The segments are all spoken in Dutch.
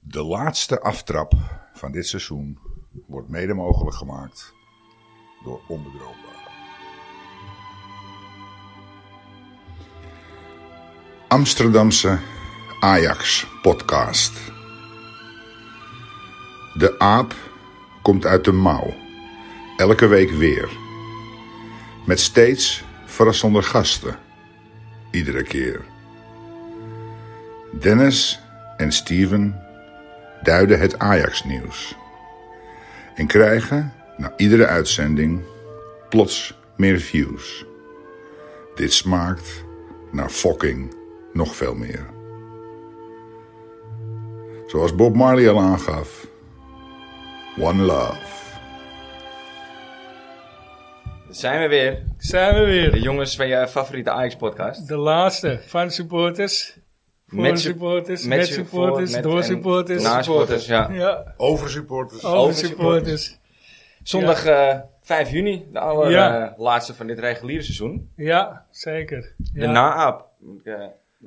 De laatste aftrap van dit seizoen wordt mede mogelijk gemaakt door Onbedroombaar. Amsterdamse Ajax podcast. De aap komt uit de mouw. Elke week weer. Met steeds verrassende gasten. Iedere keer. Dennis en Steven duiden het Ajax-nieuws. En krijgen na iedere uitzending plots meer views. Dit smaakt naar fucking nog veel meer. Zoals Bob Marley al aangaf: One Love. Daar Zijn we weer. Zijn we De weer. jongens van je favoriete Ajax-podcast. De laatste van supporters. Voor Met su- supporters, met met, su- supporters, voor- met door en supporters. na supporters, ja. Ja, Oversupporters. over supporters. supporters. Zondag eh 5 juni, de allerlaatste Ja. laatste van dit reguliere seizoen. Ja, zeker. De Ja, na-aap. Ik, eh,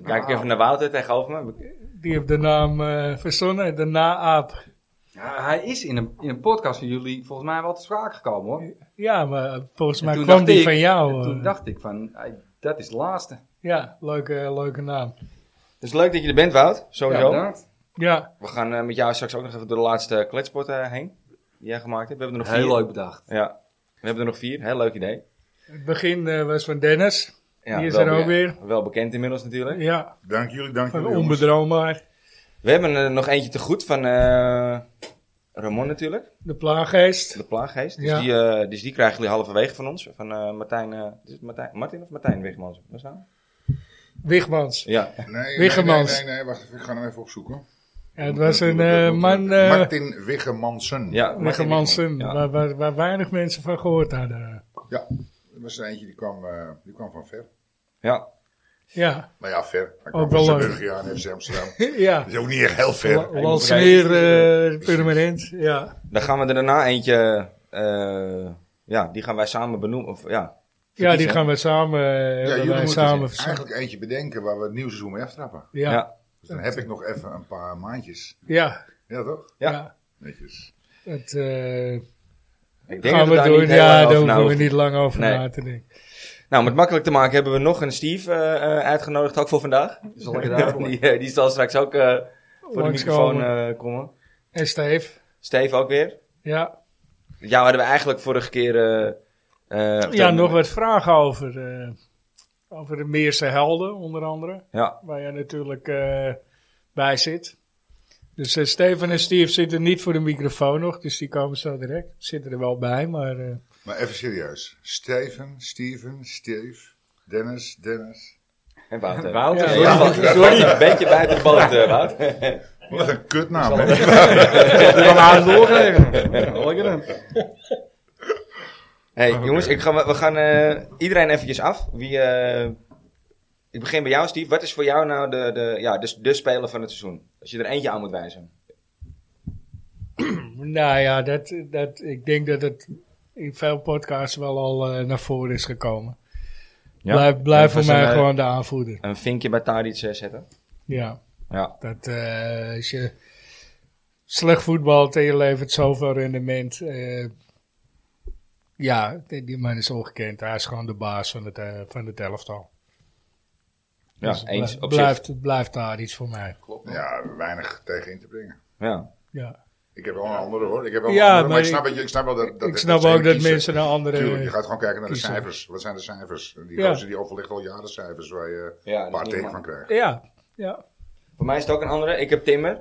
kijk ik even naar Wouter tegenover me. Die heeft de naam eh, verzonnen, de na-aap. Ja, hij is in een, in een podcast van jullie volgens mij wel te sprake gekomen hoor. En Ja, maar eh, volgens mij toen kwam dacht die ik- van jou. en eh. Toen dacht ik van, hey, dat is de laatste. Ja, leuke, eh, leuke naam. Dus leuk dat je er bent, Wout. Sowieso. inderdaad. Ja, we gaan eh, met jou straks ook nog even door de laatste kletspot eh, heen. Die jij gemaakt hebt. We hebben er nog Heel vier. leuk bedacht. Ja. We hebben er nog vier. Heel leuk idee. het begin eh, was van Dennis. Ja, Die is wel er ook bekend- weer. Wel bekend inmiddels natuurlijk. Ja, Dank jullie, dank van jullie. jongens. onbedroombaar. We hebben er nog eentje te goed van eh, Ramon natuurlijk. De plaaggeest. De plaaggeest. Dus, Ja. die, eh, dus die krijgen jullie halverwege van ons. Van eh, Martijn, eh, is het Martijn, Martin of Martijn Wigmans? Was dat? Wigmans. Ja. Nee, Wiggemans. Nee, nee, nee, nee, wacht even, ik ga hem even opzoeken. Ja, het was een eh, man... eh, Martin Wiggemansen. ja Martin Mansen, Ja. waar, waar, waar weinig mensen van gehoord hadden. Ja, er was er eentje die kwam, eh, die kwam van ver. Ja. Ja, Nou ja, ver. Hij kwam Ook wel van leuk. Brugge aan FC Amsterdam. ja. Dat is ook niet echt heel ver. moet Lanceer eh Precies. permanent, ja. Dan gaan we er daarna eentje, eh, ja, die gaan wij samen benoemen. Of, ja, Ja, die Verkiezen. gaan we samen, eh, Ja, hebben jullie wij moeten samen dus verzamelen. eigenlijk eentje bedenken waar we het nieuwe seizoen mee aftrappen. Ja, ja. ja, Dus dan heb ik nog even een paar maandjes. ja. Ja, toch? Ja. Netjes. Het eh, Ik denk dat gaan we daar doen, niet heel lang ja, over daar na hoeven we hoeft. niet lang over Nee. na te denken. Nou, om het makkelijk te maken hebben we nog een Steve eh, eh, uitgenodigd, ook voor vandaag. Zal ik het uitleggen? die, eh, die zal straks ook eh, voor de Langskomen. microfoon eh, komen. En Steve, Steve ook weer. ja. Jou hadden we eigenlijk vorige keer... eh, eh, of Ja, dat- nog wat vragen over, eh, over de Meerse helden, onder andere. Ja, Waar jij natuurlijk eh, bij zit. Dus eh, Steven en Steve zitten niet voor de microfoon nog, dus die komen zo direct. Zitten er wel bij, maar... eh, Maar even serieus. Steven, Steven, Steve, Dennis, Dennis. en Wouter. Wouter. Ja. Sorry, Wouter. Sorry, een beetje buiten de boot, eh, Wouter. Wat een kutnaam, hè? Ik heb hem aan het doorgeven. Lekker dan. Hey jongens, ik ga, we gaan eh, iedereen eventjes af. Wie, eh, ik begin bij jou, Steve. Wat is voor jou nou de, de, ja, de, de speler van het seizoen? Als je er eentje aan moet wijzen. Nou ja, dat, dat, ik denk dat het in veel podcasts wel al eh, naar voren is gekomen. blijf blijf voor Dat was mij een, eh, gewoon de aanvoerder. Een vinkje bij Tadic eh, zetten. Ja, Ja. dat eh, als je slecht voetbalt en je levert zoveel rendement. eh, ja, die, die man is ongekend. Hij is gewoon de baas van het, eh, van het elftal. Ja, Dus het eens blij- op zich. blijft, het blijft daar iets voor mij. Ja, weinig tegen in te brengen. Ja. Ja. Ik Ik heb wel een andere, hoor. Ik heb wel een Ja, andere, maar maar ik snap, ik- het, ik snap wel dat... dat snap ze ook dat kiezen. mensen naar Tuurlijk, je andere... gaat gewoon kijken naar de kiezen. cijfers. Wat zijn de cijfers? En Die Ja. gozer die overlegt al jaren cijfers waar je Ja, dat een is paar niet tegen van normaal. krijgt. Ja, ja, Voor mij is het ook een andere. Ik heb Timmer.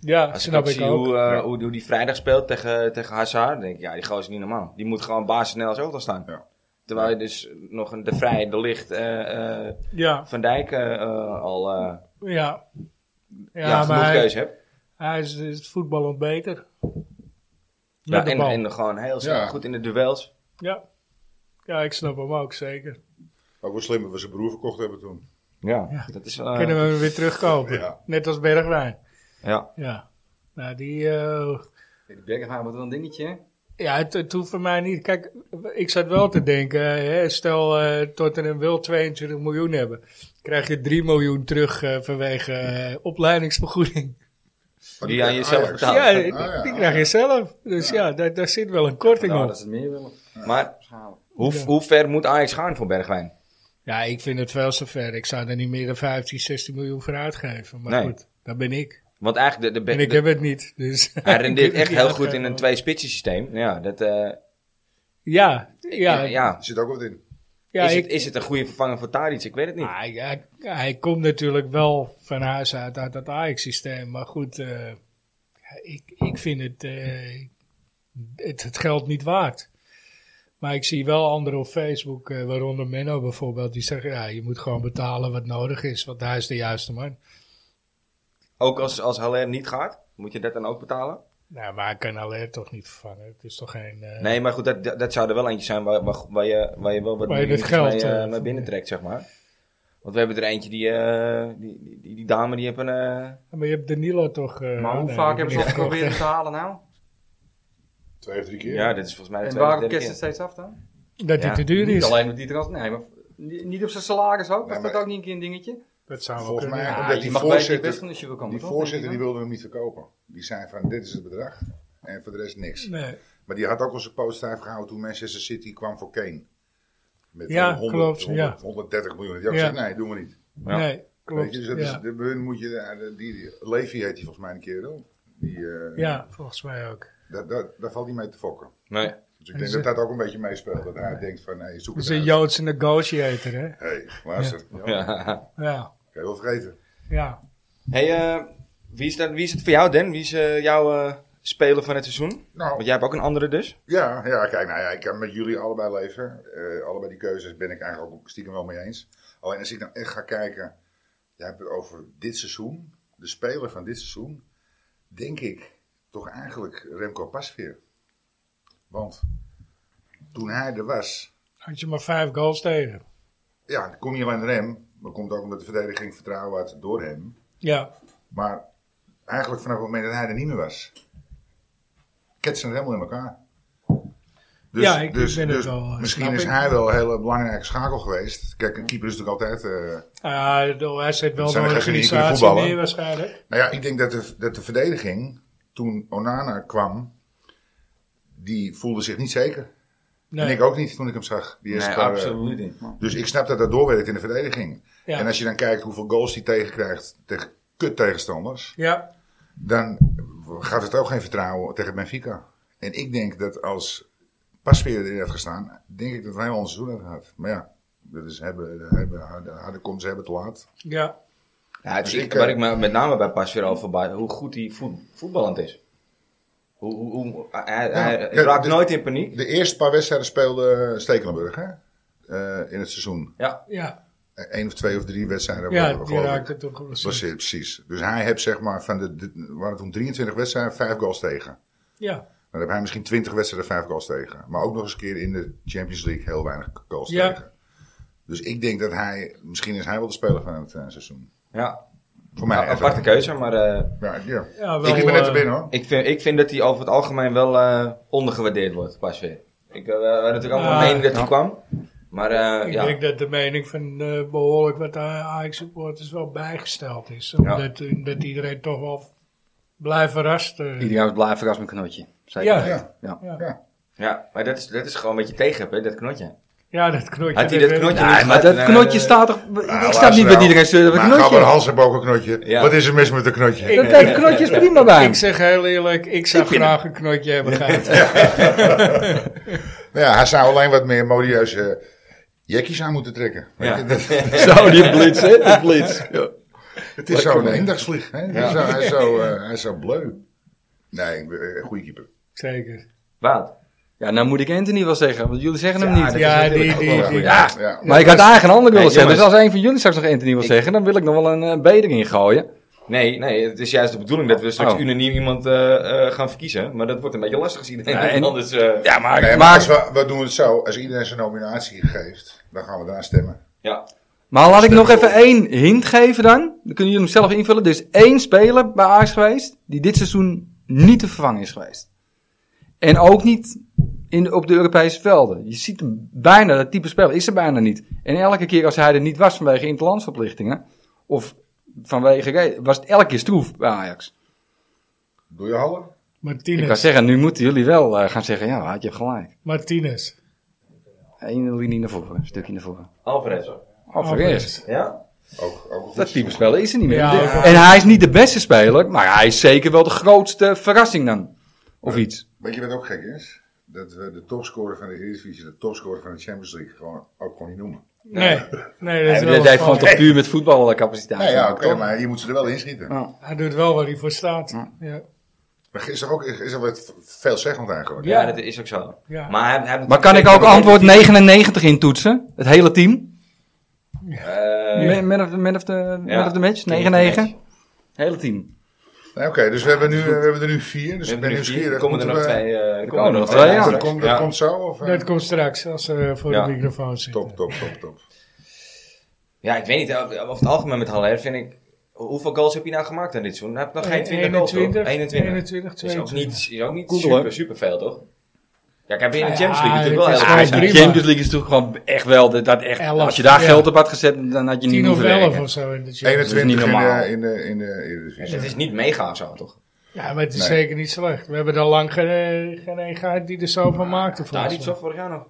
ja Als snap ik, ik ook zie ook. Hoe, eh, hoe, hoe die vrijdag speelt tegen, tegen Hazard. dan denk ik, ja, die gozer is niet normaal. Die moet gewoon basisnel als elftal staan. Ja. Terwijl je dus nog een De Vrij, De Licht, eh, eh, Ja, Van Dijk eh, eh, al eh ja. ja, genoeg maar hij- keuze hebt. Hij is, is voetballend beter. Ja, Met de en, bal. en gewoon heel snel Ja. goed in de duels. ja. ja, ik snap hem ook zeker. Ook wel slim dat we zijn broer verkocht hebben toen. Ja, Ja. dat is eh, wel. Kunnen we hem weer terugkopen? Ja. Net als Bergwijn. Ja. Ja. Nou, die. eh, Die Bergwijn wordt wel een dingetje hè. ja, het, het hoeft voor mij niet. Kijk, ik zat wel te denken. Hè, stel, eh Tottenham wil 22 miljoen hebben. Krijg je 3 miljoen terug eh, vanwege eh, opleidingsvergoeding. Die aan jezelf Ajax. betaalt. Ja, Ah, die Oh, ja. die krijg je zelf. Dus ja, daar, daar zit wel een korting Nou, op. dat is het meer willen. Maar Waarschijnlijk. hoe, hoe ver moet Ajax gaan voor Bergwijn? Ja, ik vind het veel te ver. Ik zou er niet meer dan 15, 16 miljoen voor uitgeven. Maar Nee. goed, dat ben ik. Want eigenlijk, de, de, En ik de- heb eh, het niet. Dus hij ik rendeert kan echt het niet heel goed in uitgeven. een twee-spitsen systeem. Ja, dat, eh, Ja, ja, ja, ja, Er zit ook wat in. is, ik, Ah. het, is het een goede vervanger voor Tadic? Ik weet het niet. hij, hij, hij komt natuurlijk wel van huis uit, uit dat Ajax-systeem. Maar goed, eh, ik, ik vind het, eh, het het geld niet waard. Maar ik zie wel anderen op Facebook, eh, waaronder Menno bijvoorbeeld, die zeggen: ja, je moet gewoon betalen wat nodig is, want hij is de juiste man. Ook als, als Haller niet gaat, moet je dat dan ook betalen? Nou, maar hij kan Haller toch niet vervangen. Het is toch geen. eh, Nee, maar goed, dat, dat, dat zou er wel eentje zijn waar, waar, waar je, waar je wel wat Waar je miljoentjes het geld, mee, eh, eh, mee binnentrekt, zeg maar. Want we hebben er eentje die, eh, die, die, die, die dame die heeft een... eh, Maar je hebt Danilo toch. eh, Maar hoe nee, die vaak hebben ze niet verkocht, dat geprobeerd hè? te halen nou? Twee of drie keer. ja, dat is volgens mij de En tweede, waarom derde kerst het keer. steeds af dan? Dat hij Ja, te duur Niet is. alleen met die trans... Nee, maar ni- niet op zijn salaris ook. Was Nee, dat maar- ook niet een keer een dingetje? Dat zou wel Volgens kunnen. mij- ja. omdat je die mag bij- voorzitter- best wel een show komen, Die toch? voorzitter die Denk je wilde hem niet verkopen. Die zei van dit is het bedrag. En voor de rest niks. Nee. Maar die had ook al zijn poot stijf gehouden toen Manchester City kwam voor Kane. Met Ja, eh, klopt, ja. 130 miljoen. Die had Ja. gezegd, nee, doen we niet. Ja. Nee, Weet klopt. je, dus dat ja. is, de, hun moet je, eh, die, die- Levy heet die volgens mij een kerel. Die, eh, ja, volgens mij ook. daar, daar, daar valt hij mee te fokken. Nee. Dus ik denk ze- dat dat ook een beetje meespeelt. Dat hij denkt van, hé, zoek Dat het eh, is een uit. Joodse negotiator, hè? Hé, hey, luister. Ja. Ja. Ja, Kan je wel vergeten. ja. Hey, eh, wie, is dat, wie is het voor jou, Dan? Wie is eh, jouw eh, speler van het seizoen? Nou, Want jij hebt ook een andere dus. Ja, ja, kijk, nou ja, ik kan met jullie allebei leven. Eh, allebei die keuzes ben ik eigenlijk ook stiekem wel mee eens. Alleen als ik nou echt ga kijken, jij hebt het over dit seizoen, de speler van dit seizoen, denk ik toch eigenlijk Remco Pasveer. Want toen hij er was, Had je maar vijf goals tegen. ja, dan kom je alleen naar hem, maar komt ook omdat de verdediging vertrouwen had door hem. Ja, Maar eigenlijk vanaf het moment dat hij er niet meer was, ketsen het helemaal in elkaar. Dus, Ja, ik- ik ben het wel, eh, Misschien snap is ik. hij wel een hele belangrijke schakel geweest. Kijk, een keeper is natuurlijk altijd. eh, Ah, ik bedoel, hij zit wel de Zijn er geen die kunnen organisatie voetballen? neer waarschijnlijk. nou ja, ik denk dat de, dat de verdediging, toen Onana kwam, die voelde zich niet zeker. Nee. En ik ook niet toen ik hem zag. Die eerste Nee, paar, eh, absoluut niet. Dus ik snap dat dat doorwerkt in de verdediging. Ja. En als je dan kijkt hoeveel goals hij tegenkrijgt tegen kut tegenstanders. Ja, dan gaat het ook geen vertrouwen tegen Benfica. En ik denk dat als Pasveer erin had gestaan, denk ik dat hij al een seizoen had gehad. Maar ja, dat is hebben, hebben, harde, harde komt, ze hebben te laat. ja. Ja, het Dus is- ik, waar eh, ik me met name bij Pas weer over bij, hoe goed hij voet, voetballend is. Hoe, hoe, hoe- hij, hij kijk, raakt dus- nooit in paniek. De eerste paar wedstrijden speelde Stekelenburg hè? Eh, in het seizoen. Ja, Ja, Eén of twee of drie wedstrijden. ja waren, die geloof ik. raakte toch geblesseerd. Blesseerd, precies. Dus hij heeft zeg maar van de, de- waren toen 23 wedstrijden, vijf goals tegen. Ja, Dan heb hij misschien 20 wedstrijden, 5 goals tegen. Maar ook nog eens een keer in de Champions League heel weinig goals Ja. tegen. Dus ik denk dat hij, misschien is hij wel de speler van het eh, seizoen. ja. Voor mij. A- echt. aparte keuze, maar eh, Ja, ja. ja wel, ik liep er net eh, te binnen hoor. ik, vind, ik vind dat hij over het algemeen wel eh, ondergewaardeerd wordt, Pas weer. Ik eh, we hadden natuurlijk allemaal Ah, mening dat hij kwam. Maar eh, Ik ja. denk dat de mening van eh, behoorlijk wat Ajax-supporters wel bijgesteld is. Omdat omdat iedereen toch wel blij verrast eh, Iedereen blijft verrast met een knotje. Ja. weten. Ja. ja. Ja. Ja. ja, maar dat is, dat is gewoon wat je tegen hebt, hè, dat knotje. Ja, dat knotje. Had hij dat werd- knotje Nee, niet maar gehad, dat dan, knotje eh, staat toch... Ah, ik snap luister niet wat nou. iedereen stuurt op een Maar Gabber knotje. Hals heeft ook een knotje. Ja. Wat is er mis met een knotje? Dat deed knotjes prima bij hem. Ik zeg heel eerlijk, ik zou graag een knotje hebben gehad. Nou ja, hij zou alleen wat meer modieuze jekkies aan moeten trekken. Weet Ja. je, dat- Zo, die blitz, hè? Die blitz. het is zo'n eendagsvlieg. Hè? Hij, is zo, hij, is zo, eh, hij is zo bleu. Nee, ik ben- eh, goede keeper. Zeker. Wout. Ja, nou moet ik Anthony wel zeggen, want jullie zeggen hem Ja, niet. dat Ja, is die, natuurlijk die, ook die, wel goed. Ja, Ja. maar ik had eigenlijk een ander willen Nee, zeggen. Dus jongens. als een van jullie straks nog Anthony wil zeggen, dan wil ik nog wel een eh, B erin gooien. Nee, nee, het is juist de bedoeling dat we straks Oh. unaniem iemand eh, eh, gaan verkiezen. Maar dat wordt een beetje lastig als iedereen Ja, en- anders... eh, Ja, maar... Nee, maar maar, als we, we doen het zo. Als iedereen zijn nominatie geeft, dan gaan we daarna stemmen. ja. maar laat ik nog even één hint geven dan. Dan kunnen jullie hem zelf invullen. Er is één speler bij Ajax geweest die dit seizoen niet te vervangen is geweest. En ook niet in, op de Europese velden. Je ziet hem bijna, dat type speler is er bijna niet. En elke keer als hij er niet was vanwege interlandsverplichtingen, of vanwege, re- was het elke keer stroef bij Ajax. Doe je hallen? Ik kan Martinez. zeggen, nu moeten jullie wel eh, gaan zeggen, ja, je hebt gelijk. Martinez. Eén linie naar voren, een stukje naar voren. Alvarez. Oh, voor eerst. Ja? Ook, ook goed. Dat typespel is er niet meer. Ja, De- ook- en hij is niet de beste speler, maar hij is zeker wel de grootste verrassing dan. Of iets. Weet je wat ook gek is? Dat we de topscorer van de Eredivisie, de topscorer van de Champions League, gewoon ook gewoon niet noemen. Nee. Nee, dat Hij is wel heeft wat gewoon fout. toch puur met voetbalcapaciteit. Nou ja, oké, toch? maar je moet ze er wel inschieten. Ja. Hij doet wel waar hij voor staat. Ja. Maar is er ook is er wat veelzeggend eigenlijk? Ja, dat is ook zo. Ja. Maar, hij, hij Maar kan ik ook antwoord 99 intoetsen? Het hele team? Eh, Man- Man of, the- man of, the, ja. man of the match? Team of 9-9? the Het hele team. Nee, Oké, dus we hebben, nu, we hebben er nu vier, dus we ik hebben ben er vier. nieuwsgierig. Er komen er nog Moeten we- twee. eh, er komen er nog Oh, twee, dat- ja. dat, komt, dat Ja. komt zo? Of, eh? Dat komt straks als ze voor Ja. de microfoon zitten. Top, top, top, top. Ja, ik weet niet. eh, Over het algemeen met Haller vind ik... Hoeveel goals heb je nou gemaakt aan dit seizoen? Hij heeft Eh, nog Eh, geen 20 goals, toch? 21, 21. 21, Is ook 22. niet, is ook niet Google, super, hè? super veel, toch? Ja, ik heb in de Ja, Champions League natuurlijk dit wel is heel gewoon veel Ah, gespeeld. de prima. Champions League is natuurlijk gewoon echt wel... de- Dat echt, Elf, als je daar ja. geld op had gezet, dan had je niet 10 of hoeven 11 werken. of zo in de Champions 21 in normaal. de, in de, in de Eredivisie. Dus het is niet mega of zo, toch? Ja, maar het is Nee. zeker niet slecht. We hebben er lang geen, eh, geen een gehad die er zo van maakte Daar volgens iets mij. op vorig jaar nog.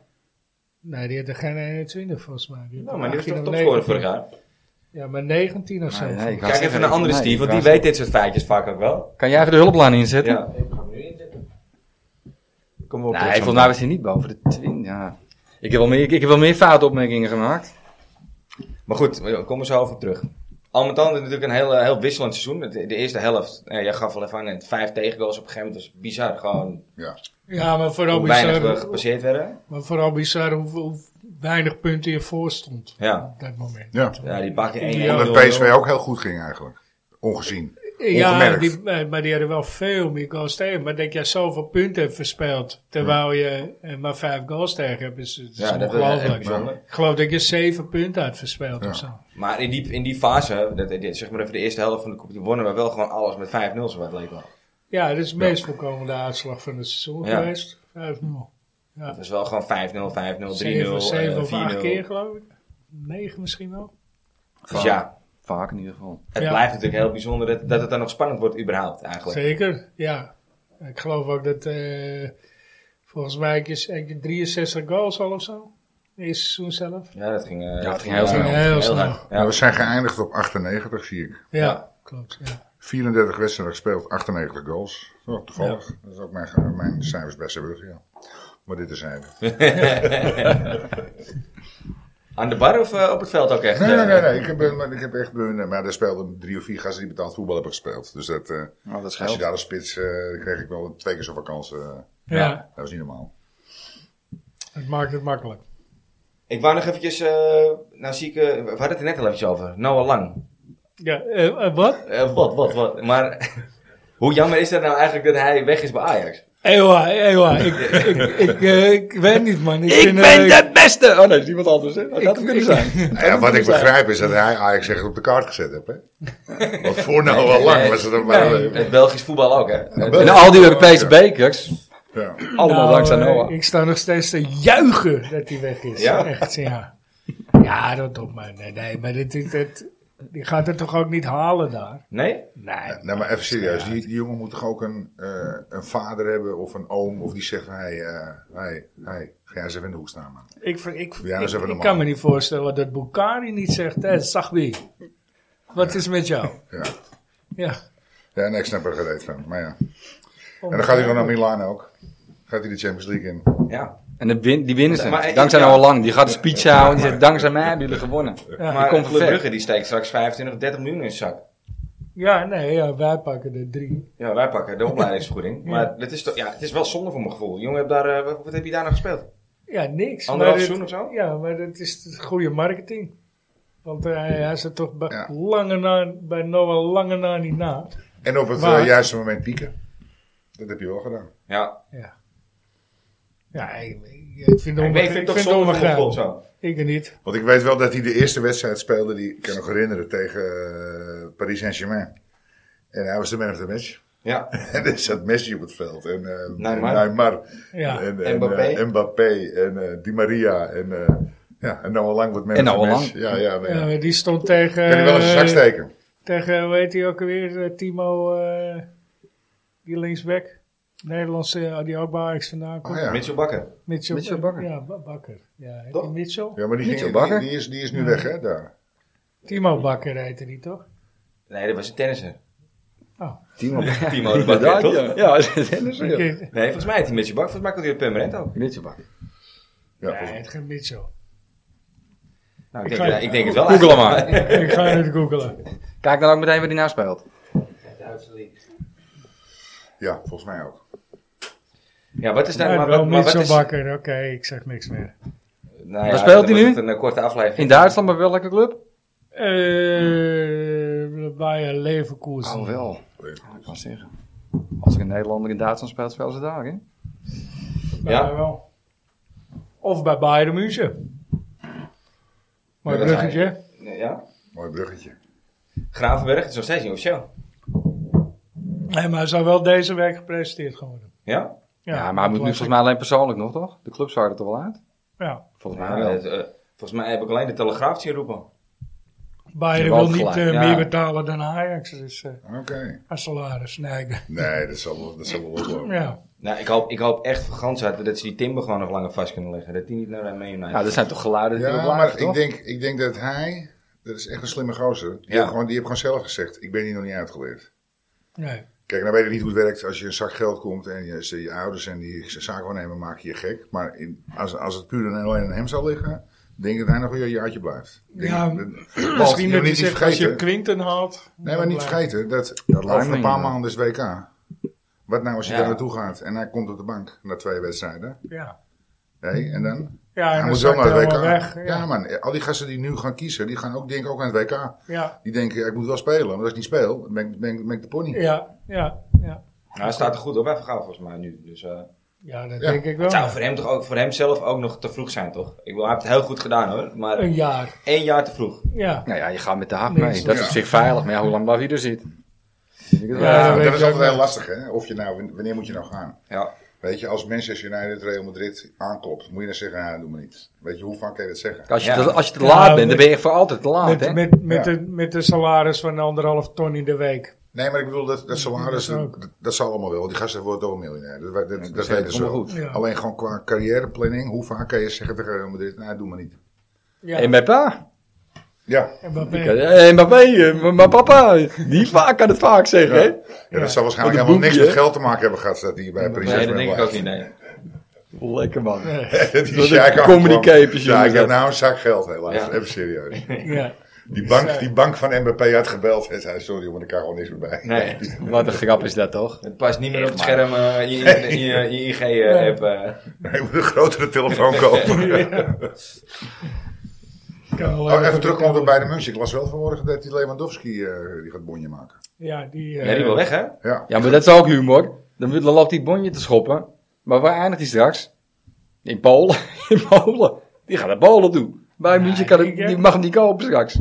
Nee, die had er geen 21 volgens mij. had Nou, maar die was 18 toch of topscorer 19. vorig jaar. Ja, maar 19 of zo. Nee, nee, ik wou Kijk even zeggen, naar andere nee, Steve, ik want wou die weet dit soort feitjes vaak ook wel. zeggen, Kan jij even de hulplijn inzetten? Ja. Ik ga hem nu inzetten. Kom maar op. Nee, Roxanne. volgens mij was hij niet boven de 20. Ja. Ik heb wel meer, ik, ik heb wel meer foute opmerkingen gemaakt. Maar goed, we komen zo over terug. Al met al is het natuurlijk een heel, eh, heel wisselend seizoen. De, de eerste helft, eh, jij gaf al even aan, eh, vijf tegengoals op een gegeven moment. Dat was bizar, gewoon Ja. Ja, maar vooral hoe weinig bizar, we gepasseerd werden. maar vooral bizar hoe, hoe weinig punten je voor stond Ja, op dat moment. ja. ja die pak je één. Ja, Omdat nul, PSV nul. ook heel goed ging eigenlijk. Ongezien. Ja, Ongemerkt. die, eh, maar die hadden wel veel meer goals tegen. Maar dat jij zoveel punten hebt verspeeld, terwijl je eh, maar vijf goals tegen hebt, is, is Ja, dat eh, is echt ongelooflijk. bijzonder. Ik geloof dat je zeven punten had verspeeld Ja. of zo. Maar in die, in die fase, dat, dit, zeg maar even de eerste helft van de competitie, wonnen we wel gewoon alles met 5-0, zo wat leek wel. Ja, dat is de meest voorkomende uitslag van het seizoen Ja. geweest. 5-0. Dat was wel gewoon 5-0, 5-0, 3-0, 7, eh, 7 of 8 4-0. keer geloof ik. 9 misschien wel. Dus ja, Vaak in ieder geval. het Ja. blijft natuurlijk heel bijzonder dat, dat het dan nog spannend wordt überhaupt eigenlijk. Zeker, ja. Ik geloof ook dat eh, volgens mij is heb je 63 goals al of zo. Eerste seizoen zelf. Ja, dat ging, eh, Ja, het ging heel snel. Heel snel. hard. Ja. Maar we zijn geëindigd op 98, zie ik. Ja, Ja. klopt. Ja. 34 wedstrijden gespeeld, 98 goals. Oh, toevallig. Dat is ook mijn, mijn cijfers bij Zeebrugge, ja. Maar dit is hij. Aan de bar of eh, op het veld ook echt? Nee, nee, Eh, nee. nee. Ik, heb, eh, maar ik heb echt... eh, Maar daar speelden drie of vier gasten die betaald voetbal hebben gespeeld. Dus dat, eh, Nou, dat als je scheelt. daar als spits... eh, dan kreeg ik wel twee keer zoveel kansen. eh. Ja. dat was niet normaal. het maakt het makkelijk. Ik wou nog eventjes, eh nou zie ik, eh, we hadden het er net al eventjes over, Noah Lang. Ja, eh, eh, wat? Eh, wat, wat, wat, maar hoe jammer is dat nou eigenlijk dat hij weg is bij Ajax? Ewa, ewa. Ik, ik, ik, eh, ik weet niet man. Ik, Ik vind, eh, ben de beste! Oh nee, dat is iemand anders. Hè? Dat Ik- had hem kunnen ik- zijn. Nou ja, wat ik begrijp is dat hij Ajax echt op de kaart gezet heeft, hè. Want voor nou al lang was het een Het Belgisch voetbal ook, hè? Ja, En al die Europese bekers, Ja. allemaal nou, dankzij eh, Noah. Ik sta nog steeds te juichen dat hij weg is. Ja? Echt, ja. Ja, dat op man. Nee, nee maar dit, dit, dit- die gaat het toch ook niet halen daar? Nee? Nee. Nou, maar even serieus. Die, die jongen moet toch ook een, eh, een vader hebben of een oom. Of die zegt, hey, eh, hey, hey, ga jij eens even in de hoek staan, man. Ik, ver- ik, Ja, dat ik, is even ik normaal. kan me niet voorstellen dat Bukari niet zegt, hé, Sagbi, wat is met jou? Ja. Ja. Ja, nee, ik snap er gereed van. Maar ja. En dan gaat hij dan naar Milaan ook. Gaat hij de Champions League in. Ja. En de win, die winnen ze. Maar, eh, dankzij ja. Noah Lang. Die gaat een speech houden en die zegt, dankzij mij hebben jullie gewonnen. Ja. Maar komt Club ver. Brugge die steekt straks 25, 30 miljoen in zijn zak. Ja, nee, ja, wij pakken er drie. Ja, wij pakken de opleidingsvergoeding. Maar dat is toch, ja, het is wel zonde voor mijn gevoel. Jongen, heb daar, eh, wat, wat heb je daar nou gespeeld? Ja, niks. Anderhalf maar seizoen dit- of zo? Ja, maar dat is het goede marketing. Want eh, hij, hij zat toch bij, Ja. lange na, bij Noah lange na niet na. En op het Maar- eh, juiste moment pieken. Dat heb je wel gedaan. Ja, Ja, ja ik, ik- ik vind het ik weet, onbegrijpelijk. ik vind het toch zonde voor mijn gevoel. onbegrijpelijk. Zo. Ik er niet. Want ik weet wel dat hij de eerste wedstrijd speelde, die ik kan nog herinneren, tegen eh, Paris Saint-Germain. En hij was de man of the match. Ja, En er zat Messi op het veld. En eh, Neymar. en Neymar. Ja. En, en, Mbappé. eh, Mbappé. En eh, Di Maria. En, eh ja, en Noah Lang wordt man En of the Noah match. Ja, ja, nou ja. Ja, maar Eh, die stond tegen... Kan hij wel eens een zak eh, steken? Tegen, hoe heet hij ook alweer? eh, Timo... eh, die linksback. Nederlandse, eh, die ook bij Ajax vandaan komt. Oh, ja. Mitchell Bakker. Mitchell, Mitchell eh, Bakker. Ja, Ba- Bakker. Ja, heet Toch? die Mitchell? Ja, maar die, Mitchell ging, die, Bakker. die is, die is nu weg, hè? Daar. Timo Bakker heette die toch? Nee, dat was een tennisser. Oh, Timo. Timo de Bakker, toch? ja. Ja, dat is een oké. verschil. Nee, volgens mij heet hij Mitchell Bakker. Volgens mij komt hij uit Purmerend ook. Mitchell Bakker. Ja, nee, volgens- het geen Mitchell. Nou, Ik ik, denk, ga- ja, ik denk het wel. Google hem eigenlijk. maar. Ik ga het googelen. Kijk dan ook meteen waar die nou speelt. ja, volgens mij ook. Ja, wat is Ja, daar... maar, wel wat, maar wat Mitchell is... Bakker, oké, ik zeg niks meer. Nou, Waar speelt dat hij was nu? het Een eh, korte aflevering. In Duitsland, bij welke club? Eh bij een Leverkusen. Oh, wel. Weet ik Ik niet. kan zeggen. Als ik een Nederlander in Duitsland speelt, spelen ze daar, hè? Ja. Ja, wel. Of bij Bayern München. Mooi Ja, dat bruggetje. Nee, Ja? Mooi bruggetje. Gravenberg, dat is nog steeds niet officieel. Nee, maar hij zou wel deze week gepresenteerd gaan worden. Ja? Ja, maar hij moet nu volgens mij alleen persoonlijk nog, toch? De club zou er toch wel uit? Ja, Volgens mij Nou, wel. het, eh, volgens mij heb ik alleen de telegraaf zien roepen. Bayern Wel wil niet gelijk, eh, ja. meer betalen dan Ajax. Dus eh Oké. aan salaris. Nee, ik denk- Nee, dat zal wel, dat zal wel lopen. ja. Nou, ik hoop, ik hoop echt van gans harte dat ze die timber gewoon nog langer vast kunnen leggen. Dat die niet naar Man United. Ja, dat zijn toch geluiden die Ja, op maar lagen, ik toch? denk, ik denk dat hij, dat is echt een slimme gozer. Die, Ja. heeft gewoon, die heeft gewoon zelf gezegd, ik ben hier nog niet uitgeleerd. Nee. Kijk, nou weet ik niet hoe het werkt als je een zak geld komt en je, ze- je ouders en die zaakwaarnemer maken je gek. Maar in, als, als het puur en alleen aan hem zal liggen, denk ik dat hij nog een jaartje blijft. Denk Ja, ik, dat- Want je moet Misschien dat niet hij niet zegt, als je vergeten. Quinten haalt... Nee, maar dan eh, niet blijft- vergeten, dat, Dat lijkt over me een paar niet, ja. maanden is WK. Wat nou als hij Ja. daar naartoe gaat en hij komt op de bank na twee wedstrijden? Ja, Nee, en dan? ja en hij dan moet wel zakt naar hij het WK. allemaal weg. Ja, ja man, al die gasten die nu gaan kiezen, die gaan ook denken ook aan het WK. ja, Die denken, ja, ik moet wel spelen. Want als ik niet speel, dan ben ik, ben ik, ben ik de pony. ja, ja. ja. Nou, hij staat er goed op, hè, Van Gaal, volgens mij nu. Dus, eh, Ja, dat Ja. denk ik wel. het zou voor hem, toch ook, voor hem zelf ook nog te vroeg zijn, toch? Ik wil, hij heeft het heel goed gedaan, hoor. Maar Een jaar. één jaar te vroeg. Ja. Nou ja, je gaat met de haak Nee, mee. zo- Dat is ja. op zich veilig. Maar ja, hoe lang blijf je er zitten? Vind ik het wel. Ja, Ja, dat weet dat ik is ook altijd heel niet. lastig, hè? Of je nou, wanneer moet je nou gaan? Ja. Weet je, als Manchester United Real Madrid aanklopt, moet je dan zeggen, nou, doe maar niet. Weet je, hoe vaak kan je dat zeggen? Als je, Ja. te, als je te Ja, laat bent, met- dan ben je voor altijd te laat, hè? Met, met, met, Ja. de, met de salaris van anderhalf ton in de week. Nee, maar ik bedoel, dat, dat salaris, Dat dat, ook. dat, zal allemaal wel. Die gasten worden ook miljonair. Dat, dat, dat, dat weten ze komt wel. goed. Ja. Alleen gewoon qua carrièreplanning, hoe vaak kan je zeggen tegen Real Madrid, nou, doe maar niet. Ja. En bij pa. Ja, En wat ben je? En bij mij, maar papa. Die vaak kan het vaak zeggen, Ja. hè? ja, dat zal waarschijnlijk Wat een helemaal niks boekje, met geld te maken hebben gehad, dat hier bij Prinses Nee, dat Mabel. denk ik ook niet, nee. Lekker, man. Die Wat een Sjaak ook comedy gewoon- capers, Ja, ik jongens, heb nou een zak geld, helaas. Ja. Even serieus. Ja. Die bank, Zij- die bank van Mbappé had gebeld en zei: Sorry, jongen, ik kan gewoon niks meer bij. Nee, Wat een grap is dat, toch? het past niet meer op het scherm eh, in je- in je in eh, je IG-app. Ik moet een grotere telefoon kopen. Ik kan wel Oh, even voor terugkomen op de bij de Munch. Ik las wel vanmorgen dat die Lewandowski eh, die gaat bonje maken. Ja, die... eh, Ja, die wil weg, hè? Ja. Ja, maar dat is ook humor. Dan moet- dan loopt die bonje te schoppen. Maar waar eindigt hij straks? In Polen. In Polen. Die gaat naar Polen toe. Bij Nee, München kan het, ik denk- die mag hem niet kopen straks.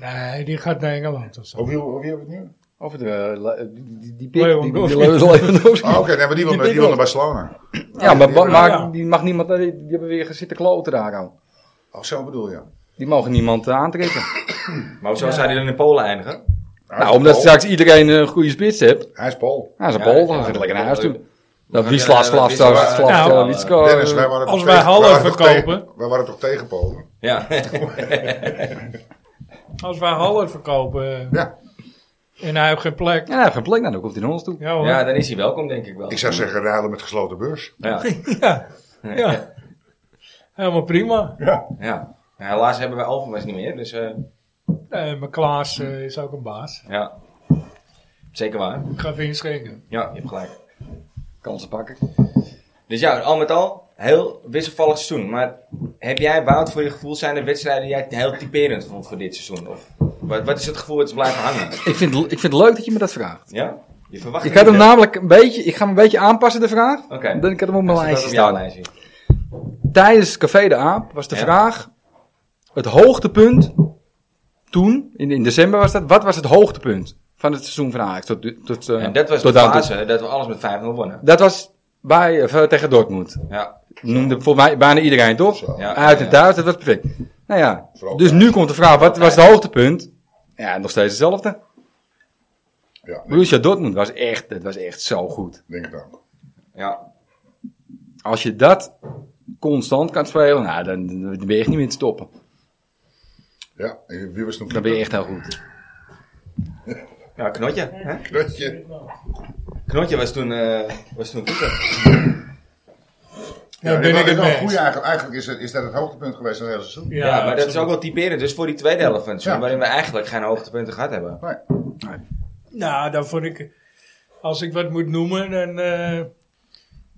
Nee, die gaat naar Engeland of zo. Of wie, of wie hebben we het nu? Of het, eh, la- die, die, die pik, die, die, Lewandowski. Lewandowski. Oh, Oké, nee, maar die wil, naar- Die die pick wil op. naar Barcelona. Ja, maar, ba- Ja. maar die mag niemand, eh, die, die hebben weer gezitten kloten daar aan. Oh, zo bedoel je. Die mogen niemand eh, aantrekken. Maar hoezo zou hij dan in Polen eindigen? Hij is nou, omdat Pool. straks iedereen een goede spits hebt. Hij is Paul. Nou, ze Ja, Polen, ja, dan gaat hij lekker naar ja, huis leuk. toe. Dat Ja, Wieslaaf, ja, Slaaf, Wisla- Slaaf, Slaaf, Nou, eh, Witsko, Dennis, eh, wij waren als toch wij tegen- Haller waren toch verkopen- tegen- wij waren toch tegen Polen? Ja. Als wij Haller verkopen eh, Ja. en hij heeft geen plek. Ja, hij heeft geen plek, nou, dan komt hij naar ons toe. Ja hoor. ja, Ja. dan is hij welkom, denk ik wel. Ik zou zeggen, ruilen met gesloten beurs. Ja. ja. Helemaal prima. Ja. Ja. Ja, helaas hebben wij Alphenwijs niet meer, dus eh, Nee, maar Klaas eh, is ook een baas. ja. Zeker waar. Ik ga even inschenken. Ja, je hebt gelijk. Kansen pakken. Dus ja, al met al, heel wisselvallig seizoen. Maar heb jij, Wout, voor je gevoel zijn de wedstrijden die jij heel typerend vond voor dit seizoen? Of wat, wat is het gevoel dat is blijven hangen? Ik vind, ik vind het leuk dat je me dat vraagt. Ja? Je verwacht Ik het had hem niet, hè? namelijk een beetje, ik ga hem een beetje aanpassen de vraag. Oké. Dan ik had hem nou op mijn Hij staat lijstje op jouw staan. lijstje. Tijdens Café de Aap was de Ja. vraag, het hoogtepunt toen, in, in december was dat, wat was het hoogtepunt van het seizoen van Ajax? Tot, tot, eh, En dat was tot de dan toe? fase dat we alles met 5-0 wonnen. Dat was bij, of, eh, tegen Dortmund. Ja. Noemde volgens mij bijna iedereen toch? Zo. ja Uit ja, en thuis, dat was perfect. Nou ja, Vooral dus thuis. nu komt de vraag, wat was het hoogtepunt? Ja, nog steeds hetzelfde. Ja, denk, Borussia Dortmund was echt, dat was echt zo goed. denk het ook. Ja, Als je dat constant kan spelen, nou, dan, dan ben je echt niet meer te stoppen. Ja, en wie was toen Dan ben je echt heel goed. ja Knotje. Hè? Knotje. Knotje was toen, eh was toen keeper. Ja, Ja, ben ik dat is het wel mee een goeie eens. eigenlijk. Eigenlijk is, het, is dat het hoogtepunt geweest van het hele seizoen. Ja, maar dat is ook wel typerend. Dus voor die tweede helft van het seizoen, Ja. waarin we eigenlijk geen hoogtepunten gehad hebben. Maar Nou, dan vond ik, als ik wat moet noemen, dan eh,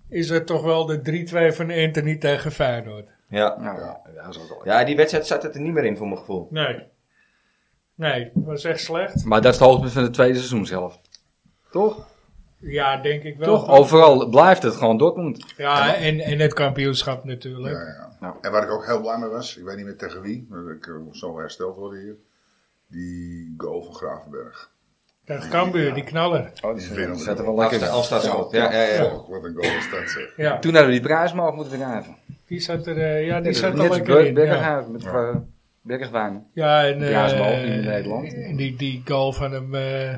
is het toch wel de 3-2 van Anthony tegen Feyenoord. Ja. Nou, ja, dat is ook wel- ja, die wedstrijd zat het er niet meer in voor mijn gevoel. Nee. Nee, het was echt slecht. Maar dat is het hoogtepunt van het tweede seizoen zelf. Toch? Ja, denk ik wel. Toch? Overal blijft het gewoon Dortmund. Ja, en, en het kampioenschap natuurlijk. Ja, ja. Nou. Ja. En waar ik ook heel blij mee was, ik weet niet meer tegen wie, maar ik eh, moest zo hersteld worden hier. Die goal van Gravenberg. Dat Cambuur, die knaller. Oh, die winnen we zat er wel. wel lekker in. Afstaatsschot. Ja, ja, ja. Och, wat een goal was dat zeg. Ja, Toen hadden we die prijs maar af moeten draven. die zat er, eh, ja, die Net zat er als lekker in. Ja, Berghagen met eh, Bergwijn. ja en, eh, Braasbal in Nederland. en die, die goal van hem eh,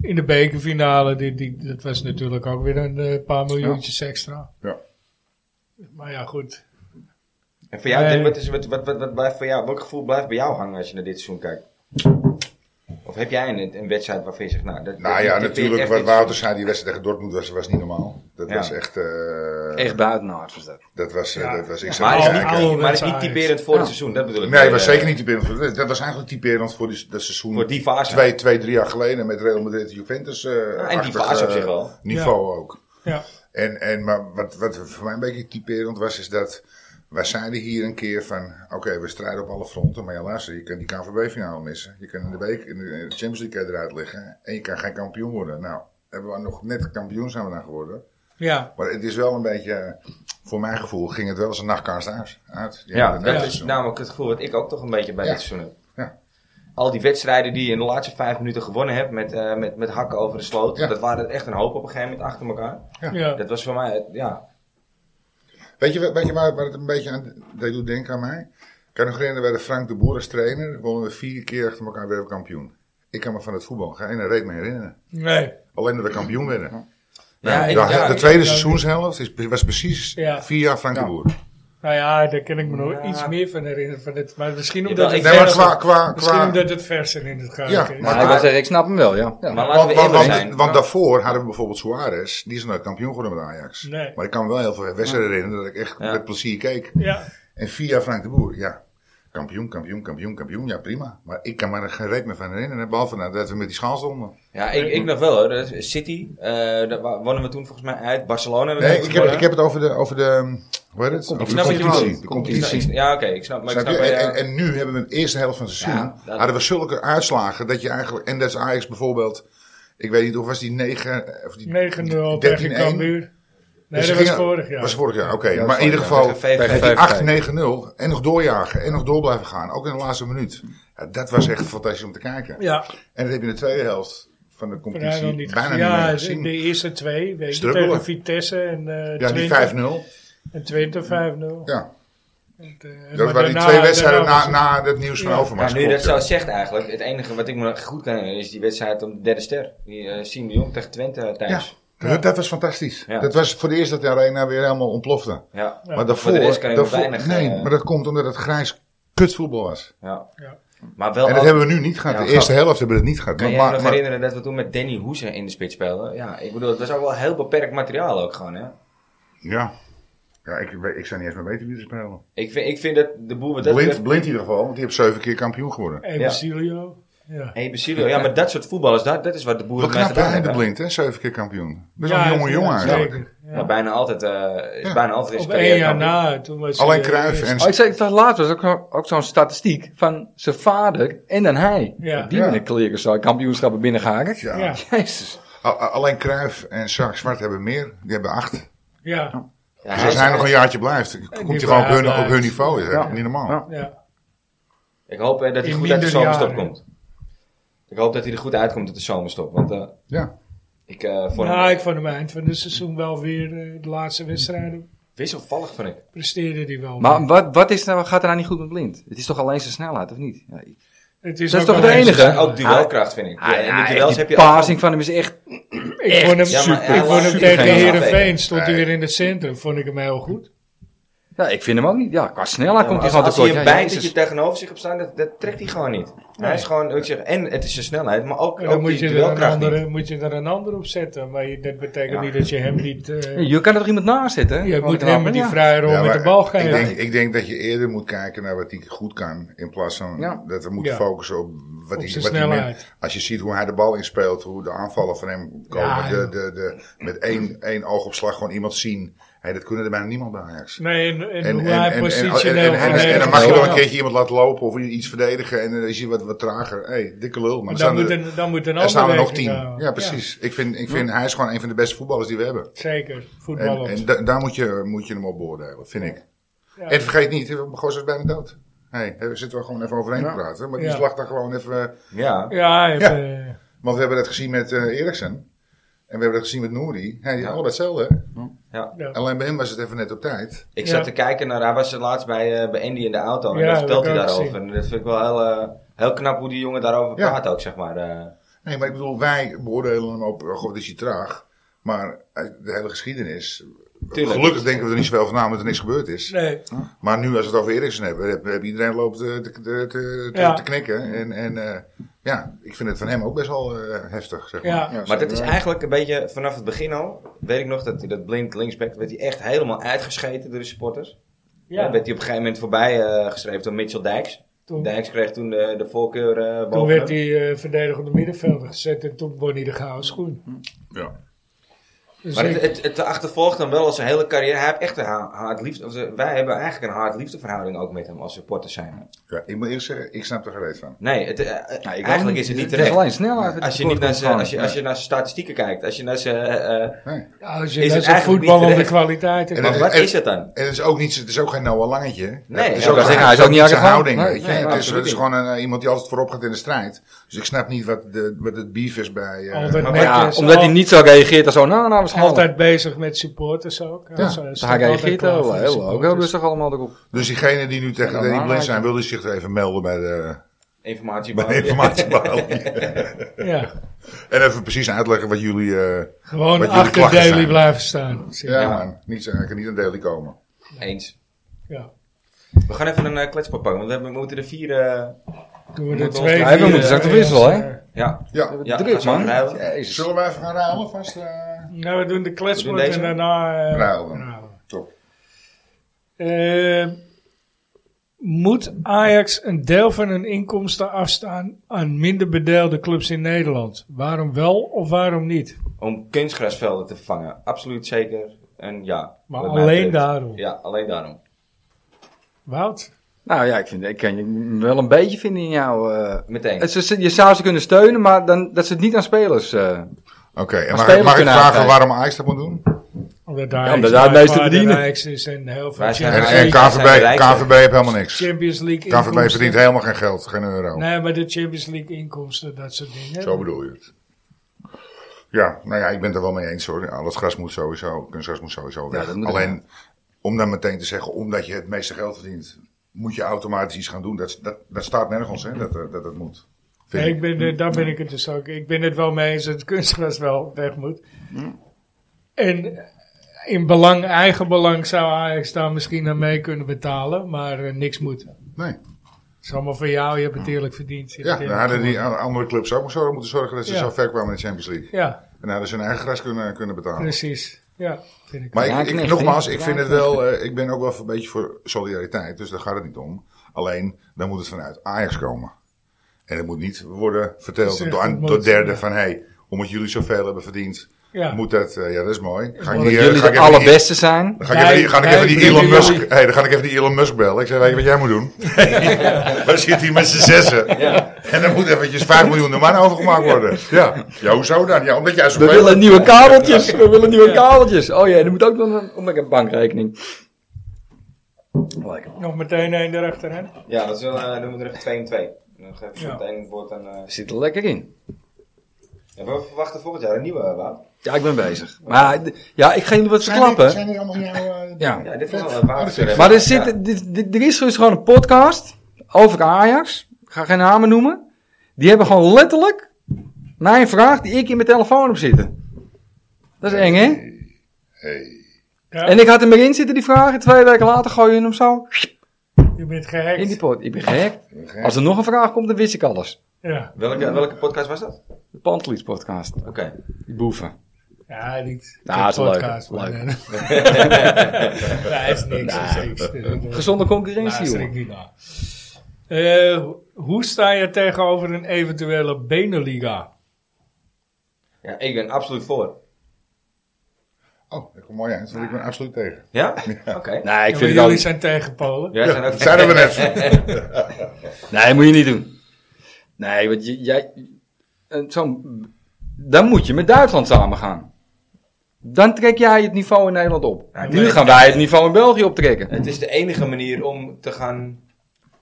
in de bekerfinale, die, die, dat was natuurlijk ook weer een eh, paar miljoentjes extra. Ja. Maar ja, goed. En voor jou, Nee. Tim, wat, is, wat, wat, wat, wat blijft voor jou, welk gevoel blijft bij jou hangen als je naar dit seizoen kijkt? Of heb jij een, een wedstrijd waarvan je zegt, nou... Dat, Nou dat- ja, dat typeert natuurlijk, echt wat dit Wouter zei, die wedstrijd tegen Dortmund was, was niet normaal. Dat Ja. was echt... eh, Echt buitenaard was dat. Dat was... eh, Ja. dat was ik Maar zou het is kijken. niet, Oude maar het is niet mensen typerend voor het Ja. seizoen, dat bedoel ik. Nee, het was Eh, zeker niet typerend. voor het- Dat was eigenlijk typerend voor die, dat seizoen. Voor die fase. Twee, twee, drie jaar geleden met Real Madrid Juventus. eh en die achtig, fase op eh, zich wel. Niveau ook. Ja. En, en maar wat, wat voor mij een beetje typerend was, is dat wij zeiden hier een keer van, oké, we strijden op alle fronten, maar ja, luister, je kan die KVB-finale missen. Je kan in de, week, in de Champions League kan je eruit liggen en je kan geen kampioen worden. Nou, hebben we nog net kampioen zijn we dan geworden. Ja, Maar het is wel een beetje, eh, voor mijn gevoel, ging het wel als een nachtkaars uit. uit. Ja, de dat nacht- is namelijk het gevoel wat ik ook toch een beetje bij Ja. dit seizoen heb. Ja. Al die wedstrijden die je in de laatste vijf minuten gewonnen hebt met, eh, met, met hakken over de sloot. Ja. Dat waren er echt een hoop op een gegeven moment achter elkaar. Ja. ja. Dat was voor mij, eh, ja. Weet je, weet je waar, waar het een beetje aan dat doet denken aan mij? Ik kan nog herinneren bij de Frank de Boer als trainer, wonnen we vier keer achter elkaar wereldkampioen. Ik kan me van het voetbal geen reet meer herinneren. Nee. Alleen dat we kampioen werden. Ja, Nou, ik- de, ja, de ik- tweede ik- seizoenshelft is, was precies Ja. vier jaar Frank de Boer. Nou ja, daar kan ik me nog Ja. iets meer van herinneren. Van dit, maar misschien Ja, omdat, ik- het, Nee, maar verser, qua... qua, misschien qua omdat het verser in het gaatje Ja, is. maar- Maar ik, wil zeggen, ik snap hem wel, ja. ja. Maar laten want, we want, eerlijk want, zijn. want daarvoor hadden we bijvoorbeeld Suarez. Die is nooit kampioen geworden met Ajax. Nee. Maar ik kan me wel heel veel wedstrijden herinneren dat ik echt Ja. met plezier keek. Ja, En vier jaar Frank de Boer, ja. Kampioen, kampioen, kampioen, kampioen. Ja, prima. Maar ik kan me er geen reet meer van herinneren. Behalve nou dat we met die schaal stonden. Ja, ik, ik nog wel hoor. Dat is City, eh daar wa- wonnen we toen volgens mij uit. Barcelona. dat Nee, hebben we ik heb, ik gewonnen. heb het over de... Over de hoe heet het? Over Ik de snap wat je bedoelt. competitie. De Ik competitie. snap- ik- Ja, oké, ik snap. Maar ik Snap snap je? wel, En, ja. en, en nu hebben we in de eerste helft van het seizoen. Ja, dat- hadden we zulke uitslagen dat je eigenlijk. En dat is Ajax bijvoorbeeld. Ik weet niet of was die 9. Of die 13-1. 9-0 tegen Cambuur. Nee, Dus ze dat was gingen- vorig jaar. was vorig jaar, oké. dat maar in was ieder vorig geval. jaar. Tegen VVV. met die 8-9-0. En nog doorjagen. En nog door blijven gaan. Ook in de laatste minuut. Ja, dat was echt fantastisch om te kijken. Ja, En dat heb je in de tweede helft van de vandaar competitie nog niet bijna gezien. niet meer Ja, de, gezien. de eerste twee. Weet je, Strubbelen. tegen Vitesse en eh ja, die 5 5-0. En Twente 5-0. Ja, En, eh, maar dat waren die daarna- twee wedstrijden daarna was na, het- na het nieuws van Ja. Overmars. Ja, nu je dat Klopt, zo zegt eigenlijk. Het enige wat ik me goed kan herinneren is die wedstrijd om de derde ster. Die eh Siem de Jong tegen Twente eh, ja. thuis. Ja, dat, dat was fantastisch. Ja. Dat was voor het eerst dat de arena weer helemaal ontplofte. Ja. ja. Maar daarvoor, Voor de rest kan je nog daarvoor- weinig, nee, eh, maar dat komt omdat het grijs kutvoetbal was. Ja. Maar wel en al- dat hebben we nu niet gehad. Oh, Ja, de eerste grap. helft hebben we het niet gehad. Kan Maar, je je maar, nog maar- herinneren dat we toen met Danny Hoese in de spits speelden? Ja, ik bedoel, het was ook wel heel beperkt materiaal ook gewoon, hè? ja. ja, ik, weet- ik zou niet eens meer weten wie er spelen. Ik vind, ik vind dat de boer... wat Dat Blind, betreft- blind in ieder geval, want die heeft zeven keer kampioen geworden. En Ja. Basilio. Ja. Hey, Basilio, ja, maar dat soort voetballers, dat, dat is wat de boer Wat het mee knap gedaan hij hebben. de blind, hè? Zeven keer kampioen. Best wel Ja, een jonge jongen ja, eigenlijk. zeker. Ja. Maar bijna altijd, eh, is Ja. bijna altijd in Op zijn één carrière jaar kampioen. na. Toen was Alleen hij, eh, Cruijff eerst- en... Oh, ik zei, ik zag laatst was ook, zo- ook zo'n statistiek van zijn vader en dan hij. Ja. Op die Ja. manier kleren zo kampioenschappen binnengehakt. Ja. Ja, Jezus. Al- al- Alleen Cruijff en Sjaak Zwart hebben meer. Die hebben acht. ja, Ja, dus hij als hij is- nog een jaartje blijft, komt hij die gewoon op hun, blijft. op hun niveau. Is hè? Ja. Niet normaal. Ja. ja. Ik hoop eh, dat hij In goed uit de minder zomerstop jaren. komt. Ik hoop dat hij er goed uitkomt uit de zomerstop. Want eh, Ja. ik eh vond Nou, hem ik vond hem eind van het seizoen wel weer eh, de laatste wedstrijden. wisselvallig, vond ik. Presteerde hij wel. Maar wat, wat is, nou- wat gaat er nou niet goed met Blind? Het is toch alleen zijn snelheid, of niet? Ja, ik- Het is, Dat is ook toch wel de eens enige? een- dus Ook duelkracht vind ik. Ah, Ja, en met duels heb je ook- passing van hem is echt... Ik vond hem, Ja, maar hij ik vond was hem super tegen geen Heerenveen, aanvaller. stond hij Nee. weer in het centrum, vond ik hem heel goed. Ja, ik vind hem ook niet... Ja, qua snelheid Ja, komt hij als, gewoon als tekort. hij een Ja, bijt dat Jezus. je tegenover zich hebt staan, dat, dat trekt hij gewoon niet. Hij is gewoon, wat ik zeg, en het is zijn snelheid, maar ook, En ook dan moet die je, er een duelkracht niet. andere, moet je er een ander op zetten. Maar je- dat betekent Ja. niet dat je hem niet... eh, Ja, Je kan er toch iemand naast zetten? je Gewoon moet knallen, hem die ja. vrije rol Ja, met maar de bal ik geven. denk, ik denk dat je eerder moet kijken naar wat hij goed kan. In plaats van Ja. dat we moeten Ja. focussen op wat Op hij zijn wat hij met- snelheid. Als je ziet hoe hij de bal inspeelt, hoe de aanvallen van hem komen. Ja, de, joh. de, de, met één, één oogopslag gewoon iemand zien. Hey, dat kunnen er bijna niemand bij Ajax. Nee, en, en, En, hoe en, en, hij en, en, positioneel en- en- en- en dan verdedigt. mag je wel een Ja. keertje iemand laten lopen of iets verdedigen. En dan is hij wat, wat trager. hey, dikke lul. Maar Maar er dan staan moet er, een, dan moet een er ander staan er nog rekening tien. houden. Ja, precies. Ik vind, ik vind hij is gewoon een van de beste voetballers die we hebben. zeker, En, voetballend. en da- daar moet je, moet je hem op beoordelen, vind ik. Ja. En vergeet niet, Goos is bijna dood. Hey, daar zitten we gewoon even overheen te praten. Maar die Ja. slag daar gewoon even... eh, Ja, Ja, hij heeft, Ja. eh, Want we hebben dat gezien met eh Eriksen. En we hebben dat gezien met Nouri. Hey, Ja. Allemaal hetzelfde. hè? ja. ja. Alleen bij hem was het even net op tijd. Ik Ja. zat te kijken naar, hij was er laatst bij, eh, bij Andy in de auto en Ja, daar dat vertelt hij heb ik ook daarover. gezien. En dat vind ik wel heel, eh, heel knap hoe die jongen daarover Ja. praat ook, zeg maar. eh. Nee, maar ik bedoel, wij beoordelen hem op, oh, god is hij traag. Maar eh, de hele geschiedenis... Tuurlijk. Gelukkig denken we er niet zoveel van na omdat er niks gebeurd is. Nee, Maar nu als we het over Eriksen hebben, heb, heb iedereen loopt eh, te, te, te, te- Ja. te knikken. En, en eh, ja, ik vind het van hem ook best wel eh, heftig, zeg maar. Ja. Maar zo- dat is ja. eigenlijk een beetje vanaf het begin al. Weet ik nog dat hij dat blind linksback werd hij echt helemaal uitgescheten door de supporters. Ja. ja. werd hij op een gegeven moment voorbij eh geschreven door Mitchell Dijks. Toen, Dijks kreeg toen de, de voorkeur eh, boven toen werd hem. hij eh verdedigende middenvelder gezet en toen won hij de gouden schoen. Ja. Dus Maar het, ik- het, het achtervolgt dan wel als zijn hele carrière. Hij heeft echt een ha- haat-liefde. of, eh, Wij hebben eigenlijk een haat-liefdeverhouding ook met hem als supporters zijn. Ja, ik moet eerst zeggen, ik snap er gereed van. Nee, het, eh, eh, Ja, ik ook eigenlijk is het niet Het is terecht. alleen snelheid. dat Als je, tekort niet naar komt zijn, gewoon. als, je, als je naar zijn statistieken kijkt, als je naar zijn. eh, eh, Nee. ja, als is je het dat soort eigenlijk niet voetballende terecht. kwaliteit hebt. En maar het- wat en- is het dan? En het is ook niet, het is ook geen Noah Langetje. hè? Nee, het is ik wou ook, zeggen, hij is ook niet zijn arrogant. houding. Nee, weet je. nee, het, is, absoluut het is niet. gewoon een, eh, iemand die altijd voorop gaat in de strijd. Dus ik snap niet wat, de, wat het beef is bij. eh, Altijd maar netjes, Ja, al- omdat hij niet zo reageert als Onana waarschijnlijk. Altijd bezig met supporters ook. Ja, Zo- staat Hij altijd reageert klaar heel, voor de heel, ook heel supporters. rustig allemaal erop. dus diegenen die nu tegen Ja, Danny maar- Blind zijn, wilden zich er even melden bij de, Informatie. bij de informatiebalie. Ja, en even precies uitleggen wat jullie. eh, gewoon Wat jullie achter klachten Daly zijn. blijven staan. ja, Ja. man, niet, hij kan niet aan Daily komen. Eens. Ja. We gaan even een eh, kletspot pakken, want we hebben- we moeten er vier. eh, Doen we Moeten de we twee. ons- vier, Ja, we moeten eh, straks wisselen, hè? eh, ja, Ja. Ja, Druk als we man. ruilen. Jezus. Zullen we even gaan ruilen? Vast. eh? Nou, we doen de We kletspot doen deze. en daarna... eh, Ruilen. ruilen. Top. Eh, moet Ajax een deel van hun inkomsten afstaan aan minder bedeelde clubs in Nederland? Waarom wel of waarom niet? om kunstgrasvelden te vervangen. Absoluut zeker. En ja. Maar wat mij alleen betreft. daarom. Ja, alleen daarom. Wout? Nou ja, ik, vind, ik kan je wel een beetje vinden in jou. eh, Meteen. het, ze- je zou ze kunnen steunen, maar dan, dat ze het niet aan spelers. eh, Oké, en Maar mag, spelers ik- mag ik kunnen vragen uitkijken. waarom Ajax dat moet doen? Omdat Ja, Ajax omdat daar het meeste waar de verdienen. rijkste is en heel veel Wij zijn En, Champions en Ajax League, zijn de KVB, rijkste. KVB heeft helemaal niks. Champions League KVB inkomsten. verdient helemaal geen geld, geen euro. Nee, maar de Champions League inkomsten, dat soort dingen. Zo bedoel je het. Ja, nou ja, ik ben het er wel mee eens hoor. Al dat gras moet sowieso, kunstgras moet sowieso weg. dat moet Alleen, om dan meteen te zeggen, omdat je het meeste geld verdient, moet je automatisch iets gaan doen. Dat, dat, dat staat nergens, hè, dat eh, dat, dat moet. Vind Nee, ik. Hm. ik ben, eh, daar ben ik het dus ook. Ik ben het wel mee eens dat kunstgras wel weg moet. Hm. En eh, in belang, eigen belang zou Ajax daar misschien aan mee kunnen betalen, maar eh, niks moet. Het Nee. is allemaal voor jou, je hebt het eerlijk verdiend. je hebt Hm. Ja, dan het eerlijk hadden die gewonnen. a- andere clubs ook maar zo moeten zorgen dat ze Ja. zo ver kwamen in de Champions League. Ja, En dan hadden ze hun eigen gras kunnen, kunnen betalen. precies. Ja, vind ik. Maar Ja, ik, ik- knecht, nogmaals, hè? ik Ja, vind het wel, eh, ik ben ook wel een beetje voor solidariteit, dus daar gaat het niet om. Alleen, dan moet het vanuit Ajax komen. En het moet niet worden Dat is verteld echt door, aan- een door derden ja. van, hé, hey, omdat jullie zoveel hebben verdiend, ja. moet dat, eh, ja dat is mooi. Ga ik dat hier, jullie ga ik de even die- allerbeste zijn. Dan ga ik even, die- ga ik Wij- even wij die Elon brengen Musk, jullie- hey, dan ga ik even die Elon Musk bellen. Ik zeg, weet je wat jij moet doen? Wij zitten hier met z'n zessen. Ja. En dan moet eventjes 5 miljoen de man overgemaakt worden. Ja, ja hoezo dan? Ja, omdat jij We zoveel... willen nieuwe kabeltjes. We willen nieuwe kabeltjes. Oh ja, en er moet ook nog een, oh, ik heb een bankrekening. Oh, Lekker. Nog meteen één erachteraan. Ja, dat is wel, eh, doen we er even twee en twee. Dan geef ik Ja. meteen het woord aan. eh, Zit er lekker in. ja, we verwachten volgend jaar een nieuwe eh, Wout. Ja, ik ben bezig. Maar d- ja, ik ga jullie wat verklappen. dit allemaal jouw... eh, Ja. Ja, dit is wel een Wout. Maar Maar er, Ja. zit, dit- dit- er is dus gewoon een podcast over Ajax. ik ga geen namen noemen. Die hebben gewoon letterlijk mijn vraag die ik in mijn telefoon heb zitten. Dat is eng, hè? Hey. Ja, En ik had hem erin zitten, die vraag. En twee weken later gooi je hem zo je bent gehackt. in die pot. Ik ben gehackt. Oké. Als er nog een vraag komt, dan wist ik alles. Ja, Welke, welke podcast was dat? De Pantelis podcast. Oké. Die boeven. ja niet. Nou, het is leuk. maar, Leuk. eh, Nee, is niks. Is niks. Gezonde concurrentie, Luister ik joh. niet naar. Eh, hoe sta je tegenover een eventuele Beneliga? Ja, ik ben absoluut voor. Oh, dat komt mooi uit, want ik ben absoluut tegen. Ja? Oké. Nee, ik Ja, maar vind jullie het ook... zijn tegen Polen. Jij zijn ook... Dat zijn we net. Nee, moet je niet doen. Nee, want je- jij... eh, Zo'n... Dan moet je met Duitsland samen gaan. Dan trek jij het niveau in Nederland op. Ja, nu nee. gaan wij het niveau in België optrekken. Het is de enige manier om te gaan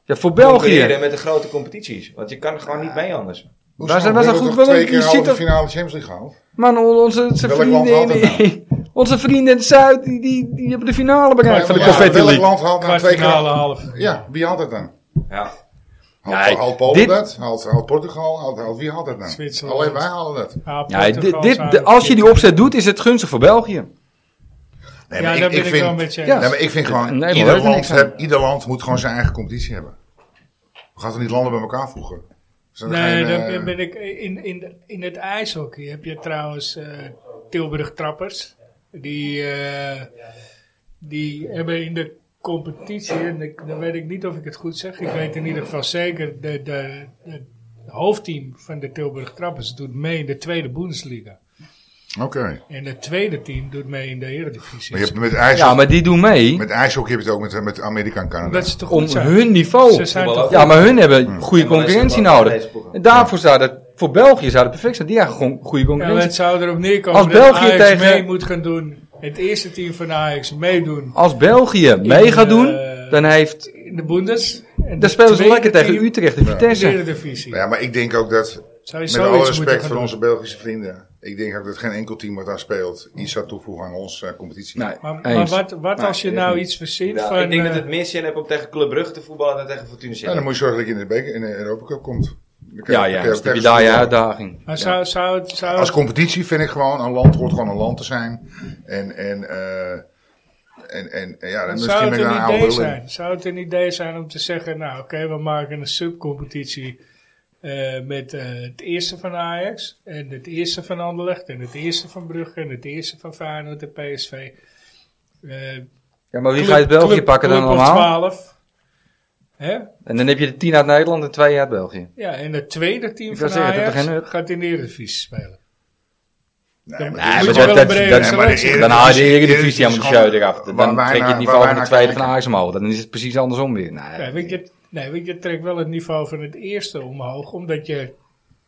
Ja, voor concurreren België. met de grote competities. Want je kan gewoon niet mee anders. Waar zijn- waar zijn goed- wel welk- twee je keer ziet halve toch- finale Champions League gehaald? Man, on- onze, onze Welk land vrienden in, haalt onze vrienden in het zuid, die, die, die hebben de finale bereikt van de Ja, Confetti Welk League. land haalt nou twee Kwartfinale, keer... halve. Ja, wie haalt dat dan? Ja. Haalt, Nee, haalt Polen dit- dat? Haalt, haalt Portugal? Haalt, haalt- wie haalt dat dan? Zwitserland. Alleen wij halen dat. Ja, dit, dit, de- als je die opzet doet, is het gunstig voor België. Nee, Ja, maar daar ben ik vind- wel met je Ja. eens. Nee, maar ik vind gewoon, Nee, maar we ieder, weten land niks aan. heb- ieder land moet gewoon zijn eigen competitie hebben. We gaan toch niet landen bij elkaar voegen? Dus dan ga je, Nee, eh, dan ben ik in, in, in het ijshockey heb je trouwens eh, Tilburg Trappers. Die, eh, die hebben in de competitie, en ik, dan weet ik niet of ik het goed zeg, ik weet in ieder geval zeker, de, de, het hoofdteam van de Tilburg Trappers doet mee in de tweede Bundesliga. Oké. En het tweede team doet mee in de Eredivisie. Maar je hebt met ijs, Ja, maar die doen mee met ijshockey heb je het ook met, met Amerika en Canada. Dat is toch om goed zijn? hun Ze niveau. Oh, zijn Voetbal toch ook. Ja, maar hun Hmm. hebben goede En wel eens concurrentie voetbal, nodig. deze ploegen. En daarvoor zou dat, voor België zou dat perfect zijn. Die hebben gewoon goede Ja, maar het concurrentie. zou erop neerkomen Als dat België Ajax tegen- mee moet gaan doen. Het eerste team van Ajax meedoen Als België mee gaat doen, eh, dan heeft, in de Bundes. En dan de spelen ze tweede lekker tegen team Utrecht en in de Vitesse. Eredivisie. Ja, maar ik denk ook dat, Zou je met alle zoiets moeten respect gaan voor doen? onze Belgische vrienden, ik denk ook dat geen enkel team wat daar speelt iets zou toevoegen aan onze eh, competitie. Nee, Maar, maar eens. wat, wat als je Nee, nou niet. iets verzint Ja, van... ik denk eh, dat het meer zin heeft om tegen Club Brugge te voetballen dan tegen Fortuna Ja, Sittard. dan moet je zorgen dat je in de, beker, in de Europa Cup komt. Dan kan je- Ja, dan kan ja, je ook dus dan heb je tegen daar je voetballen. uitdaging. maar zou, zou, het- zou, Als competitie vind ik gewoon, een land hoort gewoon een land te zijn. En, en, eh, en, en, en ja, dan misschien zou ben het ik daar een een oude idee lul in. zijn? Zou het een idee zijn om te zeggen... Nou, oké, we maken een subcompetitie eh, met eh, het eerste van Ajax... en het eerste van Anderlecht... en het eerste van Brugge... en het eerste van Feyenoord en PSV. Eh Ja, maar wie club- gaat het België club- pakken dan club of allemaal? 12. Hè? En dan heb je de 10 uit Nederland en 2 uit België. Ja, en het tweede team Ik van wou zeggen, dat Ajax er geen nut. gaat in de Eredivisie spelen. Nee, Nee, dit maar is dat- wel- dat- dat- Dan haal je de Eredivisie aan aan de show eraf. Dan trek je het niveau van de tweede van Ajax omhoog. Dan is het precies andersom weer. Nee, Eh, Nee. want je, nee, want je trekt wel het niveau van het eerste omhoog, omdat je...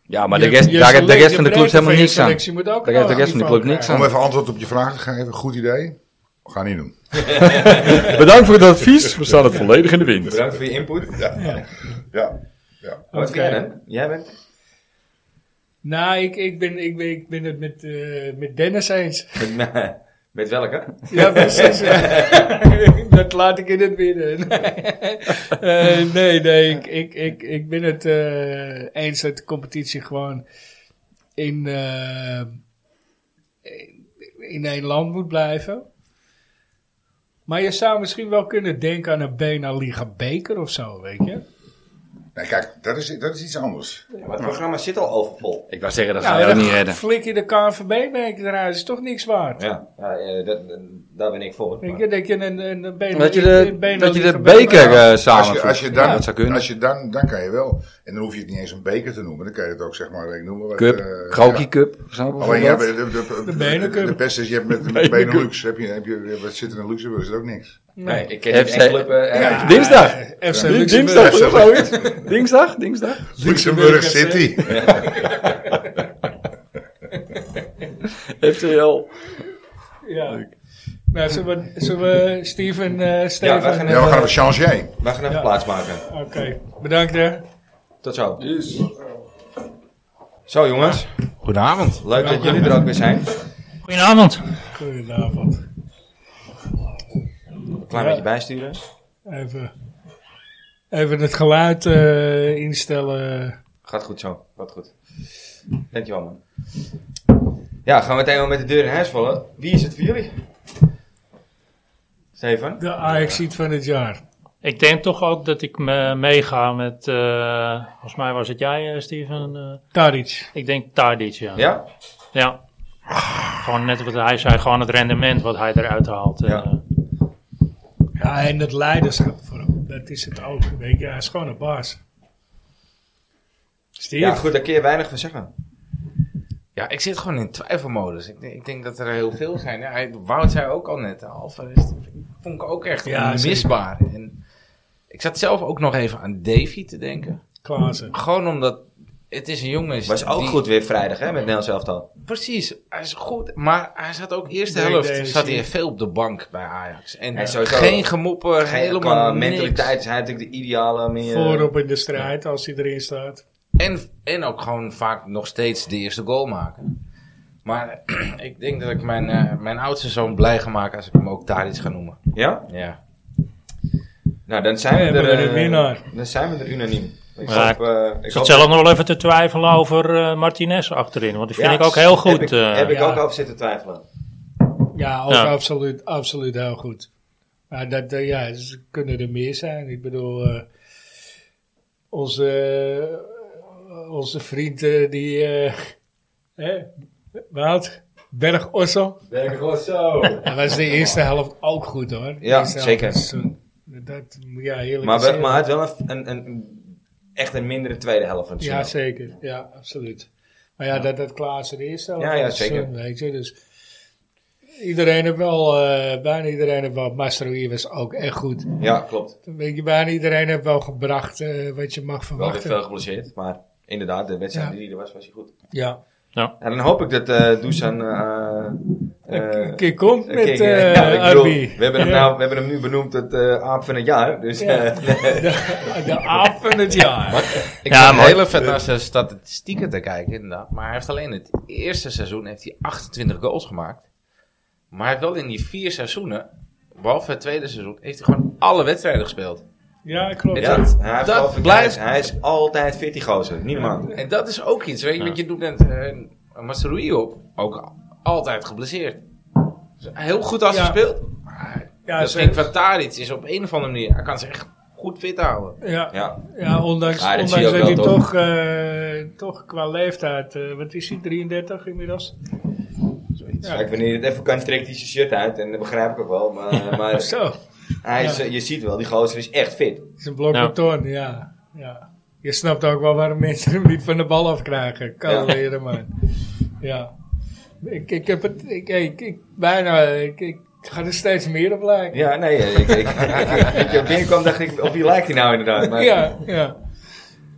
Ja, maar de je- rest, je daar heeft de selectie- rest van de je club is helemaal breedte niks van je aan. selectie moet ook Daar heeft de wel rest van de niveau club niks krijgen. Om even antwoord op je vraag te geven, goed idee. We gaan niet doen. Bedankt voor het advies. We staan het volledig in de wind. Bedankt voor je input. Ja, ja. Wat Oké. vind jij dan? Jij bent... Nou, ik, ik, ben, ik, ben, ik ben het met, eh, met Dennis eens. Met, met eh, welke? Ja, precies. dat laat ik in het midden. Eh, nee, nee, ik, ik, ik, ik ben het eh, eens dat de competitie gewoon in, eh, in één land moet blijven. Maar je zou misschien wel kunnen denken aan een Bena Liga beker of zo, weet je? Nee, kijk, dat is, dat is iets anders. Ja, maar het programma zit al overvol. Ik wou zeggen, dat gaan we ook dan niet redden. Eh, flik je de KNVB-beker eruit, is toch niks waard? Ja, ja eh, dat, dat- daar ben ik voor. Weet Maar- je, dat je een, een, een Bena- Dat je een de, Bena dat je de Liga beker Als eh, je, als samenvoegt. je Ja, dan, dat zou kunnen. Als je dan, dan kan je wel. En dan hoef je het niet eens een beker te noemen. Dan kan je het ook, zeg maar, ik noem maar wat, Cup, eh, ja. Kroki Cup. zo Oh, Alleen ja, bijvoorbeeld. de, de, de, De de, Benelux. de beste is, je hebt met, met Benelux, heb je, heb je, eh, wat zit er in Luxemburg, is het ook niks. Nee, ik ken niet FC echt club... eh, eh, Dinsdag. Ding- FC Luxemburg. Dinsdag of zoiets. Dinsdag, dinsdag. Luxemburg City. FCL. Ja. Nou, zullen we, zullen we Steven, eh Steven... we gaan Ja, we gaan even changer. We gaan even Ja. plaatsmaken. Oké, bedankt hè. Tot zo. Zo jongens, Goedenavond. leuk dat jullie er ook weer zijn. Goedenavond. Goedenavond. Een klein Ja. beetje bijsturen. Even. Even het geluid eh, instellen. Gaat goed zo, gaat goed. Dankjewel man. Ja, gaan we meteen wel met de deur in huis vallen. Wie is het voor jullie? Stefan? De Ajax-ziet van het jaar. Ik denk toch ook dat ik me meega met, eh, volgens mij was het jij, eh, Steven. eh, Tadic. ik denk Tadic, ja. Ja? Ja. Gewoon net wat hij zei, gewoon het rendement wat hij eruit haalt. eh. Ja. Ja, en het leiderschap vooral. Dat is het ook. Weet je, hij is gewoon een baas. Steve? Ja, goed, daar kun je weinig van zeggen. Ja, ik zit gewoon in twijfelmodus. Ik, denk- ik denk dat er heel veel zijn. Ja, hij- Wout zei ook al net, Alvarez vond ik ook echt Ja, onmisbaar. En ik zat zelf ook nog even aan Davy te denken. Klaassen. Gewoon omdat het is een jongen... Was ook die- goed weer vrijdag, hè, met Nederlands elftal. Precies, hij is goed. Maar hij zat ook eerste Ik denk helft deze. zat hij veel op de bank bij Ajax. En Hij is sowieso- geen gemoppen, helemaal Qua niks. mentaliteit is hij natuurlijk de ideale meer... Voorop in de strijd als hij erin staat. En, en ook gewoon vaak nog steeds de eerste goal maken. Maar ik denk dat ik mijn, eh, mijn oudste zoon blij ga maken als ik hem ook daar iets ga noemen. Ja? Ja. Nou, dan zijn we, We hebben er... een eh, winnaar. Dan zijn we er unaniem. Ik Ja, hoop... eh, ik Ik zat hoop- zelf nog wel even te twijfelen over eh, Martinez achterin, want die vind Ja, ik ook heel goed. Heb ik, eh. heb ik ja. ook over zitten twijfelen. Ja, ook Ja. Absoluut, absoluut heel goed. Maar dat, eh, ja, ze kunnen er meer zijn. Ik bedoel, eh, onze, eh, onze vriend eh, die, eh hè, Wout, Berg Ossel. zo. Hij was de eerste helft ook goed hoor. De Ja, eerste helft zeker. was toen- Dat, ja, eerlijk Maar, we, gezegd. maar het wel een, een, een- een- echt een mindere tweede helft van het Ja, seizoen. zeker. Ja, absoluut. Maar ja, dat, dat Klaas er eerste helft Ja, ja, was, zeker. eh, Weet je, dus iedereen heeft wel, eh, bijna iedereen heeft wel, Mastroïe was ook echt goed. Ja, klopt. Weet je, bijna iedereen heeft wel gebracht eh, wat je mag Wel weer verwachten. veel geblesseerd, maar inderdaad, de wedstrijd Ja. die er was, was hij goed. Ja. En dan hoop ik dat eh Dusan... eh, eh, Een keer komt een met keer- eh ja, ik bedoel, Arby. we, hebben hem Ja. nou, we hebben hem nu benoemd het eh, aap van het jaar, dus... Ja. eh, nee. De, de aap van het jaar. Ik Ja, ja, maar- heel vet naar zijn statistieken te kijken inderdaad. Maar hij heeft alleen het eerste seizoen heeft hij 28 goals gemaakt. Maar hij heeft wel in die vier seizoenen, behalve het tweede seizoen, heeft hij gewoon alle wedstrijden gespeeld. Ja, klopt. Ja, dat- hij, heeft dat wel verkeerd. blijft- hij is altijd fit die gozer, niet normaal. En dat is ook iets, weet je, want je doet net uh, Masterui op, ook al- altijd geblesseerd. Dus heel goed als Ja. hij speelt. Ja, dat ze- vind ik van Tadic is op een of andere manier, hij kan zich echt goed fit houden. ja, Ja, ja, ondanks, Maar dat ondanks zie je ook dat, hij wel, toch? toch, eh, toch qua leeftijd, eh, wat is hij, 33 inmiddels? Ja. Kijk, wanneer je het even kan, trekt hij zijn shirt uit en dat begrijp ik ook wel. Maar, maar Zo, hij is, eh, je ziet wel, die gozer is echt fit. het is een blok Nou. Ja. beton, ja. ja. Je snapt ook wel waarom mensen hem niet van de bal afkrijgen. Kan Ja. leren, man. Ja. Ik, ik heb het, ik, ik, ik- bijna, ik, ik ga er steeds meer op lijken. Ja, nee, eh, ik, ik, ik, ik- ik binnenkwam dacht ik, op wie lijkt hij nou inderdaad? Maar, Ja, ja.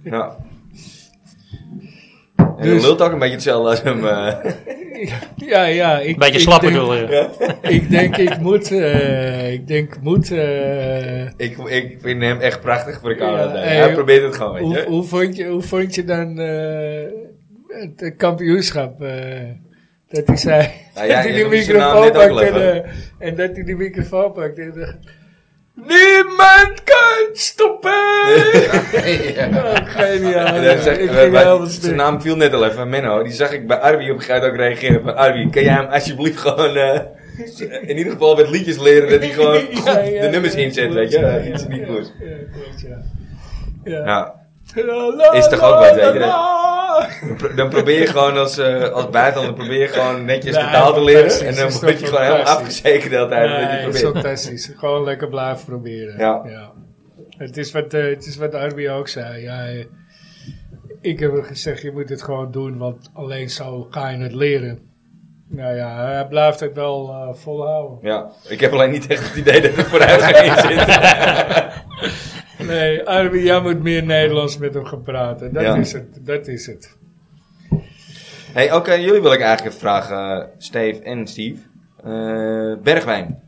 Ja. En Dus- dus, lult ook een beetje hetzelfde als hem. eh, Ja, ja. Ik, Beetje ik slap denk- bedoel je. Ik denk, ik moet, eh, ik denk, moet, eh, ik, ik vind hem echt prachtig voor de camera. Ja, Nee, hey, hij probeert het gewoon, weet hoe, je. hoe, vond je, hoe vond je dan eh, het eh, kampioenschap? eh, dat hij zei, Nou ja, dat hij je die noemde zijn naam microfoon net ook pakt al en, even. eh, en dat hij die microfoon pakt en dacht, Niemand kan stoppen! Oh, geniaal. En dan zeg- ik wij- ging wij- helemaal zijn stuk. naam viel net al even, Menno. Die zag ik bij Arby op een gegeven moment ook reageren. Van Arby, kan jij hem alsjeblieft gewoon... eh, in ieder geval met liedjes leren dat hij gewoon goed Ja, ja, de nummers ja, inzet, klopt, weet je. ja, Dat is ja, niet goed. Ja, klopt, ja. Ja. Nou, La, Is toch la, ook wat, weet la, je? la. dan pro- dan probeer je gewoon als, eh als buitenlander probeer je gewoon netjes de Nee, taal te leren. fantastisch. En Is dan toch word je gewoon helemaal fantastisch. afgezekerd altijd. dat je Nee, dat is probeert. fantastisch. Gewoon lekker blijven proberen. Ja. Het, is wat, eh, het is wat Arby ook zei. Ja, eh, ik heb hem gezegd, je moet het gewoon doen, want alleen zo ga je het leren. Nou ja, hij blijft het wel eh, volhouden. Ja, ik heb alleen niet echt het idee dat er vooruitgang in zit. Nee, Arby, jij moet meer Nederlands met hem gaan praten. Dat Ja. is het, dat is het. Hey, oké, jullie wil ik eigenlijk even vragen, eh, Steve en Steve. Eh, Bergwijn.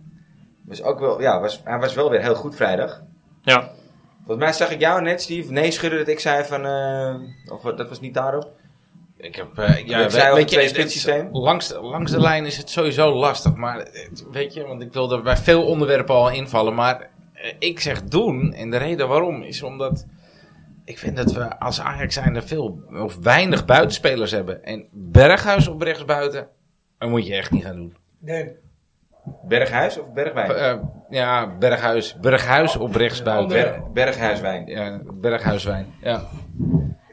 Was ook wel, ja, was, hij was wel weer heel goed vrijdag. ja. Volgens mij zag ik jou net, Steve, nee schudden dat ik zei van... eh, of wat, dat was niet daarop. Ik heb, eh, ja, Ik weet, zei al, weet je, twee het- het- spitssysteem. langs, langs de lijn is het sowieso lastig. Maar het- weet je, want ik wilde bij veel onderwerpen al invallen. Maar eh, eh, ik zeg doen. En de reden waarom is omdat... Ik vind dat we als Ajax zijn er veel of weinig buitenspelers hebben. En Berghuis op rechtsbuiten, dat moet je echt niet gaan doen. Nee, Berghuis of Bergwijn? Eh, ja, Berghuis. Berghuis op rechtsbuiten. Ber- Berghuiswijn. Ja, Berghuiswijn. Ja.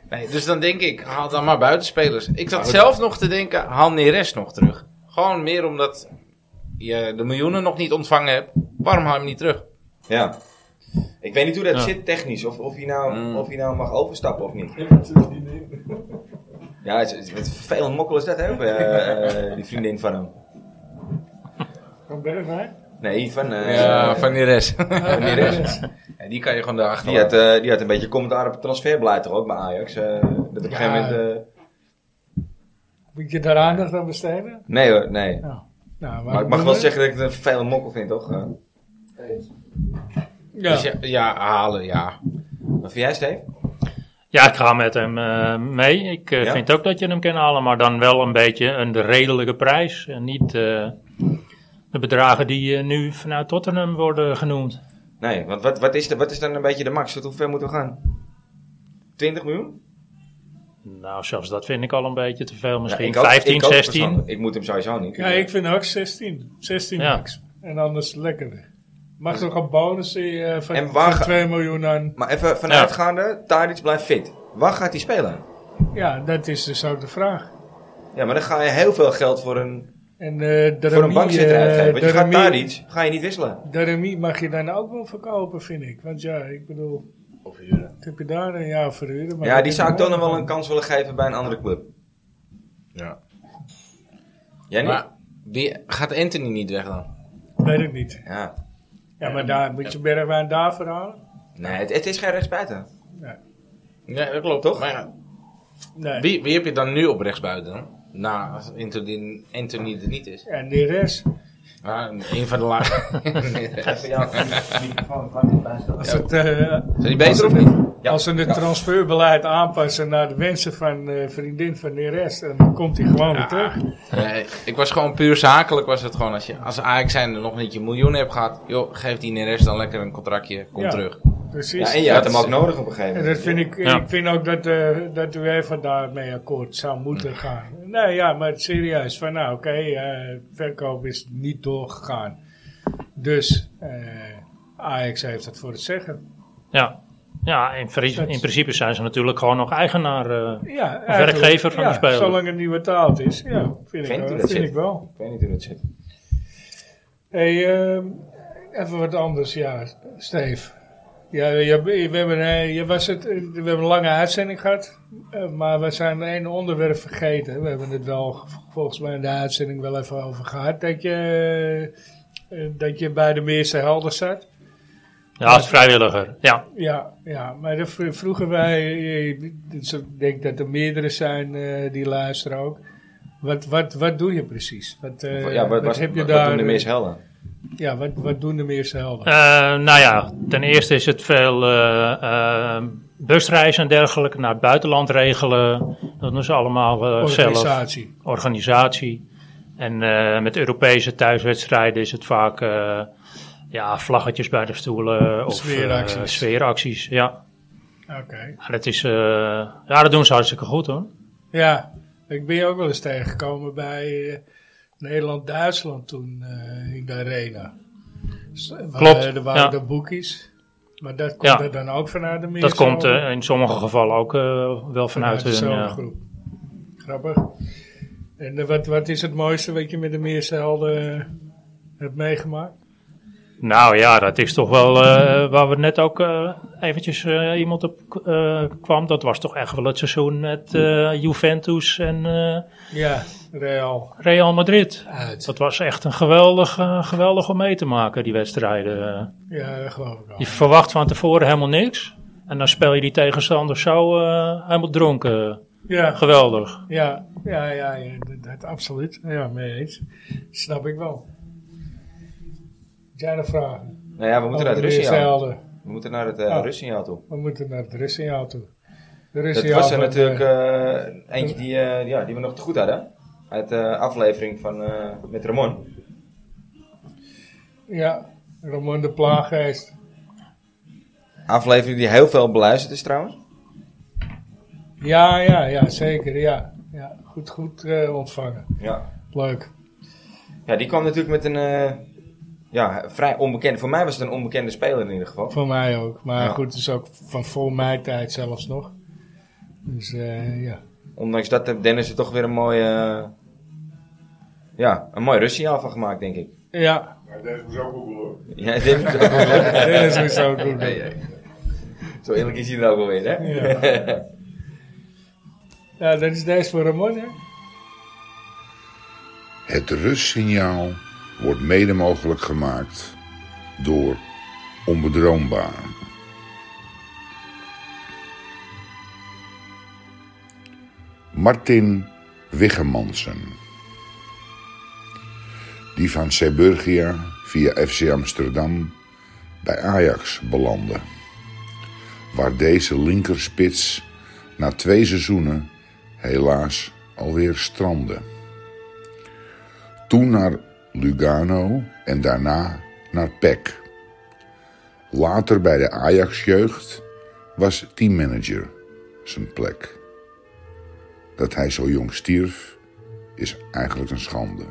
Nee, dus dan denk ik, haal dan maar buitenspelers. Ik zat Nou, zelf nog te denken, haal Neres nog terug. Gewoon meer omdat je de miljoenen nog niet ontvangen hebt. Waarom haal je hem niet terug? Ja. Ik weet niet hoe dat Ja. zit technisch. Of, of, hij nou, Mm. of hij nou mag overstappen of niet. Ja, het, het, het vervelend mokkel is dat hè, ook, eh, eh, die vriendin van hem. van Bergwijn. Nee, van... eh, van Neres. van die rest. Ja, die kan je gewoon daar achter Die had, eh, die had een beetje commentaar op het transferbeleid toch ook bij Ajax. eh, dat op een gegeven moment... eh, Moet je daar aandacht aan besteden? nee hoor, nee. Nou, Maar ik mag wel zeggen dat ik het een vervelend mokkel vind, toch? Eh, Ja. Dus ja, ja, halen, ja. wat vind jij, Steve? Ja, ik ga met hem eh, mee. Ik eh, Ja? vind ook dat je hem kan halen, maar dan wel een beetje een redelijke prijs. En niet eh, de bedragen die eh, nu vanuit Tottenham worden genoemd. Nee, want wat, wat, is de, wat is dan een beetje de max? Tot hoe ver moeten we gaan? 20 miljoen? Nou, zelfs dat vind ik al een beetje te veel. Ja, Misschien ik ook- 15, ik ook 16. persoonlijk. Ik moet hem sowieso niet. Ja, ik vind ook 16. 16 Ja. max. En anders lekker. Mag toch een bonus eh, van, Dus- En waar van ga- 2 miljoen aan? Maar even vanuitgaande, Tadic blijft fit. Waar gaat hij spelen? Ja, dat is dus ook de vraag. Ja, maar dan ga je heel veel geld voor een, En eh de voor een bankzitter uitgeven. Want je gaat Remy, Tadic, ga je niet wisselen. de Remy mag je dan ook wel verkopen, vind ik. Want ja, ik bedoel... Of huren. Wat heb je daar een jaar verhuren? Maar Ja, dat die is zou ik toch nog mooi. wel een kans willen geven bij een andere club. Ja. Jij niet? Maar wie, gaat Anthony niet weg dan? Weet ik niet. Ja. Ja, maar daar moet je Bergwijn daar verhalen? Nee, het, het is geen rechtsbuiten. Nee, dat klopt. Toch? Maar ja, Nee. wie, wie heb je dan nu op rechtsbuiten dan? Nou, als Anthony, Anthony er niet is. En die rest? Ah, een van de laag. Neres. Als, het, eh, Zijn die beter of niet? Ja. als ze het Ja. transferbeleid aanpassen naar de wensen van eh, vriendin van de rest, dan komt hij gewoon weer Ja. terug. Nee, Eh, ik was gewoon puur zakelijk was het gewoon. Als je als Ajax zijn nog niet je miljoen hebt gehad, joh, geef die Neres dan lekker een contractje, kom Ja. terug. Precies. Ja, en je had hem ook nodig op een gegeven En moment. dat vind ik, Ja. ik vind ook dat, eh dat u even daarmee akkoord zou Mm. moeten gaan. Nee, ja, maar serieus, van nou oké, eh, verkoop is niet doorgegaan. Dus eh Ajax heeft het voor het zeggen. Ja, ja in, vri- Dat- in principe zijn ze natuurlijk gewoon nog eigenaar. eh. Ja, eigenlijk, werkgever van ja, de speler. Zolang het niet betaald is, ja, vind, Vindt u ik, wel- dat vind zit? ik wel. Ik weet niet hoe dat zit. Hey, ehm, even wat anders, ja, Steve. Ja, je, we, hebben, eh, je was het, eh, we hebben een lange uitzending gehad, eh, maar we zijn één onderwerp vergeten. We hebben het wel volgens mij in de uitzending wel even over gehad. Dat je, eh, eh, dat je bij de meeste helden zat. Ja, als vrijwilliger. Ja, Ja, ja maar dat vro- vroegen wij, eh, dus ik denk dat er meerdere zijn eh, die luisteren ook. Wat, wat, wat doe je precies? Wat, eh, ja, wat, wat was, heb je wat daar? eh, doen de meest helden? Ja, wat, wat doen de meeste helden? Eh, nou ja, ten eerste is het veel eh, eh, busreizen en dergelijke naar het buitenland regelen. Dat doen ze allemaal eh, zelf. organisatie. Organisatie. En eh, met Europese thuiswedstrijden is het vaak eh, ja, vlaggetjes bij de stoelen of eh, Sfeeracties. sfeeracties. Ja. Oké. Maar Dat is, eh, ja, dat doen ze hartstikke goed hoor. Ja, ik ben je ook wel eens tegengekomen bij eh, Nederland-Duitsland toen eh, in de arena. S- waar, Klopt, eh, Er waren ja. de boekies. Maar dat komt Ja. er dan ook vanuit de meer. Dat komt eh, in sommige gevallen ook eh, wel vanuit hun. dezelfde ja. groep. Grappig. En eh, wat, wat is het mooiste wat je met de meeste helden eh, hebt meegemaakt? Nou ja, dat is toch wel eh, waar we net ook eh, eventjes eh, iemand op k- eh, kwam. Dat was toch echt wel het seizoen met eh, Juventus en eh, Ja, Real. Real Madrid. Uit. Dat was echt een geweldig, eh, geweldig om mee te maken, die wedstrijden. Ja, dat geloof ik wel. Je verwacht van tevoren helemaal niks. En dan speel je die tegenstander zo eh, helemaal dronken. Ja. Geweldig. Ja, ja, ja, ja, dat, dat absoluut. Ja, mee eens. Snap ik wel. Heb Jij nog vragen? Nou ja, we moeten naar het Over de rustsignaal. Israëlden. We moeten naar het eh, Ja. rustsignaal toe. We moeten naar het rustsignaal toe. De Dat rustsignaal was er van, natuurlijk eh, eh, eentje die, eh, ja, die we nog te goed hadden. Uit de aflevering van, eh, met Ramon. ja, Ramon de Plaaggeest. Aflevering die heel veel beluisterd is trouwens. Ja, ja, ja, zeker. Ja. Ja, goed, goed eh, ontvangen. Ja. Leuk. ja, die kwam natuurlijk met een eh, ja, vrij onbekende... Voor mij was het een onbekende speler in ieder geval. Voor mij ook. Maar Ja. goed, het is ook van voor mijn tijd zelfs nog. Dus eh, ja. Ondanks dat heeft Dennis er toch weer een mooie... eh, ja, een mooi Russiaal van gemaakt, denk ik. Ja, Maar deze moet ook Google hoor. Ja, dit is ook wel- dit is zo goed. Nee, nee. Zo eerlijk is hij er ook wel weer, hè? Ja, dat is deze voor Ramon, hè? Het rustsignaal wordt mede mogelijk gemaakt door onbedroombaar. Martin Wiggemansen. Die van Seburgia via FC Amsterdam bij Ajax belandde. Waar deze linkerspits na twee seizoenen helaas alweer strandde toen naar Lugano en daarna naar PEC. Later bij de Ajax-jeugd was teammanager zijn plek. Dat hij zo jong stierf is eigenlijk een schande.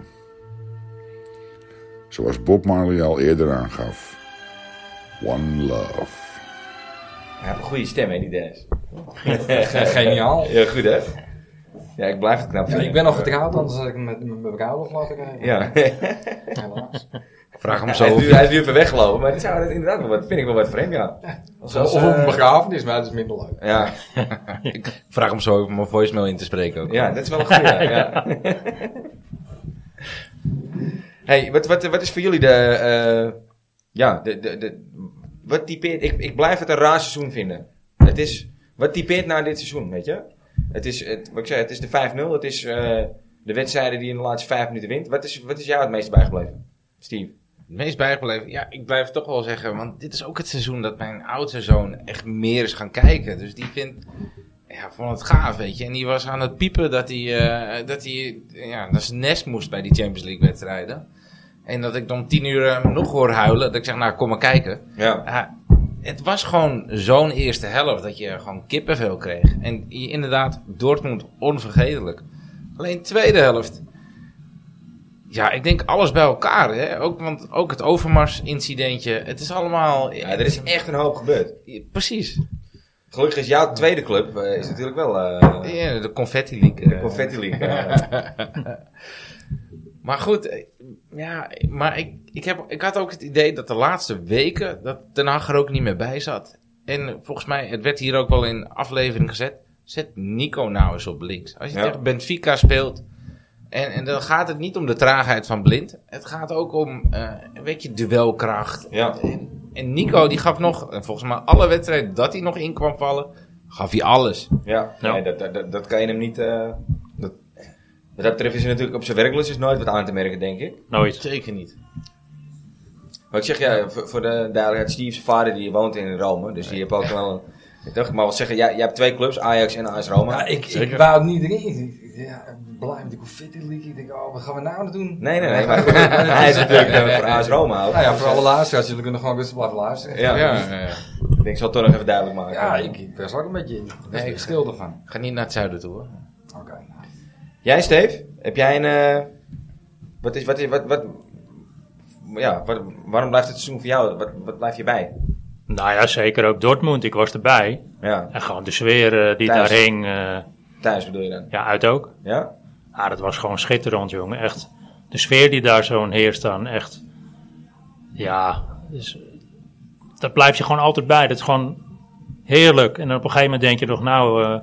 Zoals Bob Marley al eerder aangaf. One love. Hij heeft een goede stem, hè, die Dennis. Geniaal. Ja, goed, hè? Ja, ik blijf het knap Ja, vinden. ik ben Eh, nog getrouwd, anders had ik hem met, met mijn vrouw nog laten krijgen. Ja. Helaas. Vraag hem Hij zo. is, nu, hij is nu even weggelopen, maar dit zou dit inderdaad wel wat, vind ik wel wat vreemd, ja. eh, Of, of op een begrafenis, maar dat is minder leuk. Ja, Vraag hem zo om een voicemail in te spreken ook. ja dat is wel een goede. Ja, ja. hey, wat, wat, wat is voor jullie de... eh, ja, de, de, de, wat typeert... Ik, ik blijf het een raar seizoen vinden. Het is... Wat typeert nou dit seizoen, weet je? Het is, het, wat ik zei, het is de 5-0. Het is eh, de wedstrijden die in de laatste vijf minuten wint. Wat is, wat is jou het meest bijgebleven, Steve? Het meest bijgebleven, ja, ik blijf toch wel zeggen, want dit is ook het seizoen dat mijn oudste zoon echt meer is gaan kijken. Dus die vindt, ja, vond het gaaf, weet je. En die was aan het piepen dat hij, eh, dat hij, ja, dat zijn nest moest bij die Champions League wedstrijden. En dat ik dan om tien uur eh, nog hoor huilen, dat ik zeg, nou, kom maar kijken. Ja. Ja, het was gewoon zo'n eerste helft dat je gewoon kippenvel kreeg. En je, inderdaad, Dortmund onvergetelijk. Alleen tweede helft. Ja, ik denk alles bij elkaar. Hè? Ook, want ook het Overmars-incidentje. Het is allemaal... Ja, er is echt een hoop gebeurd. Precies. Gelukkig is jouw tweede club eh, is natuurlijk wel eh, Ja, de confetti league. de eh. Confetti League. eh. Maar goed, eh, ja, maar ik, ik, heb, ik had ook het idee dat de laatste weken dat Den Haag er ook niet meer bij zat. En volgens mij, het werd hier ook wel in aflevering gezet, zet Nico nou eens op links. Als je Ja. tegen Benfica speelt, en, en dan gaat het niet om de traagheid van Blind. Het gaat ook om, eh, weet je, duelkracht. ja. En, en Nico, die gaf nog, eh, volgens mij alle wedstrijden dat hij nog in kwam vallen, gaf hij alles. Ja, Ja. Nee, dat, dat, dat, dat kan je hem niet. eh, dat, wat dat betreft is hij natuurlijk op zijn werklus is nooit wat aan te merken, denk ik. Nooit. Zeker niet. Maar ik zeg ja, voor, voor de duidelijkheid, Steve's vader die woont in Rome, dus die heeft ook wel. een- Ik dacht, maar wat zeggen, jij, jij hebt twee clubs, Ajax en AS Roma. Ja, ik, ik wou het niet erin. Ik- Ja, blij met de confetti league. Ik denk, oh, wat gaan we nou doen? Nee, nee, nee, maar goed, hij is natuurlijk eh, voor AS Roma ook. Nou ja, voor alle luisteraars, jullie kunnen gewoon rustig blijven luisteren. Ja, Ja, ja. ik denk, ik zal het toch nog even duidelijk maken. Ja, ik, ik was ook een beetje in. Daar ben Nee, ik stil ervan. Ga niet naar het zuiden toe, hoor. Oké. Jij, Steve, heb jij een. eh, wat is. Wat is wat, wat, ja, wat, waarom blijft het seizoen voor jou? Wat, wat blijf je bij? Nou ja, zeker ook Dortmund. Ik was erbij. Ja, En gewoon de sfeer eh, die Thuis. daar hing, eh, thuis bedoel je dan? ja, uit ook. Ja? Ah, dat was gewoon schitterend, jongen. Echt. De sfeer die daar zo heerst aan, echt. Ja, dus, daar blijf je gewoon altijd bij. Dat is gewoon heerlijk. En op een gegeven moment denk je nog, nou, eh,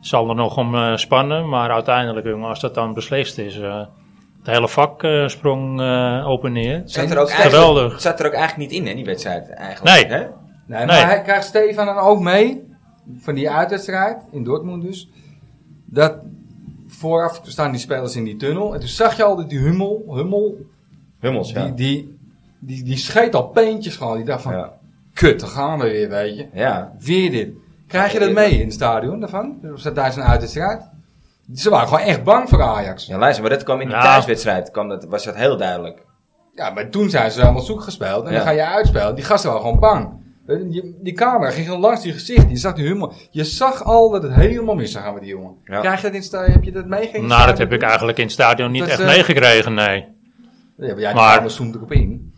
zal er nog om eh, spannen. Maar uiteindelijk, jongen, als dat dan beslist is, eh het hele vak eh, sprong eh, op en neer. Zat er, ook eigenlijk, Geweldig. zat er ook eigenlijk niet in, hè, die wedstrijd? Eigenlijk, Nee. Hè? Nee, Nee. maar hij krijgt Stefan dan ook mee, van die uitwedstrijd, in Dortmund dus, dat vooraf staan die spelers in die tunnel. En toen zag je al dat die Hummel, Hummel Hummels, ja. die, die, die, die scheet al peentjes gewoon. Die dacht van, ja. kut, daar gaan we weer, weet je. Ja. Weer dit. Krijg je dat mee in het stadion daarvan? Dus dat daar zijn uitwedstrijd? Ze waren gewoon echt bang voor Ajax. Ja, luister, maar dat kwam in die Ja. thuiswedstrijd, kwam dat, was dat heel duidelijk. Ja, maar toen zijn ze allemaal zoek gespeeld. En Ja. dan ga je uitspelen. Die gasten waren gewoon bang. Eh, je- Die camera ging gewoon langs die gezicht. Je zag die humor. Je zag al dat het helemaal mis zou gaan met die jongen. Ja. Krijg je dat in het stadion? Heb je dat meegekregen? Nou, dat heb ik eigenlijk in het stadion niet Dat, echt eh, meegekregen, nee. Ja, maar ja, die Maar- camera zoomt erop in.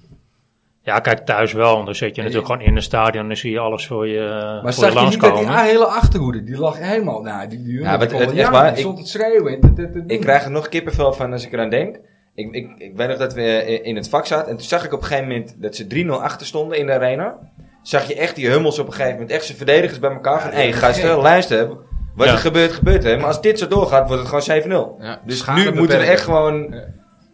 Ja, kijk, thuis wel. Want dan zit je natuurlijk Nee. gewoon in het stadion en dan zie je alles voor je, eh, Maar voor je zag je niet dat die langskomen. hele achterhoede, die lag helemaal... Nou, die, die Ja, jongen die wat- kon het- wel echt janken, waar, die ik- stond te schreeuwen. en te- te- te- Ik krijg er nog kippenvel van als ik eraan denk. Ik, ik, ik weet nog dat we eh, in het vak zaten. En toen zag ik op een gegeven moment dat ze 3-0 achter stonden in de arena. Zag je echt die hummels op een gegeven moment. Echt zijn verdedigers bij elkaar. van, hé hey, gasten, luister. Wat Ja. er gebeurt, gebeurt. Hè. Maar als dit zo doorgaat, wordt het gewoon 7-0. Ja, Dus schade nu moeten we beperken. echt gewoon...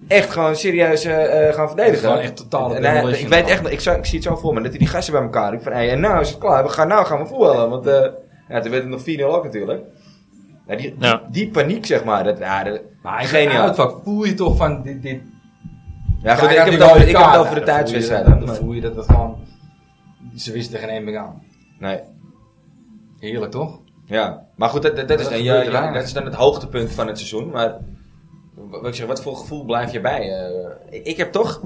Echt gewoon serieus eh, eh, gaan verdedigen. Gewoon echt totale En, eh, demolition. ik weet echt, nog- ik, zou- ik zie het zo voor me, dat die gasten bij elkaar. Ik van, hey, en nou is het klaar, we gaan, nou gaan we voetballen. Want eh ja, toen werd het nog 4-0 ook natuurlijk. Nou, die, Ja. die, die paniek, zeg maar. Dat, ja, dat, Maar in het geniaal. uitvak voel je toch van... Dit, dit, Ja, goed, Ja, ik, heb die het over, rode ik heb het kaart, over de nou, dan voel je- tijdswedstrijd. Dan maar- voel je dat het gewoon... Ze wisten er geen één meer aan. Nee. Heerlijk, toch? Ja, maar goed, dat, dat, dat is, Dat dan, gebeurt ja, er ja, aan. dat is dan het hoogtepunt van het seizoen. Maar wat, ik zeg, wat voor gevoel blijf je bij? Eh, ik- ik heb toch...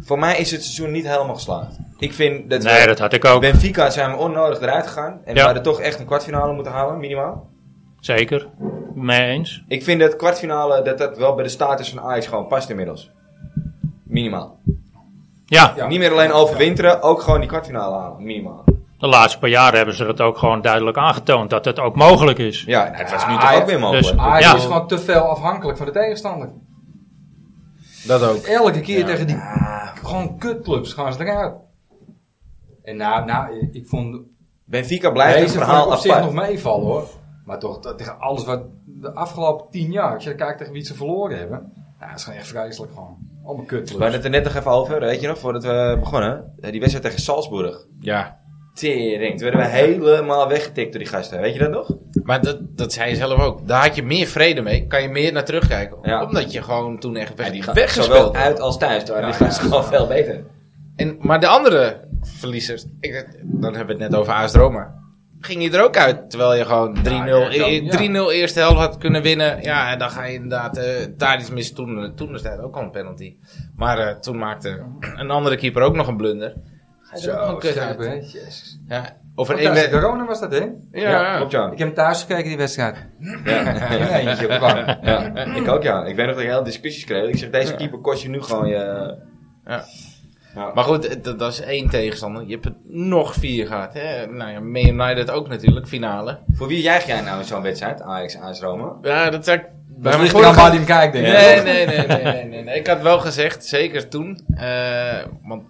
Voor mij is het seizoen niet helemaal geslaagd. Ik vind dat Nee, we- dat had ik ook. Benfica zijn we onnodig eruit gegaan. En we Ja. hadden toch echt een kwartfinale moeten halen, minimaal. Zeker. Mee eens. Ik vind dat kwartfinale dat dat wel bij de status van Ajax gewoon past inmiddels. Minimaal. Ja, Niet meer alleen overwinteren, ook gewoon die kwartfinale halen, minimaal. de laatste paar jaren hebben ze dat ook gewoon duidelijk aangetoond. Dat het ook mogelijk is. Ja, nou, het was nu Ja, toch Ajax- ook weer mogelijk. dus- Ajax Ja. Ah, is gewoon te veel afhankelijk van de tegenstander. Dat ook. Elke keer tegen die gewoon kutclubs gaan ze eruit. En nou, nou ik- ik vond Benfica blijft deze een verhaal verhaal op zich apart. nog meevallen hoor. Maar toch, dat- tegen alles wat de afgelopen tien jaar, als je kijkt tegen wie ze verloren hebben. Nou, dat is gewoon echt vreselijk gewoon. Allemaal We hadden kutclubs. het er net nog even over, weet je nog, voordat we begonnen. Eh, Die wedstrijd tegen Salzburg. Ja. Tering, toen werden we helemaal weggetikt door die gasten. Weet je dat nog? Maar dat, dat zei je zelf ook. Daar had je meer vrede mee. Kan je meer naar terugkijken. Ja. Omdat je gewoon toen echt weg, die weggespeeld Zowel werd. uit als thuis, daar waren die Ja, ja, gasten gewoon veel beter. En, maar de andere verliezers, ik, dan hebben we het net over AS Roma. Ging je er ook uit, terwijl je gewoon 3-0 ja, eh, ja. 3-0 eerste helft had kunnen winnen. Ja, en dan ga je inderdaad eh, daar iets mis. Toen, toen is dat ook al een penalty. Maar eh, toen maakte een andere keeper ook nog een blunder. Ga je er ook nog een kut scherp, uit. hè? Jezus. Ja, over één Fantastisch, wedstrijd. corona was dat, hè? Ja, ja. klopt ja. Ik heb hem thuis gekeken, die wedstrijd. Ja. In mijn eentje op de bank. Ja, ik ook ja. Ik weet nog dat ik heel discussies kreeg. Ik zeg, deze keeper kost je nu gewoon je... Maar goed, eh, dat, dat is één tegenstander. Je hebt er nog vier gehad. Hè? Nou ja, Man United ook natuurlijk, finale. Voor wie juich jij nou in zo'n wedstrijd, Ajax, AS Roma? Ja, dat zeg ik. Dat ligt vorige- eraan waar die hem kijkt, denk ik. Nee, nee, nee, nee, nee, nee, nee. Ik had wel gezegd, zeker toen. eh, want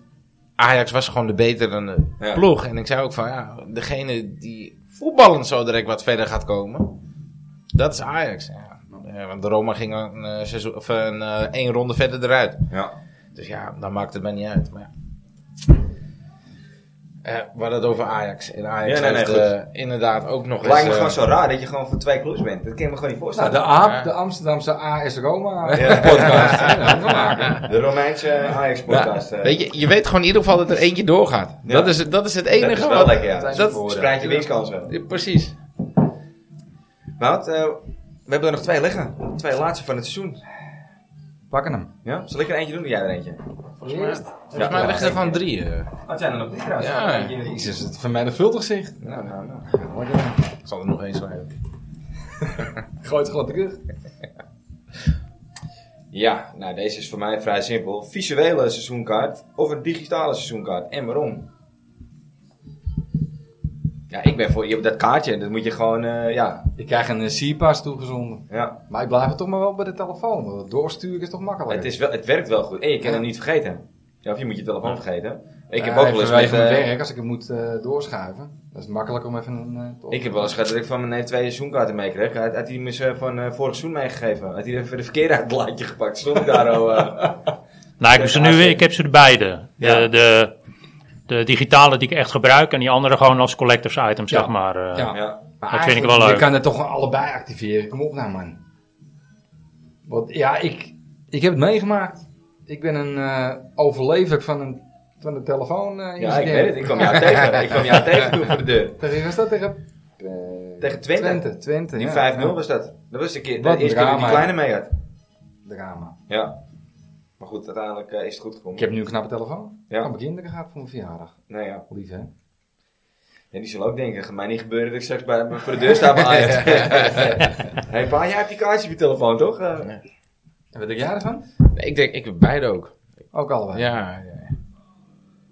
Ajax was gewoon de betere Ja. ploeg. En ik zei ook van, ja, degene die voetballend zo direct wat verder gaat komen, dat is Ajax. Ja. Eh, want de Roma ging een, eh, seizoen, of een eh, één ronde verder eruit. Ja. Dus ja, dan maakt het mij niet uit. Maar ja. Eh, we hadden het over Ajax. En Ajax Ja, nee, nee, heeft goed. eh, inderdaad ook nog Het lijkt me eh, gewoon zo raar dat je gewoon voor twee clubs bent. Dat kan ik me gewoon niet Nou, voorstellen. de AAP, de Amsterdamse AS Roma Ja. podcast. hè, dat hadden we maken. de Romeinse Ajax-podcast. Ja, eh. weet je, je weet gewoon in ieder geval dat er eentje doorgaat. Ja. Dat, is, dat is het enige dat is wel wat... lekker, ja. dat- Dat spreidt je winstkansen. Ja, precies. Wout, eh, we hebben er nog twee liggen. Twee laatste van het seizoen. Pakken hem. Ja? Zal ik er eentje doen? Doe jij er eentje? Volgens mij, Ja, volgens mij ja, ligt er zeker. van drie. eh. Oh, het zijn er nog drie trouwens. Ja. Eentje in de- Jezus, het vermenigvuldigt zich. Nou, nou, nou. Ik zal er nog één schrijven. Gooit glad terug. Ja, nou deze is voor mij vrij simpel. Visuele seizoenkaart of een digitale seizoenkaart. En waarom? Ja, ik ben voor... Je hebt dat kaartje, dat moet je gewoon... eh, ja, Ik krijg een C-pass toegezonden. ja. Maar ik blijf er toch maar wel bij de telefoon. want het doorsturen is toch makkelijk. Het, is wel, het werkt wel goed. En je kan hem niet vergeten. Ja, of je moet je telefoon vergeten. Ik heb Ja, ook wel eens met... vanwege mijn eh, werk, als ik hem moet eh, doorschuiven. Dat is makkelijk om even een... eh, te op- Ik heb wel eens gehad dat ik van mijn neef twee seizoenkaarten meekreeg. Had, had hij me ze van eh, vorig seizoen meegegeven. Had hij even de verkeerde uit het laadje gepakt. Stond ik daar al... eh, Nou, ik heb ze nu weer- ik heb ze beide. De, Ja. de, de digitale die ik echt gebruik en die andere gewoon als collectors item, Ja. zeg maar. eh. ja. Ja. Maar dat vind ik eigenlijk, wel leuk. Je kan het toch gewoon allebei activeren. Kom op nou, man. Want ja, ik, ik heb het meegemaakt. Ik ben een eh, overlever van, een, van de telefoon eh, ja, ik incident. weet het. Ik kwam jou tegen. Ik kwam jou tegen toen voor de deur. Tegen wie was dat? Tegen, eh, Tegen Twente. Twente, Twente, Die ja. 5-0 was dat. Dat was de, keer, Wat de eerste keer dat ik die drama. kleine mee had. Drama. Ja. Maar goed, uiteindelijk eh, is het goed gekomen. Ik heb nu een knappe telefoon. Ja. Ja. Mijn kinderen gaat voor mijn verjaardag. Nou ja. Lief, hè? ja, die zullen ook denken, gaat mij niet gebeuren dat ik straks bij, voor de deur sta bij Ajax. hey, pa, jij hebt die kaartjes op je telefoon, toch? Eh, En wat denk jij ervan? Nee, ik denk, ik heb beide ook. Ook allebei. Ja, ja. ja.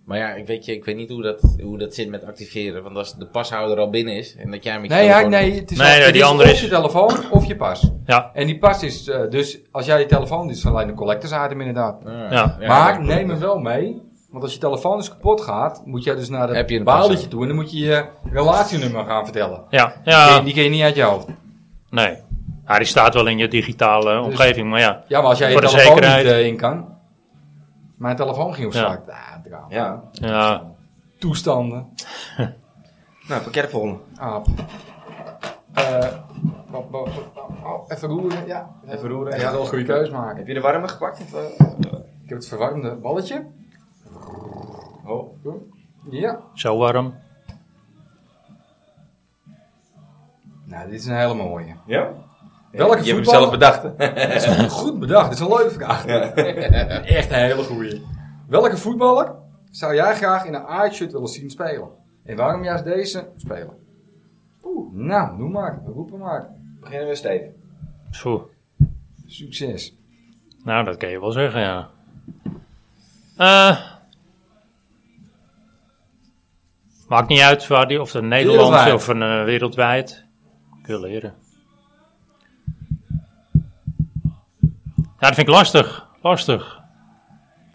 Maar ja, ik weet, je, ik weet niet hoe dat, hoe dat zit met activeren. Want als de pashouder al binnen is en dat jij met je Nee, ja, telefoon- nee, het is, Nee, het ja, die andere of is- je telefoon of je pas. Ja. En die pas is eh, dus, als jij je telefoon, dit is alleen de collectors item inderdaad. Ah, Ja. dat maar klopt. neem hem wel mee, want als je telefoon dus kapot gaat, moet jij dus naar Heb je dat een pas baaltje ook? toe en dan moet je je relatienummer gaan vertellen. Ja, Die- ja, Die ken je niet uit je hoofd. nee. Ja, die staat wel in je digitale Dus- omgeving, maar ja. Ja, maar als jij je Voor de telefoon niet zekerheid. eh, in kan. Mijn telefoon ging op Ja. straat. Ah, drama. ja. ja. Toestanden. Nou, parkeer de volgende. Aap. Eh, wat- wat- wat- oh, even roeren. Ja, Even roeren. Ja, wel een goede keus maken. Heb je de warme gepakt? Of, eh, Ik heb het verwarmde balletje. oh. Ja. Zo warm. Nou, dit is een hele mooie. Ja? je Welke hebt hem voetballer- zelf bedacht, hè? Dat is goed bedacht. Dit is een leuke vraag. Echt een hele goeie. Welke voetballer zou jij graag in een Ajax-shirt willen zien spelen? En waarom juist deze speler? Oeh, nou, noem maar. Roep hem maar. Beginnen we stevig. Pfoe. Succes. Nou, dat kan je wel zeggen, ja. Eh, maakt niet uit waar die, of een Nederlandse Wereldwijd. of een eh, wereldwijd. Kun je leren. Ja, dat vind ik lastig. Lastig.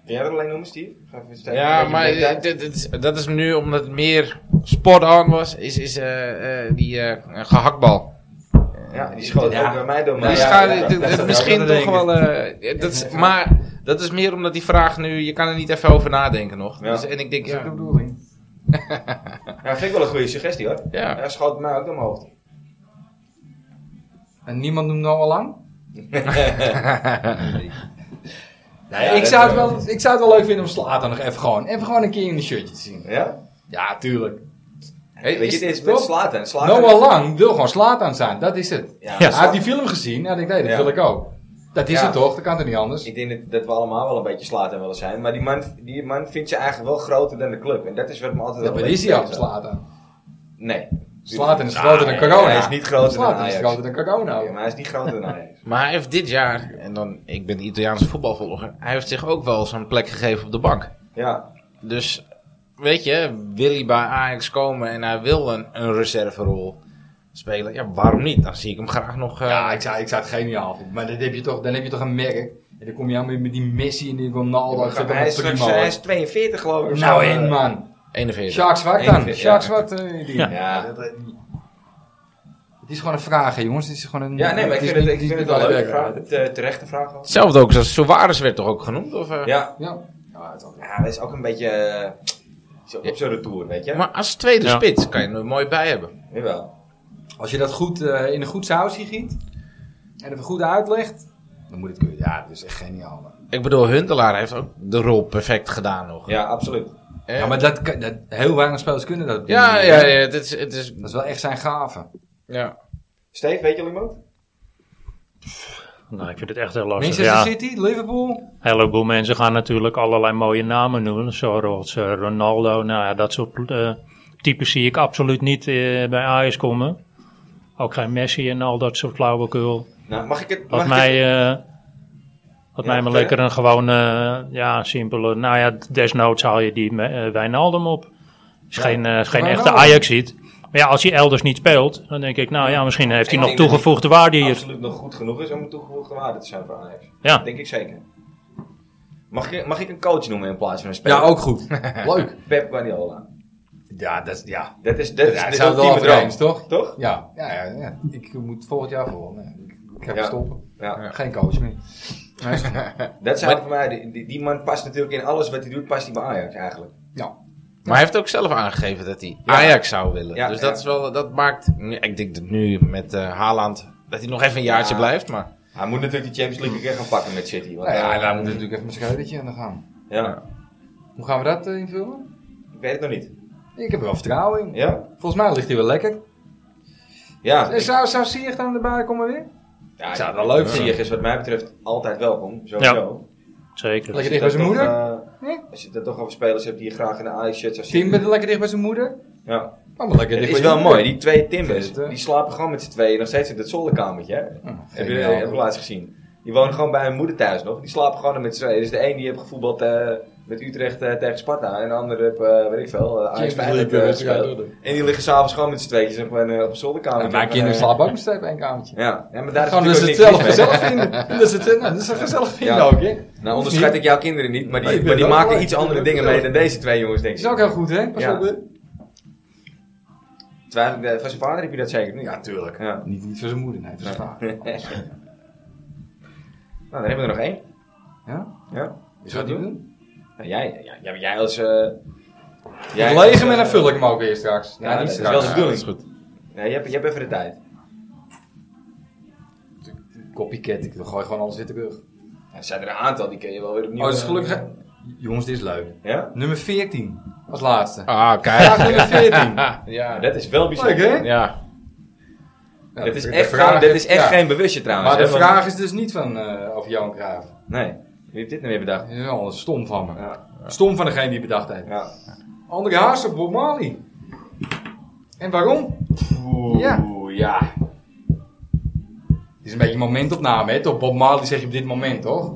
Kun jij dat alleen noemen, Steve? Ga even stevig. Ja, Beetje maar breektijd. dit- dit- dit is- dat is nu omdat het meer sport-on was, is, is eh, eh, die eh, gehaktbal. Dus Ja, die schoot Ja. ook bij mij door. maar Die ja, scha- ja, dit- dat- dit- dat- misschien dat- toch dat- wel. eh, dat is, maar dat is meer omdat die vraag nu. Je kan er niet even over nadenken nog. Ja. Dus, en ik denk, Dat is ook de ja. bedoeling. Ja, vind ik wel een goede suggestie, hoor. ja. Ja, schoot bij mij ook door mijn hoofd. En niemand noemt nou al lang? Nou ja, ik, dat- zou het wel, ik zou het wel leuk vinden om Slater nog even gewoon, even gewoon een keer in een shirtje te zien. eh, Ja? Ja, tuurlijk. Hey, weet je, is- dit is met toch? Slaten. Slaten. Noah Nou, Lang wil gewoon Slater zijn. Dat is het. Ja, Hij Zlatan- heeft die film gezien. Hij denkt, nee, dat Ja. wil ik ook. Dat is Ja. het toch? Dat kan toch niet anders? Ik denk dat, dat we allemaal wel een beetje Slaten willen zijn. Maar die man, die man vindt ze eigenlijk wel groter dan de club. En dat is wat me altijd Ja, wel maar een is beetje hij al tegenstaat. Slater? Nee. Slater is groter dan nee, corona. hij is niet groter dan Slater is Ajax. groter dan corona. Ja, maar hij is niet groter dan hij. Maar hij heeft dit jaar, en dan, ik ben Italiaanse voetbalvolger, hij heeft zich ook wel zo'n plek gegeven op de bank. Ja. Dus, weet je, wil hij bij Ajax komen en hij wil een, een reserverol spelen, ja, waarom niet? Dan zie ik hem graag nog. eh, Ja, ik zou, ik zou het geniaal vinden. Maar dan heb je toch, dan heb je toch een merk. En dan kom je aan met, met die Messi en die Ronaldo. Maar en goed, dat Oh, hij, is prima, straks, hoor. hij is 42 geloof ik. of nou zo. eh. in man. 41. Sjaak Zwart dan. Eén, ja. Sjaak Zwart. eh, die. Ja. Dat- dat- Het is gewoon een vraag, hè, jongens. Het is gewoon een, Ja, nee, maar ik is vind het, niet- ik is vind het niet wel een leuke werk. vraag. Te- Terechte vraag wel. Hetzelfde ook, zoals Suarez werd toch ook genoemd? Of, eh? Ja. Ja. Ja, het is wel- Ja, dat is ook een beetje... eh, is ook op zijn retour, weet je. Maar als tweede Ja. spits kan je hem er mooi bij hebben. Jawel. Als je dat goed eh, in een goed sausje giet. En even goed uitlegt. Dan moet het kunnen. Ja, dat is echt geniaal. man. Ik bedoel, Huntelaar heeft ook de rol perfect gedaan nog. Ja, absoluut. Eh, Ja, maar dat, kan- dat, heel weinig spelers kunnen dat. doen. ja, ja, ja, het is, het is, Dat is wel echt zijn gave. ja. Steve, weet je al iemand? Nou, ik vind het echt heel lastig. Manchester Ja, een City, Liverpool. heleboel mensen gaan natuurlijk allerlei mooie namen noemen. Zoals eh, Ronaldo. Nou ja, dat soort eh types zie ik absoluut niet eh, bij Ajax komen. Ook geen Messi en al dat soort flauwekul. Nou, mag ik het... Wat mag mij, ik eh, wat Ja, mij maar verder? lekker een gewoon, eh, ja, simpele. Nou ja, desnoods haal je die eh Wijnaldum op. Is geen, eh, is geen echte Wijnaldum. Ajax ziet. Maar ja, als hij elders niet speelt, dan denk ik, nou ja, misschien heeft Ik hij nog denk dat toegevoegde waarde het hier. absoluut nog goed genoeg is om een toegevoegde waarde te zijn voor Ajax. Ja. Dat denk ik zeker. Mag ik, mag ik een coach noemen in plaats van een speler? Ja, ook goed. Leuk. Pep Guardiola. Ja, dat is... Ja. Dat is, dat is Ja, de ik zou het wel ultieme over droom. eens, toch? Toch? Ja. Ja, ja, ja. Ik moet volgend jaar voor. Nee, ik, ik ga Ja. stoppen. Ja. Geen coach meer. Dat zou voor mij... Die, die- die man past natuurlijk in alles wat hij doet, past hij bij Ajax eigenlijk. Ja. Maar hij heeft ook zelf aangegeven dat hij Ajax zou willen. Ja, dus ja. dat, is wel, dat maakt, ik denk dat nu met eh, Haaland, dat hij nog even een jaartje Ja. blijft. Maar Hij moet natuurlijk de Champions League een keer gaan pakken met City. Want, Nou ja, eh, daar moet natuurlijk even een scheidetje aan de gang. ja. Hoe gaan we dat eh, invullen? Ik weet het nog niet. Ik heb er wel vertrouwen in. Ja? Volgens mij ligt hij wel lekker. Ja. Eh, Zou, zou Sierg dan erbij komen weer? ja, zou het wel leuk Ziyech is wat mij betreft altijd welkom, sowieso. Zeker. Lekker dicht bij zijn moeder. eh, als je het dan toch over spelers hebt die je graag in een Ajax-shirt zou zien. Timber lekker dicht bij zijn moeder. Ja. Allemaal lekker Het dicht is bij wel zijn mooi, moeder. die twee Timbers, Vet, hè? die slapen gewoon met z'n tweeën nog steeds in dat zolderkamertje. Hè? heb je geniaal. heb ik laatst gezien. Die wonen gewoon bij hun moeder thuis nog. Die slapen gewoon met z'n tweeën. Dus de een die heeft gevoetbald eh, met Utrecht eh, tegen Sparta. En de ander heeft, eh, weet ik veel, eh, Ajax Champions Feyenoord League, eh, eh, gespeeld. ja, En die liggen s'avonds gewoon met z'n tweetjes op een, eh, op een zolderkamertje. En mijn En, kinderen eh, slapen ook nog steeds bij een kamertje. Ja, ja, maar daar is Gewoon dat ze het natuurlijk ook zelf niks mis gezellig vinden. Dat ze het, nou, dat ze het gezellig vinden Ja. ook, hè. mee. Nou onderschat ik jouw kinderen niet, maar die, maar die wel maken leuk. iets andere dingen mee dan deze twee jongens, denk ik. Dat is ook heel goed, hè. Pas Ja. op, hè. Twijfel ik, eh, Van zijn vader heb je dat zeker? Ja, tuurlijk. Ja. Niet, niet voor zijn moeder, nee. Voor zijn vader. Nou, dan hebben we er nog één. Ja? Ja. Wat zou die doen? Nou, jij, jij, jij, jij als... eh jij Ik als, leeg hem en eh, dan vul ik hem ook weer straks. Ja, dat is wel de bedoeling. goed. je, hebt, je hebt even de tijd. Copycat, ik gooi gewoon alles weer terug. Er zijn er een aantal, die kun je wel weer opnieuw... Oh, dat is eh, gelukkig. Jongens, dit is leuk. Ja? Nummer 14 als Oh. laatste. Ah, kijk. Vraag nummer 14. Nou, dat is wel Leuk, bijzonder. hè? Ja. Ja, Dat is de echt, vraag geen, dat is echt ja. geen bewustje trouwens. Maar de hè, want- vraag is dus niet van eh of Johan Cruijff. Nee, wie heeft dit nou weer bedacht? Ja, dat is stom van me. Ja. Stom van degene die het bedacht heeft. Ja. André Haas of Bob Marley? En waarom? Oeh, Ja. ja. Het is een beetje een momentopname, hè? Toch? Bob Marley zeg je op dit moment, toch?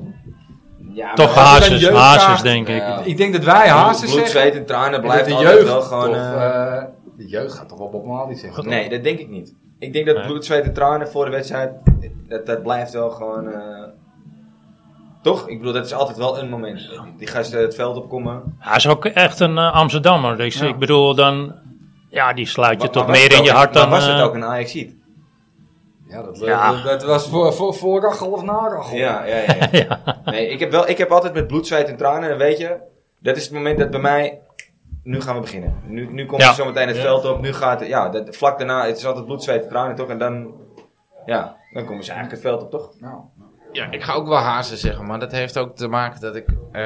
Ja, maar als Toch je hazes, bij jeugd hazes vraagt- denk ik. Ja. Ik denk dat wij Haas Bloed, zeggen. zweet en tranen en blijft dat de altijd jeugd wel gewoon... toch, eh, eh, de jeugd gaat toch wel Bob Marley zeggen? Nee, dat denk ik niet. Ik denk dat Nee. bloed, zweet en tranen voor de wedstrijd, dat, dat blijft wel gewoon... eh, Toch? Ik bedoel, dat is altijd wel een moment. Die gasten het veld opkomen. Hij is ook echt een eh, Amsterdammer. Dus Ja. ik bedoel, dan... Ja, die sluit je Maar- toch maar was meer het in je ook- hart dan... Maar was het eh, ook een Ajax-sheet? Ja, dat, eh, Ja. dat, dat was voor, voor, voor Rachel of na Rachel. Ja, ja, ja. ja. Nee, ik heb, wel, ik heb altijd met bloed, zweet en tranen. En weet je, dat is het moment dat bij mij... Nu gaan we beginnen. Nu, nu komt Ja. er zometeen het veld op. Nu gaat het... Ja, dat, vlak daarna, het is altijd bloed, zweet en tranen, toch? En dan... Ja, dan komen ze eigenlijk het veld op, toch? Nou, Ja, ik ga ook wel hazen zeggen, maar dat heeft ook te maken dat ik... eh,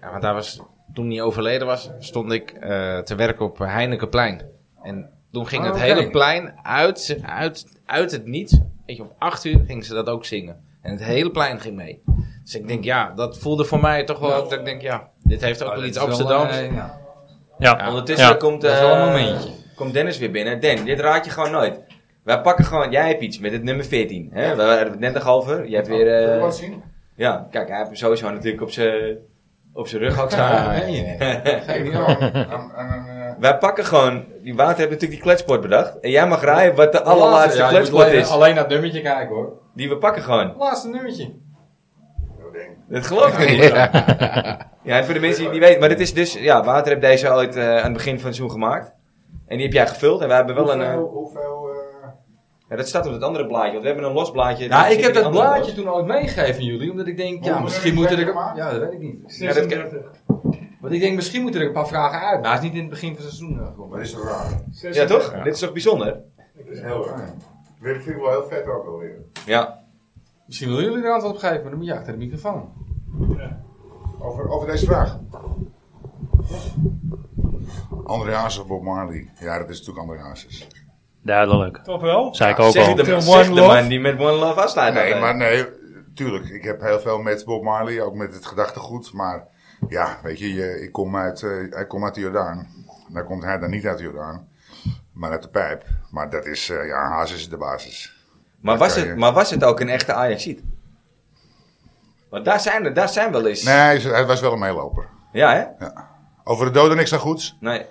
ja, want daar was, toen hij overleden was, stond ik eh, te werken op Heinekenplein. En toen ging Ah, het oké. hele plein uit, uit, uit het niets. Weet je, om acht uur gingen ze dat ook zingen. En het hele plein ging mee. Dus ik denk, ja, dat voelde voor mij toch wel... Dat ik denk, ja, dit heeft ook Oh, dat wel iets is wel, Amsterdams. eh, ja. Ja, Ondertussen Ja. komt, Dat is wel een eh, momentje. komt Dennis weer binnen. Den, dit raad je gewoon nooit. Wij pakken gewoon, jij hebt iets met het nummer 14. Hè? We hadden het net nog over. Je hebt weer. eh, Wil je wat zien? ja, kijk, hij heeft hem sowieso natuurlijk op zijn op zijn rug ook staan. Geef het gewoon aan- aan een, eh, Wij pakken gewoon, die water heeft natuurlijk die kletsport bedacht. En jij mag raaien wat de allerlaatste Ja, je moet kletsport alleen, is. Alleen naar het nummertje kijken hoor. Die we pakken gewoon. Laatste nummertje. Dat geloof ik niet. Ja, voor de mensen die het niet weten. Maar dit is dus, ja, water heeft deze ooit eh, aan het begin van het seizoen gemaakt. En die heb jij gevuld. En wij hebben wel een... eh, Hoeveel, hoeveel eh, Ja, dat staat op het andere blaadje, want we hebben een los blaadje. Ja, Zit ik in heb die dat andere blaadje doos. toen ooit meegegeven aan jullie, omdat ik denk, ja, Oh, Hoeveel misschien moeten er... hebben we Ja, dat weet ik niet. Ja, dat ken- Want ik denk, misschien moeten er een paar vragen uit. Maar hij is niet in het begin van het seizoen eh, gekomen. Dat is toch raar? ja, toch? Dit is toch bijzonder? Dat is heel raar. Dit vind ik wel heel vet ook alweer. Ja. Misschien willen jullie er antwoord op geven, maar dan moet je achter de microfoon. Over, over deze vraag. André Hazes of Bob Marley? Ja, dat is natuurlijk André Hazes. Duidelijk. Toch wel? Zei ik ook zeg al. de, Till zeg One de Love. man die met One Love afsluit. Nee, altijd. maar nee, tuurlijk. Ik heb heel veel met Bob Marley, ook met het gedachtegoed. Maar ja, weet je, je- ik kom uit, eh, hij komt uit de Jordaan. Dan komt hij dan niet uit de Jordaan, maar uit de pijp. Maar dat is, eh, ja, Hazes is de basis. Maar was, Oké. het, maar was het ook een echte Ajaxiet? Want daar zijn, er- daar zijn wel eens... Nee, hij is- hij was wel een meeloper. Ja, hè? Over de doden niks aan goeds, Nee.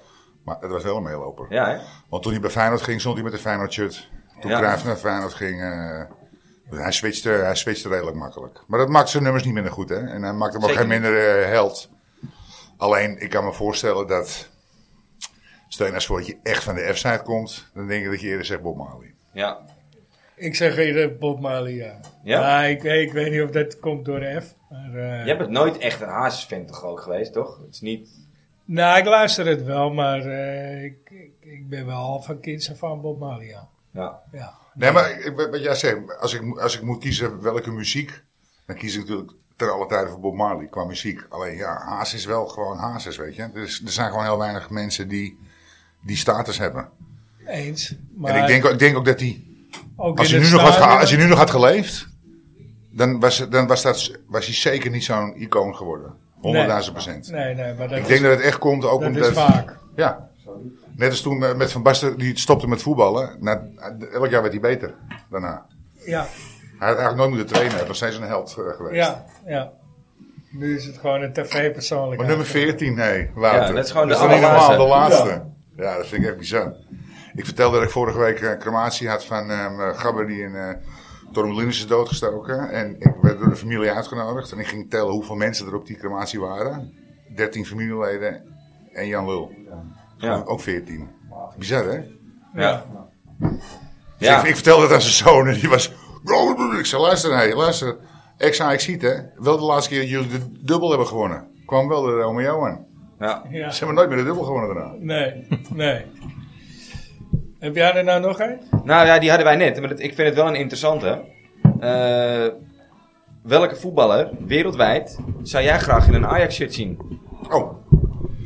maar het was wel een meeloper. Ja, hè? Want toen hij bij Feyenoord ging, stond hij met een Feyenoord shirt. Toen Ja. Cruijff naar Feyenoord ging, eh, dus hij, switchte, hij switchte redelijk makkelijk. Maar dat maakt zijn nummers niet minder goed, hè? En hij maakt hem ook Zeker geen minder eh, held. Alleen, ik kan me voorstellen dat... Stel je nou eens voor dat je echt van de F-side komt, dan denk ik dat je eerder zegt Bob Marley. Ja. Ik zeg eerder Bob Marley, ja. Ja? Maar ik, eh, ik weet niet of dat komt door de F. Maar, eh, Jij bent nooit echt een Hazes-fan toch ook geweest, toch? Het is niet... Nou, ik luister het wel, maar eh, ik, ik, ik ben wel al van kinds af aan Bob Marley, ja. Ja. ja. Nee, maar ik- wat wat jij zegt, als ik, als ik moet kiezen welke muziek, dan kies ik natuurlijk ter alle tijde voor Bob Marley qua muziek. Alleen ja, Haas is wel gewoon Haas, is, weet je. Dus er zijn gewoon heel weinig mensen die die status hebben. Eens. Maar en ik denk, ook- ik denk ook dat hij ook Als je, in nu het nog had geha- stadion- als je nu nog had geleefd, dan, was, het- dan was, dat, was hij zeker niet zo'n icoon geworden. 100.000 procent. Nee, nee, maar dat Ik denk dat het echt komt ook dat omdat... is vaak. Ja. Net als toen eh, met Van Basten, die stopte met voetballen. Na, elk jaar werd hij beter daarna. Ja, Hij had eigenlijk nooit moeten trainen. Hij was steeds een held eh, geweest. ja, ja. Nu is het gewoon een tv-persoonlijkheid. Maar Oh, nummer 14, nee, later. Ja, dat is gewoon de dan niet normaal, allerlaatste. de laatste. Ja. dat vind ik echt bizar. Ik vertelde dat ik vorige week een crematie had van ehm, eh, Gabber die in eh Torremolino is doodgestoken. En ik werd door de familie uitgenodigd. En ik ging tellen hoeveel mensen er op die crematie waren. 13 familieleden en Jan Lul. Ja. Ook 14. Bizar, hè? Dus Ja. ik, ik vertelde dat aan zijn zoon en die was... Ik zei, luister, hé, luister. Ex-AXC, hè? Wel de laatste keer dat jullie de dubbel hebben gewonnen. Kwam wel de Romeo aan. Ja. Ja. Ze hebben nooit meer de dubbel gewonnen daarna. Nee, nee. Heb jij er nou nog een? Nou ja, die hadden wij net. Maar dat- ik vind het wel een interessante. Eh, welke voetballer wereldwijd zou jij graag in een Ajax-shirt zien? Oh,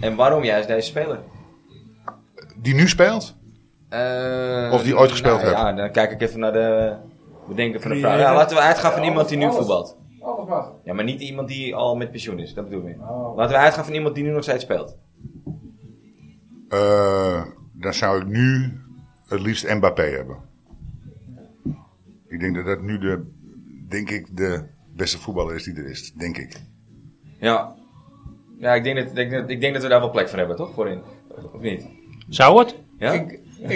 En waarom juist deze speler? die nu speelt? Eh, Of die ooit gespeeld nou, heeft. Ja, dan kijk ik even naar de bedenken van de Die vraag. heeft Ja, het- laten we uitgaan van iemand die nu voetbalt. Ja, maar niet iemand die al met pensioen is. Dat bedoel ik. Oh. Laten we uitgaan van iemand die nu nog steeds speelt. Eh, dan zou ik nu het liefst Mbappé hebben. Ik denk dat dat nu de, denk ik, de beste voetballer is die er is. Denk ik. Ja. Ja, ik denk dat, ik, denk dat- ik denk dat we daar wel plek voor hebben, toch? Voorin. Of niet? Zou het? Ja? Ik, ik,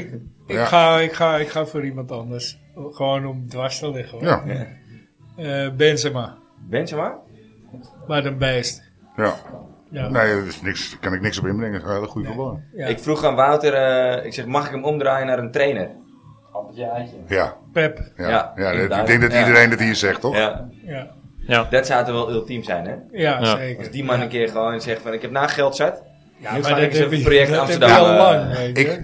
ik, Ja. ga, ik, ga, ik ga voor iemand anders. Gewoon om dwars te liggen. Hoor. Ja. Eh, Benzema. Benzema? Maar een beest. ja. Ja. Nee, er is niks, daar kan ik niks op inbrengen. Het is een hele goede voetballer. Ja. Ik vroeg aan Wouter, eh, ik zeg, mag ik hem omdraaien naar een trainer? Ja. Pep. Ja, Ja, ja, dat- inderdaad. ik denk dat Ja. iedereen dat hier zegt, toch? Ja. Ja, Dat zou toch wel ultiem zijn, hè? ja, Ja. zeker. Als die man een keer gewoon zegt van, ik heb na geld zat. Ja, Nu maar ga dat ik eens heb even je- project dat heb Amsterdam, je al eh, lang, weet je. Ik,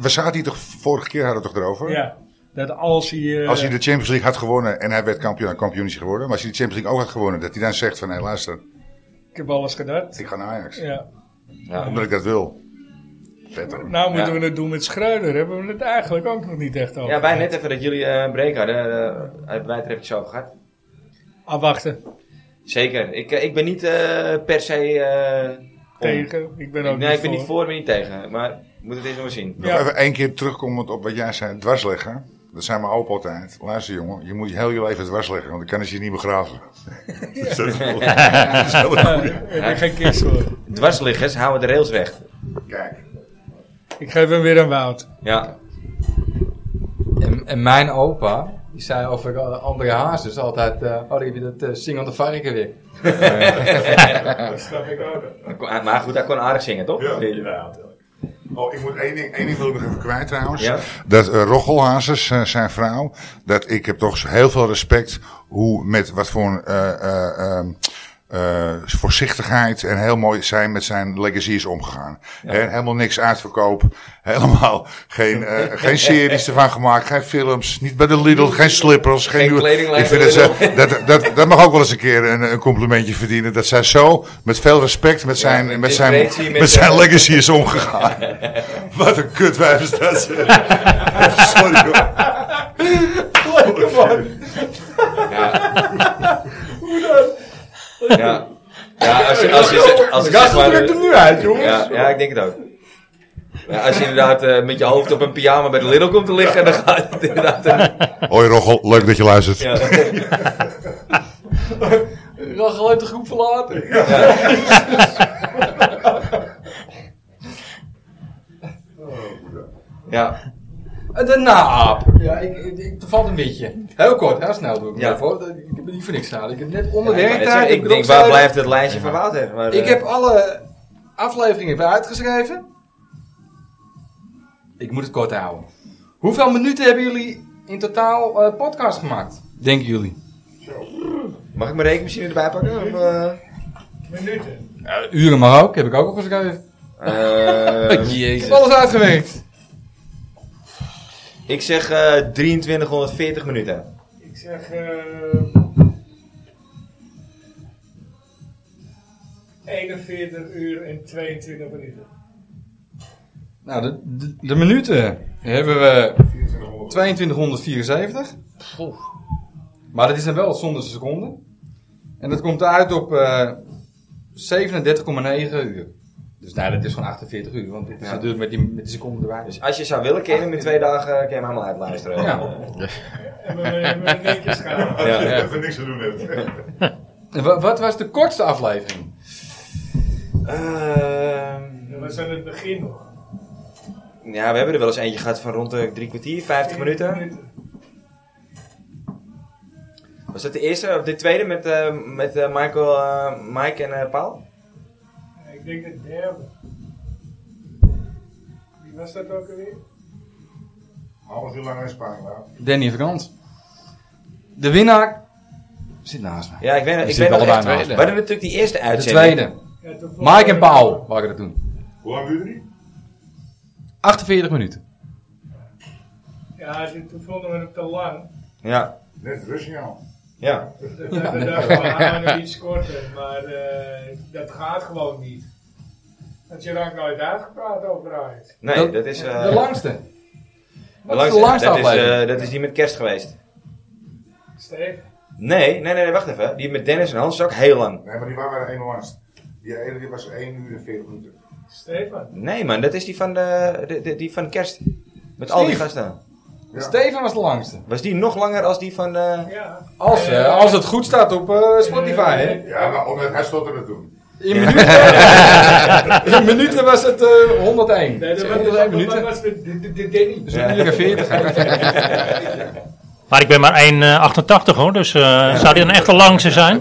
we zaten hier toch, vorige keer hadden we het toch erover? Ja, dat als hij... eh, Als hij de Champions League had gewonnen en hij werd kampioen, dan kampioen is hij geworden. Maar als hij de Champions League ook had gewonnen, dat hij dan zegt van, hé luister, Ik heb alles gedaan. ik ga naar Ajax. Ja. Ja. Omdat ik dat wil. Vet hoor. Nou moeten Ja. we het doen met Schreuder. Hebben we het eigenlijk ook nog niet echt over. Ja, wij net even dat jullie eh, een break hadden. eh, hebben wij het er eventjes over gehad. Ah, Afwachten. Zeker. Ik, eh, ik ben niet eh, per se... eh, om. Tegen. Ik ben ook Ik- nee, niet ik ben niet voor. voor, ben niet tegen. Maar we moeten het eerst nog maar zien. Nog Ja. even één keer terugkomend op wat jij zei, dwarsleggen. Dat zijn mijn opa altijd. Luister jongen, je moet je heel je leven dwarsleggen, want dan kan ze je niet begraven. Dus dat is wel- dat is wel een goeie. Ja, ik ben geen kist voor. Dwarsliggers houden de rails recht. Kijk, Ik geef hem weer een Wout. Ja. En, en mijn opa, die zei over eh, André Hazes altijd... eh, oh, daar heb je dat eh, zingende varken weer. Hij kon- Maar goed, hij kon aardig zingen, toch? Ja. Oh, ik moet één ding, één ding wil ik nog even kwijt trouwens. Ja. Dat eh Rochelhazes, eh, zijn vrouw, dat ik heb toch heel veel respect hoe met wat voor eh eh, ehm, eh, voorzichtigheid en heel mooi zijn met zijn legacy is omgegaan. Hè, helemaal niks uitverkoop, helemaal geen, eh, geen series ervan gemaakt, geen films, niet bij de Lidl, geen slippers, geen, Geen nieuwe- kledinglijn Ik vind dat, bij de ze- dat, dat, dat mag ook wel eens een keer een, een complimentje verdienen. Dat zij zo met veel respect met zijn, met met zijn, discretie, met, met zijn eh, legacy is omgegaan. Wat een kutwijf is dat, zeg. Sorry hoor. Ja. Ja, als je, als je, als je, als je zeg maar, eh, nu uit, jongens. ja, ja, ik denk het ook. Ja, als je inderdaad eh, met je hoofd op een pyjama bij de Lidl komt te liggen, dan gaat het inderdaad... eh, Hoi Rochel, leuk dat je luistert. ja. Rachel heeft de groep verlaten. ja. En de naap. Ja, ik, ik, ik- er valt een beetje. Heel kort, heel snel doe ik Ja. ja. voor. Ik ben niet voor niks gedaan. Ik heb net Ja, ik wou onder net zeggen, werktijd... ik denk, waar blijft het lijstje van Wouter? Maar, eh, Ik heb alle afleveringen weer uitgeschreven. Ik moet het kort houden. Hoeveel minuten hebben jullie in totaal eh, podcast gemaakt? Denken jullie? Mag ik mijn rekenmachine erbij pakken? Of, eh? uren maar ook, heb ik ook al geschreven. Oh, Eh, Ik heb alles uitgewerkt. ik zeg eh 2340 minuten. Ik zeg... 41 uur en 22 minuten. Nou, de, de, de minuten hebben we 2274. Maar dat is dan wel zonder seconde. En dat komt uit op eh, 37,9 uur. Dus nou, dat is gewoon 48 uur, want het is natuurlijk met die, met die seconde erbij. Dus, Als je zou willen, kun je hem in twee dagen eh, kun je hem helemaal uitluisteren. ja. Oh, Ja, ja. Dat we niks te doen hebben. En wa- wat was de kortste aflevering? Ehm, We zijn het begin nog. ja, we hebben er wel eens eentje gehad van rond de drie kwartier, 50 minuten. Was dat de eerste of de tweede met, eh, met eh, Michael, eh, Mike en eh, Paul? Ik denk de derde. Wie was dat ook alweer? Half uur lang in Spanje. nou. Danny Verkant. De winnaar zit naast mij. Ja, ik weet, ik zit weet nog allebei echt. naast. We hadden natuurlijk die eerste De uitzending. tweede. Mike en Paul waren dat toen. Hoe lang duurde die? 48 minuten. Ja, toen vonden we het te lang. Ja, Net het rustsignaal. ja. We dachten, we gaan nog iets korter, maar eh, dat gaat gewoon niet. Want je raakt nooit uitgepraat over uit. Nee, Dat- dat, is... eh, de langste. de Wat is de langste dat, is, eh, aflevering? dat is die met kerst geweest. Steve? Nee, nee, nee, nee, wacht even. Die met Dennis en Hans is ook heel lang. Nee, maar die waren eenmaal langst. Die hele die was 1 uur en 40 minuten. Stefan? Nee man, dat is die van, de, de- de- die van kerst. Met al die Steve. gasten. Ja. Steven was de langste. Was die nog langer als die van... eh, Ja. Als, Eh, eh, als het goed staat op eh, Spotify, hè? Ja, maar omdat hij stotterde het toen. In minuten, in minuten was het eh 101. Nee, dat was, 101 dat was, minuten. was de, de, de- de Danny. Dus een uur en 40. hè. Maar ik ben maar 1,88 hoor, dus eh, zou die dan echt de langste zijn?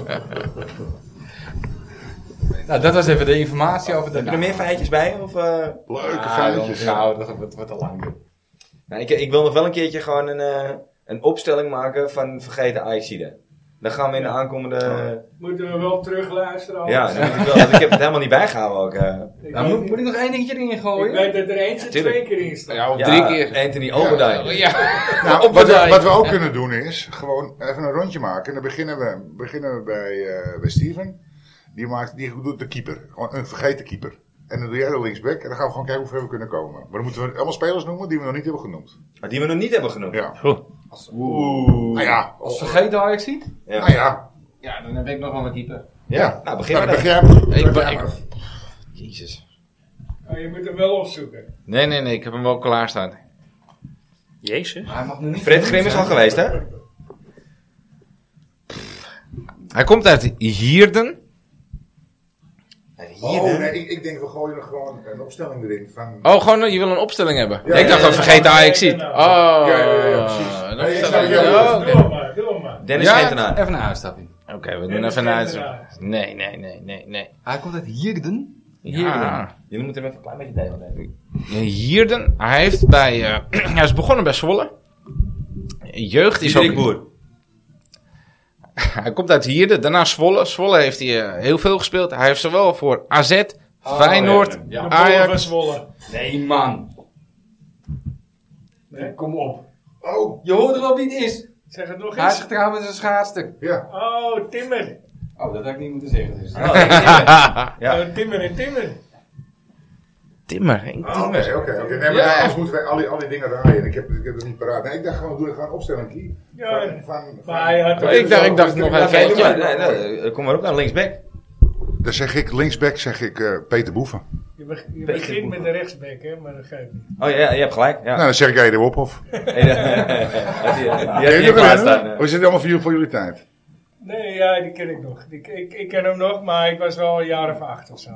nou, dat was even de informatie over de... Heb je er meer feitjes bij? Of, eh, Leuke Ah, feitjes. jongens, Nou, dat wordt wordt te lang. Nou, ik, ik wil nog wel een keertje gewoon een, eh, een opstelling maken van vergeten Ajaxiden. Dan gaan we in de aankomende... Moeten we wel Oh, terugluisteren? ja, anders- dan moet ik, wel, want ik heb het helemaal niet bijgehouden ook. eh. Ik, Nou, weet, moet, moet ik nog één dingetje erin ik gooien? weet dat er eentje tuurlijk. twee keer in staat. Ja, of Ja, drie keer. oh, Anthony Oberdijk. Nou, wat, we, wat we ook kunnen doen is gewoon even een rondje maken. En dan beginnen we, beginnen we bij, eh, bij Steven. Die, maakt, die doet de keeper. Gewoon een vergeten keeper. En dan doe jij de linksback. En dan gaan we gewoon kijken hoe ver we kunnen komen. Maar dan moeten we allemaal spelers noemen die we nog niet hebben genoemd. Maar die we nog niet hebben genoemd. Ja. Oeh. Oeh. Nou ja. Als vergeten Ajax ziet? Ja. Nou ja. Ja, dan heb ik nog wel een keeper. Ja. Nou, begin Nou, maar dan dan. begrijp ik. Ik- begrijp ik- het. Jezus. Maar Oh, je moet hem wel opzoeken. Nee, nee, nee, ik heb hem wel klaarstaan. Jezus. Hij mag nu niet. Fred Grim is al geweest, hè? Hij komt uit Hierden. Oh, nee, ik, ik denk we gooien er gewoon een opstelling erin. Van, Oh, gewoon, eh, je wil een opstelling hebben. Ja, ik dacht ja, dat ja, vergeten ja. Ajax ziet. Oh, Ja, ja, ja, ja, precies. een Nee, ik opstelling. snap je wel. Oh, Doe oké. hem maar, doe hem maar. Dennis Ja, Gentenaar. Even een uitstapje. Oké, we doen even een uitzoek. Nee, nee, nee, nee, nee. Hij komt uit Jirden. Ja. Je moet hem even een klein beetje tegen nemen. Hierden, hij heeft bij, eh, hij is begonnen bij Zwolle. Jeugd is ook... Diederik Boer. Hij komt uit Hierden, daarna Zwolle. Zwolle heeft hij eh, heel veel gespeeld. Hij heeft zowel voor AZ, Oh, Feyenoord, ja. Ajax. Ajax... Nee, man. Nee? Kom op. Oh, Je hoort er al niet eens. Zeg het nog Hij is eens. getrouwd met zijn schaatstuk. ja. Oh, Timmer. Oh, dat had ik niet moeten zeggen. Dus. Oh, nee, nee. Ja. Oh, Timmer en Timmer. Timmer, Henk Oh, Timmer. Oké, oké. Nee, maar Ja. anders moeten wij al die, al die dingen raaien. Ik heb, ik heb het niet paraat. Nee, ik dacht gewoon, doe er gewoon een opstelling, Kie. Ja, Van- van- Maar hij had Oh, Ik dacht, ik dacht nog Ja, even doe maar. eentje. Nee, nee, eh, Kom maar op dan, linksback. Dan zeg ik, linksback zeg ik eh, Peter Boeven. Je, beg- je begint met de rechtsback, hè, maar dat geeft niet. Oh ja, je hebt gelijk. Ja. Nou, dan zeg ik Ede Wophoff. Hey, dat- had die- die had Ken je die in nog plaats een, hè? staan, eh. Hoe zit het allemaal voor jullie, voor jullie tijd? Nee, ja, die ken ik nog. Die, ik, ik ken hem nog, maar ik was wel een jaar of acht of zo.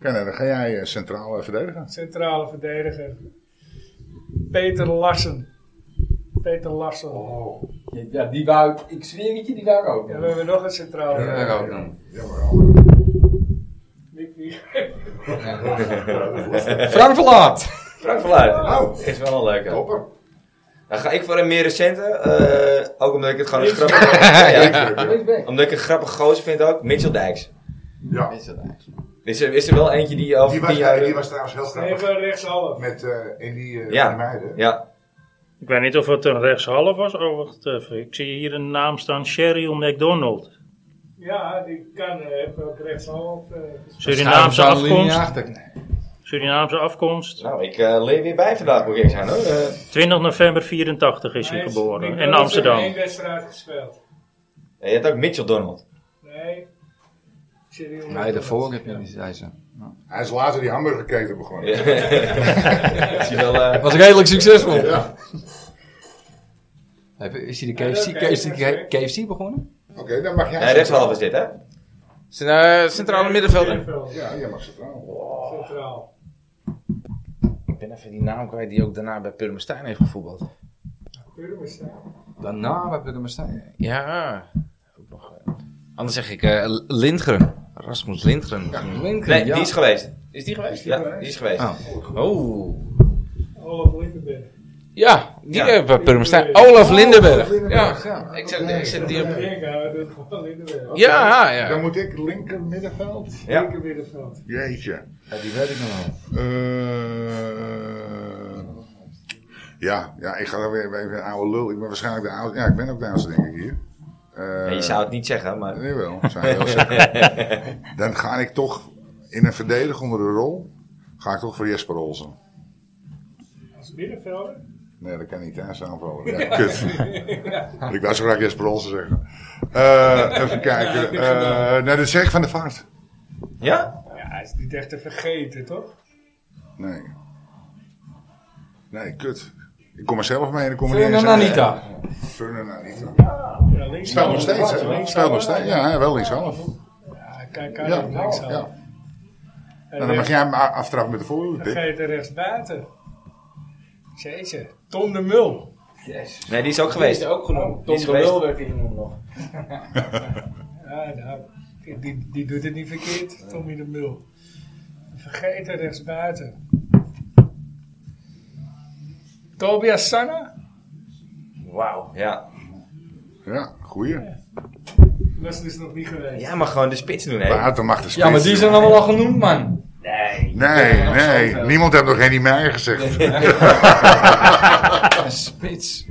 Oké, nou, dan ga jij eh, centraal eh, verdedigen. Centrale verdediger. Peter Lassen. Peter Lassen. Oh. Ja, die wou ik, ik zweer het je, die wou ik ook. En we hebben nog een centrale Die wou ik verdediger. ook dan. Wie- wie- Frank Verlaat. Frank Verluijten. Oh. Is wel een leuke. Topper. Dan ga ik voor een meer recente. eh, ook omdat ik het gewoon een grappig... Ja, omdat ik een grappige gozer vind ook. Mitchell Dijks. Ja. Is er, is er wel eentje die eh, over Die tien was, jaar... die was trouwens heel grappig. Even rechtshalf. Met, eh, in die, eh, Ja. die meiden. Ja. Ik weet niet of het een rechtshalf was. Oh, wacht even. Ik zie hier een naam staan, Cheryl McDonald. Ja, die kan eh, heeft ook rechtshalf. eh, gespeeld. Surinaamse Schuiven zou de linie afkomst. achter. Surinaamse afkomst. Nou, ik eh, leer weer bij vandaag, moet ik eerlijk zijn hoor. Eh, 20 november 84 is hij Hij is geboren. niet In wel eens Amsterdam. één wedstrijd gespeeld. Ja, je hebt ook Mitchell Donald. Nee. Cyril Nee, daarvoor heb je die, zei ze. Hij is later die hamburgerketen begonnen. Ik zie wel, eh, Was redelijk succesvol. Ja. Heb- Is hij de KFC, KFC, KFC begonnen? Oké, dan mag jij. ja, rechtshalve is dit, hè? Cent- eh, centrale middenvelder. Ja, jij mag centraal. Centraal. Ik ben even die naam kwijt die ook daarna bij Purmerstein heeft gevoetbald. Daarna heb ik hem staan. Ja. Ook nog, eh, anders zeg ik eh, Lindgren. Rasmus Lindgren. Lincoln, Nee, ja. die is geweest. Is die geweest? Ja, die is geweest. Oh. Oh. Olaf Lindenberg. Ja, die Ja. hebben bij Purmerstein. Olaf Lindenberg. Lindenberg, Ja, ik zet, ik zet die op. Ik hou het van Lindenberg. Ja, ja. Dan moet ik linker middenveld. Ja. Linker middenveld. Jeetje. die weet ik nog wel. Eh, ja, ja, ik ga dan weer weer even een oude lul. Ik ben waarschijnlijk de oudste. Ja, ik ben ook de oudste, denk ik hier. Eh, Ja, je zou het niet zeggen, maar... Nee, wel. zou je wel zeggen. dan ga ik toch in een verdedigende rol. Ga ik toch voor Jesper Olsen. Als middenvelder. Nee, dat kan niet, hè? Samenvallen. Ja, kut. Ik wou zo graag Jesper Olsen zeggen. Eh, even kijken. Eh nee, dat zeg ik van de vaart. Ja? Ja, hij is niet echt te vergeten, toch? Nee. Nee, kut. Ik kom er zelf mee en ik kom er niet eens Fernand aan. Anita. Fernand Anita. Ja, links. Speelt nog steeds, hè? Links- Speelt nog steeds. Ja, ja, wel linkshalf. Ja, kijk, Ja, kijk, ja. links. Nou, En dan mag rechts- jij hem a- aftrappen met de voorhoede. Dan ga Dick. je er rechts buiten. Jeetje. Tom de Mul. Nee, die is ook geweest. ook genoemd. Die is geweest. werd genoemd nog. Ja, nou, die- die, die doet het niet verkeerd, Tommy de Mul. Vergeten rechtsbuiten. Tobias Sanna? Wauw, ja. Ja, goeie. Was dus nog niet geweest. Ja, maar gewoon de spits doen, hè? Buiten mag de spits. Ja, maar die zijn allemaal al genoemd, man. Nee, nee. Niemand heeft nog Henny Meijer gezegd. Een spits.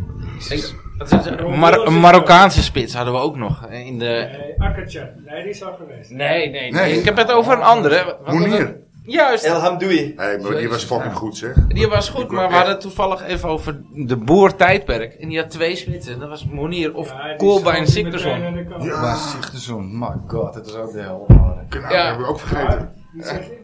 Mar een Marokkaanse spits hadden we ook nog. eh, In de... Nee, Akkertje. Nee, die is al geweest. Nee, nee, nee. Ik heb het over een andere. Wat- wat- Moenier. Juist. El Hamdoui. Hé, maar die was fucking goed, zeg. Die was goed, maar we hadden het toevallig even over de boertijdperk. En die had twee spitsen. Dat was Monier of Ja, die Kolbein zal en niet Siktersson. meteen aan de kant. Ja. Maar zicht de zon. My god, dat is ook de hel. man. Kanaal Ja. hebben we ook vergeten. Wie zeg je?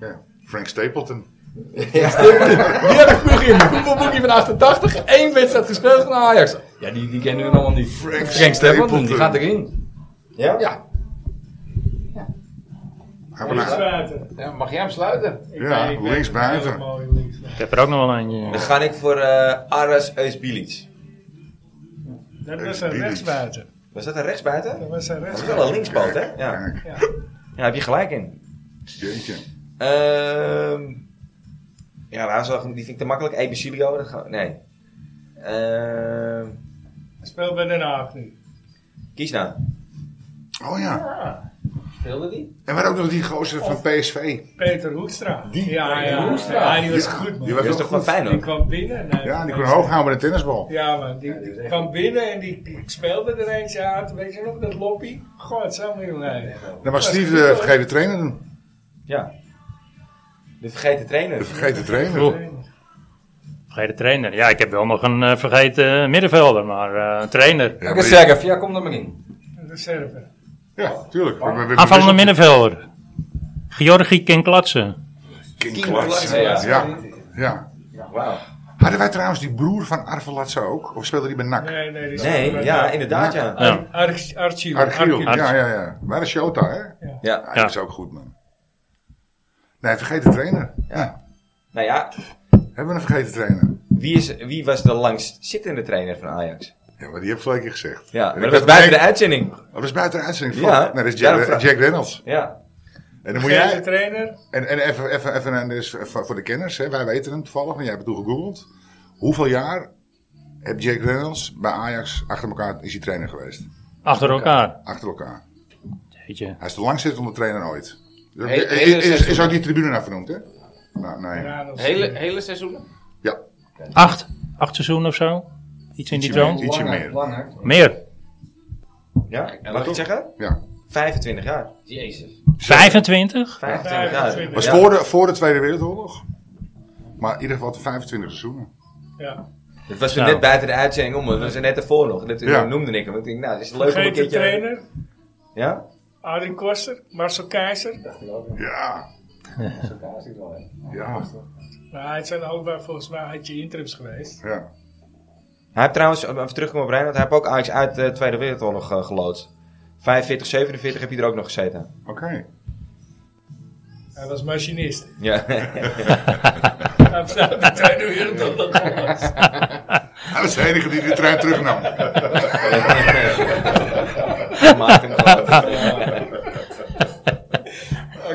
Ja. Frank Stapleton. Die had ik vroeg in mijn voetbalboekje van 88. Eén wedstrijd gespeeld van Ajax. Ja, die, die kennen we allemaal niet. Frank Frank Stapleton, die Stapleton. gaat erin. Ja? Ja. Gaan we naar- Rechtsbuiten. Ja, mag jij hem sluiten? Ik Ja, weet- ik weet linksbuiten. een hele mooie linksbuiten. Ik heb er ook nog wel eentje. Dan ga ik voor eh, Aras Eusbilic. Dat was een Bilic. rechtsbuiten. Was dat een rechtsbuiten? Dat was een Dat is rechtsbuiten. wel een linkspoot, hè? Ja. Kijk, ja, heb je gelijk in. jeetje. Ehm ja, Razor, die vind ik te makkelijk. Ebesilio, dat ga- nee. Ehm Speel bij Den Haag nu. kies nou. Oh ja. Speelde die? En waar ook nog die gozer van PSV. Peter Hoekstra. Die? Ja, Peter ja. Hoekstra. Ja, die was Ja, goed, man. die Dat is was toch toch wel fijn, Die hoor. kwam binnen. Nee, Ja, die kon nee, hoog houden met een tennisbal. Ja, man, die, die kwam binnen en die, die speelde er eentje uit. Weet je nog, dat lobby? God, zo moet Dan mag Steve de vergeten trainer doen. Ja. De vergeten trainer. De vergeten trainer. Vergeten trainer. Ja, ik heb wel nog een eh, vergeten middenvelder, maar eh, een trainer. Ja, Ik maar kan die- zeggen, ja, kom er maar in. Reserve. ja, tuurlijk. Ah. Maar we- we- we- Aanvallende Ah, middenvelder. Georgi Kinklatsen. King Klaassen, Klaassen, ja. Ja, ja. Wauw. Hadden wij trouwens die broer van Arvelatse ook? Of speelde die bij NAC? Nee, nee, die Nee, staat er ja, bij. inderdaad, ja. Ja. Arch- Archie. Archiel. Archie. Ja, ja, ja. Waar is Shota, hè? Ja, Ja. die is ook goed, man. Nee, vergeten trainer. Ja. Nou ja, Hebben we een vergeten trainer? wie, is, wie was de langst zittende trainer van Ajax? Ja, maar die heb ik vorige keer gezegd. Ja, En maar dat ik was had buiten de meteen- uitzending. Oh, dat is buiten de uitzending. Ja. Ja. Nee, dat is Daarom Jack, vraag- Jack Reynolds. Ja. En dan moet Vergeten jij... trainer. En, en even, even, even een, dus voor voor de kenners, hè, wij weten hem toevallig, want jij hebt het toen gegoogeld. Hoeveel jaar heeft Jake Reynolds bij Ajax achter elkaar is hij trainer geweest? Achter elkaar. Achter elkaar. Jeetje. Hij is de langzittende trainer ooit. Dus Hele- Is- hele is, is, seizoen. ook die tribune naar vernoemd, hè? Nou, nee. Ja, Ja, dat is- Hele, hele seizoenen? ja Acht. Acht seizoenen of zo. Iets in die ietsje, meer, trant. ietsje meer. Langer. Meer. Ja, en mag ik het zeggen? Ja. 25 jaar. Jezus. 25? 25 jaar. 25. Was Ja. voor, de, voor de Tweede Wereldoorlog. Maar in ieder geval 25 seizoenen. Ja. Het was toen Nou. net buiten de uitzending om, het was er net ervoor nog. Dat Ja. noemde ik hem. Ik denk, nou, het is leuk om een Vergeet de keertje... trainer, Ja? Adrien Koster, Marcel Keizer. Ja. Ja, Maar het Nou, zijn allebei volgens mij had je interims geweest. ja. Hij heeft trouwens, even terugkomen op Reinhard, hij heeft ook Ajax uit de Tweede Wereldoorlog eh, geloodst. 45, 47 heb je er ook nog gezeten. Oké. Hij was machinist. Ja. Hij heeft uit de Tweede Wereldoorlog geweest. Hij was de enige die de trein terugnam. Maakt hem gewoon.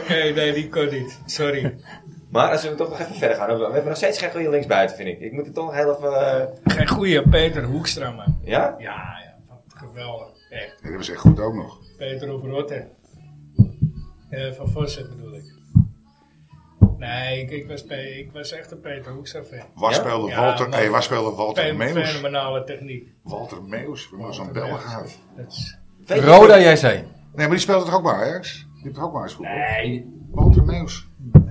Oké, nee, die kon niet. Sorry. maar als we toch nog even verder gaan. We hebben nog steeds geen goede linksbuiten, vind ik. Ik moet het toch nog heel even... eh, Geen goeie, Peter Hoekstra, man. ja? Ja, ja, wat geweldig. Echt, Nee, dat was echt goed ook nog. Peter op Rotter. Eh, van Vossen bedoel ik. Nee, ik, ik, was, Pe- ik was echt een Peter Hoekstra fan. Waar Ja? speelde Ja, Walter, maar- nee, waar speelde Walter Fe- Meeuws? Fenomenale techniek. Walter Meeuws, we moeten zo'n Walter bellen Meeuws. gaan. Dat is- Weet je- Roda JC. Nee, maar die speelde toch ook bij Ajax? Die heeft toch ook bij Ajax voetbal? Nee. Walter Meeuws.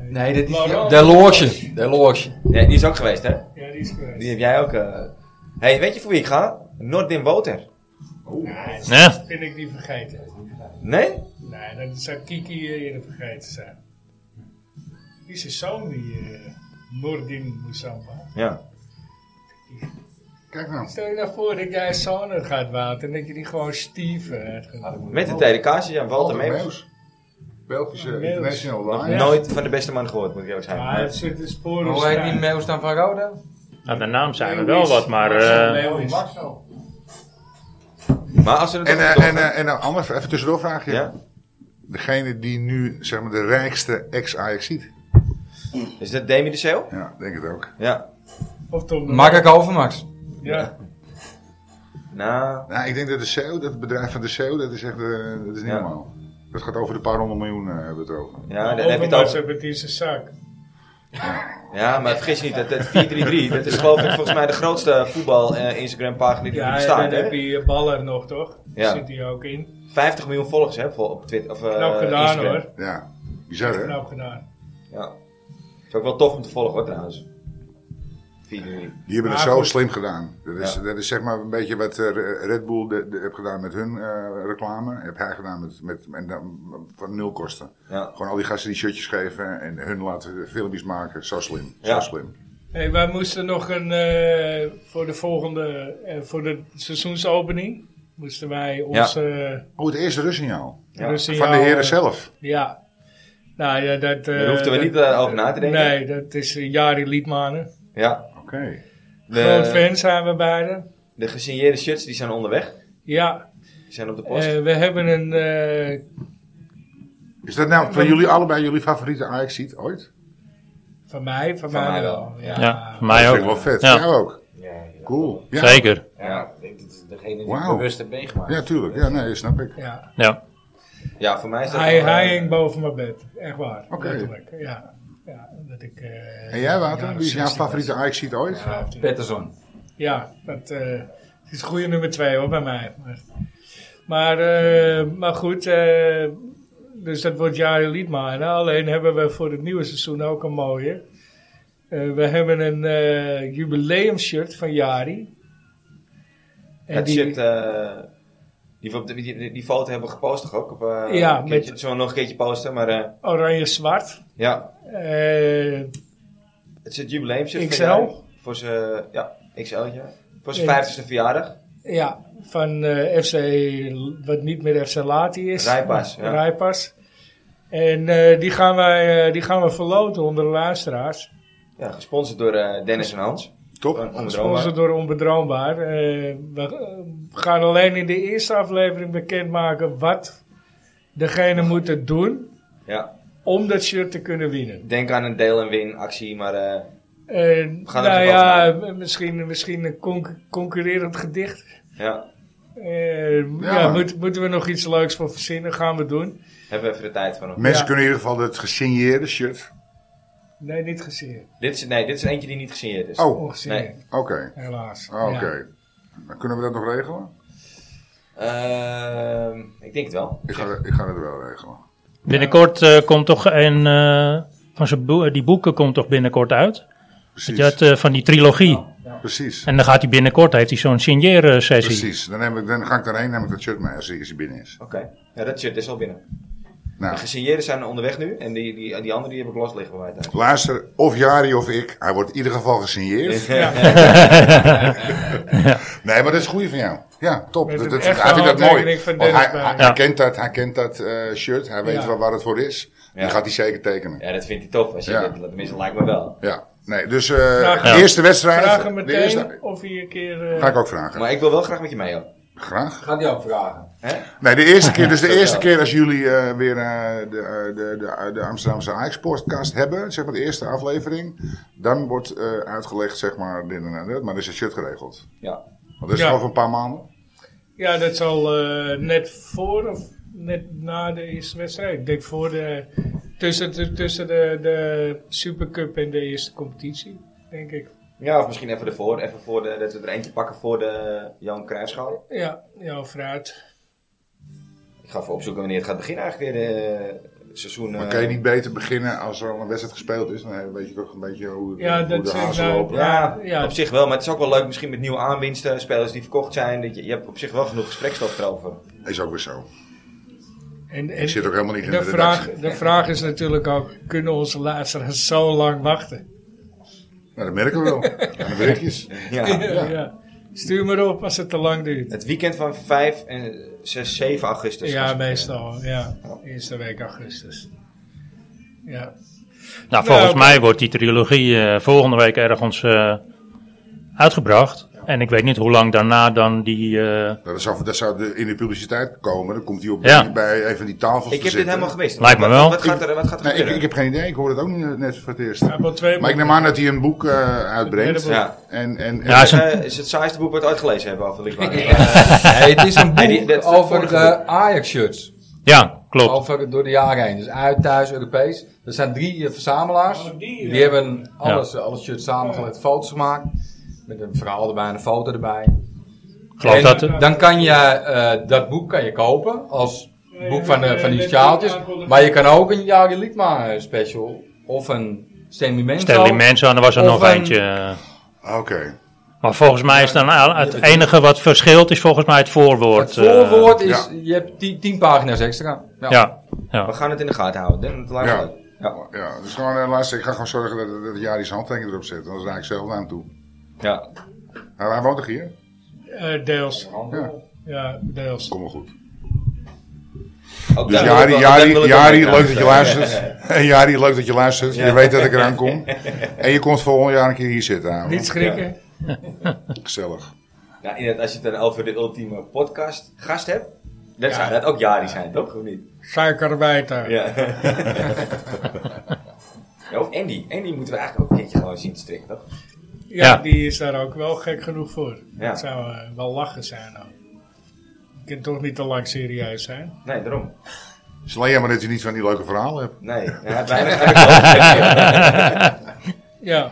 Nee, dit is... Waarom? De Loge. De Loge. Nee, die is ook geweest, hè? Ja, die is geweest. Die heb jij ook... eh. hey, weet je voor wie ik ga? Nordin Woter. Nee, Ja. dat vind ik niet vergeten. Nee? Nee, dat zou Kiki eh, eerder vergeten zijn. Die zijn zoon, die eh Noordin Moussamba. Ja. Kijk nou. Stel je nou voor dat jij een zoon het gaat water en dat je die gewoon Steven hebt genoemd. Met de tweede kaarsje, ja, Walter Oh, Meeuws. Belgische Meeuws. international Nog line. nooit van de beste man gehoord, moet ik eerlijk zijn. Maar het zit de sporen Oh, Hoe heet die Meus dan van Roda? Nou, de naam zijn er wel wat, maar... eh, Maar als we het En, toch- eh, toch- en, eh, en een ander, even tussendoor vraagje. ja? Degene die nu zeg maar, de rijkste ex-Ajax ziet. Is dat Demi de Zeeuw? Ja, denk het ook. Ja. Of Tom de Mark Overmax. Lee. Ja. Nou, Nou, ik denk dat de CEO, dat het bedrijf van de CEO, dat is echt eh, dat is niet Ja. normaal. Dat gaat over de paar honderd miljoen, eh, hebben we het over. ja, dan heb je het Overmars over. hebben het in zijn zak. Ja, maar vergis niet, dat, dat 433, dat is geloof ik volgens mij de grootste voetbal-Instagram-pagina die er Ja, en bestaat. dan Hè? heb je Baller nog, toch? Ja. Zit hij ook in. 50 miljoen volgers hè, vol- op Twitter. Of, eh, Knap gedaan Instagram. hoor. Ja, bizar hè? Knap gedaan. Ja. Is ook wel tof om te volgen hoor, trouwens. 433. Die hebben het Maar zo goed. slim gedaan. Dat is, Ja. dat is zeg maar een beetje wat eh, Red Bull de, de- heeft gedaan met hun eh, reclame. Heb hij gedaan met, met en dan, van nul kosten. Ja. Gewoon al die gasten die shirtjes geven en hun laten filmpjes maken. Zo slim, zo Ja. slim. Hey, wij moesten nog een, eh, voor de volgende, eh, voor de seizoensopening, moesten wij onze eh, Oh, het eerste rustsignaal. Ja. Russen- Van de heren zelf. Ja. Nou ja, dat... eh Daar hoefden we dat- niet eh, over na te denken. Nee, dat is eh, Jari Liedmanen. Ja. Oké. Groot De, fan zijn we beiden. de gesigneerde shirts die zijn onderweg. Ja, Die zijn op de post. eh, we hebben een... eh, Is dat nou van jullie allebei jullie favoriete ajax ziet ooit? van mij, van, Van mij, mij wel. Ja. ja, dat voor mij vind ik wel ook. vet. Ja. Jou ook? Ja, ja. Cool. Ja, Zeker, Ja, dit is degene die Wauw. het bewust heeft meegemaakt. Ja, tuurlijk. Ja, nee, snap ik. Ja. ja. Ja, voor mij is dat... Hij, wel, eh, hij hing boven mijn bed. Echt waar. Oké. Letterlijk. Ja. ja dat ik, eh, En jij, een jaar Wouter? of Wie is jouw 16 favoriete ajax ziet ooit? was. 15. Pettersson. Ja, dat eh, is goede nummer twee hoor, bij mij. Maar, maar, eh, maar goed, eh, dus dat wordt jaren Liedmanen. Alleen hebben we voor het nieuwe seizoen ook een mooie. Eh, we hebben een eh jubileumshirt van Jari. En dat die- shit, eh, die, we op de- die, die, die foto hebben we gepost toch ook? Op, eh, Ja, een keertje, met- Zullen we nog een keertje posten? Maar eh, oranje-zwart. ja, Eh, het is het jubileumshirt XL? Voor zijn, ja, XL, ja. Voor zijn Ja. 50ste verjaardag. ja, van eh, FC, wat niet meer FC Lati is. Rijpas, ja. Rijpas. En eh, die, gaan wij, eh, die gaan we verloten onder de luisteraars. Ja, gesponsord door eh, Dennis en Hans. Top. Van Onder Oma. Gesponsord door Onbedroombaar. Eh, we eh, gaan alleen in de eerste aflevering bekendmaken wat degene moet doen Ja, om dat shirt te kunnen winnen. denk aan een deel- en win-actie, maar eh, Eh, gaan nou er ja, misschien, misschien een conc- concurrerend gedicht. ja, Eh, ja, moet- moeten we nog iets leuks voor verzinnen? Gaan we doen. hebben we even de tijd voor nog. Mensen Ja. kunnen in ieder geval het gesigneerde shirt. Nee, niet gezien. Dit is, nee, dit is eentje die niet gesigneerd is. Oh, oké. Ongezien, Nee. helaas. Oh, Oké. Ja. Dan Kunnen we dat nog regelen? Ehm, ik denk het wel. Ik ga, ik ga het wel regelen. Binnenkort eh, komt toch een... eh, van zijn boe- die boeken eh, komt toch binnenkort uit? Precies. Je had, eh, van die trilogie. Precies. En dan gaat hij binnenkort, heeft hij zo'n eh, signeer-sessie. Precies. Dan, heb ik, dan ga ik daarheen en neem ik dat shirt mee als hij, als hij binnen is. Oké. Ja, dat shit is al binnen. De Nou, gesigneerden zijn onderweg nu. En die, die, die anderen die heb ik los liggen bij mij thuis. luister, of Jari of ik, hij wordt in ieder geval gesigneerd. Nee, maar dat is goed van jou. Ja, top. Met Dat, een dat, echte hij vindt dat mooi. handtekening van Want Dennis hij, bij. hij- hij Ja. kent dat, hij kent dat eh, shirt, hij weet Ja. wel waar het voor is. Die Ja. gaat hij zeker tekenen. Ja. Ja, dat vindt hij tof. Als je Ja. dat, tenminste, lijkt me wel. Nee, dus eh, Vraag- de Ja. eerste wedstrijd. Vraag hem de eerste, meteen of hij een keer... eh, ga ik ook vragen. Maar ik wil wel graag met je mee, joh. Graag. Gaat die ook vragen. Nee, de eerste keer, dus de Ja. eerste keer als jullie eh, weer eh, de, eh, de, de, de Amsterdamse Ajax podcast hebben, zeg maar de eerste aflevering, dan wordt eh, uitgelegd, zeg maar, dit en dat. Maar dan is het shirt geregeld. Ja. Want dat is Ja. over een paar maanden. Ja, dat zal eh, net voor of net na de eerste wedstrijd. Ik denk voor de, tussen, de, tussen de, de Supercup en de eerste competitie, denk ik. Ja, of misschien even ervoor. Even voor de, dat we er eentje pakken voor de Jan Cruijffschaal. Ja, ja, vooruit. Ik ga even opzoeken wanneer het gaat beginnen eigenlijk weer. eh, het seizoen. Maar eh, kan je niet beter beginnen als er al een wedstrijd gespeeld is? Dan weet je toch een beetje hoe, Ja, hoe dat de zeg hazen nou- lopen. Ja, Ja. op zich wel. Maar het is ook wel leuk misschien met nieuwe aanwinsten. Spelers die verkocht zijn. Dat je, je hebt op zich wel genoeg gesprekstof erover. Is ook weer zo. Nou, En, en Ik zit ook helemaal niet in de, de, redactie. vraag, de vraag is natuurlijk ook, kunnen onze luisteraars zo lang wachten? Nou, dat merken we wel. Aan de berichtjes. Nou, Ja. Ja. Stuur maar op als het te lang duurt. Het weekend van 5 en 6, 7 augustus. ja, meestal. Ja, eerste week augustus. Ja. Nou, volgens oké. mij wordt die trilogie eh, volgende week ergens eh, uitgebracht. En ik weet niet hoe lang daarna dan die... eh, Nou, dat zou, dat zou de- in de publiciteit komen. Dan komt hij op Ja. bij een van die tafels te Ik heb dit zitten. helemaal gemist. Lijkt me Wat- wel. Wat gaat er, wat gaat er Nee, ik, gebeuren? ik heb geen idee. Ik hoor het ook niet eh, net voor het eerst. Apple 2 Maar ik neem aan dat hij een boek eh, uitbrengt. Ja. ja. En, en, en- Ja, is een- Eh, is het saaiste boek wat we ooit gelezen hebben over de Nee, het is een boek Nee, die- dat- over vorige de Ajax-shirts. ja, klopt. Over, door de jaren heen. Dus uit, thuis, Europees. Er zijn drie eh, verzamelaars. Oh, die, die, ja. hebben alles, alle shirts samengelegd, foto's gemaakt. Met een verhaal erbij en een foto erbij. Ik geloof En dat... de- Dan kan je eh, dat boek kan je kopen als boek van, eh, van die sjaaltjes. Maar je kan ook een Jari Liedma eh, special of een Stanley Menzo. Stanley Manson, er was er Of nog een- eentje. Ah, Oké. Maar volgens mij is dan al- het enige wat verschilt is volgens mij het Het voorwoord. eh, voorwoord is, ja. je hebt tien, tien pagina's extra. ja, We ja. gaan het in de gaten houden. Dat lijkt me Ja. leuk. Ja. Ja, dus gewoon, eh, luister, ik ga gewoon zorgen dat, dat Jari zijn handtekening erop zet. Dan raak ik zelf naar hem toe. Ja. Hij, hij woont toch hier? Eh, deels. Ja. Ja, deels. Kom maar goed. Ook Dus daar wil ik Jari, wel- daar Jari, wil ik Jari, ook mee leuk dat je luistert. En Jari, leuk dat je luistert. Je Ja. weet dat ik eraan kom. En je komt volgend jaar een keer hier zitten. ouwe. Niet schrikken. Gezellig. Ja, inderdaad, als je het dan over de ultieme podcast gast hebt, dan zou dat ook Jari zijn, toch? Of niet? Suikerwijter. Ja. Ja, Of Andy. Andy moeten we eigenlijk ook een keertje gewoon zien strikken, toch? Ja, Ja. die is daar ook wel gek genoeg voor. Ja. Dat zou eh, wel lachen zijn nou. Je kunt toch niet te lang serieus zijn. Nee, daarom. Het is alleen jammer dat je niet van die leuke verhalen hebt. Nee, hij had weinig hij had wel- Ja.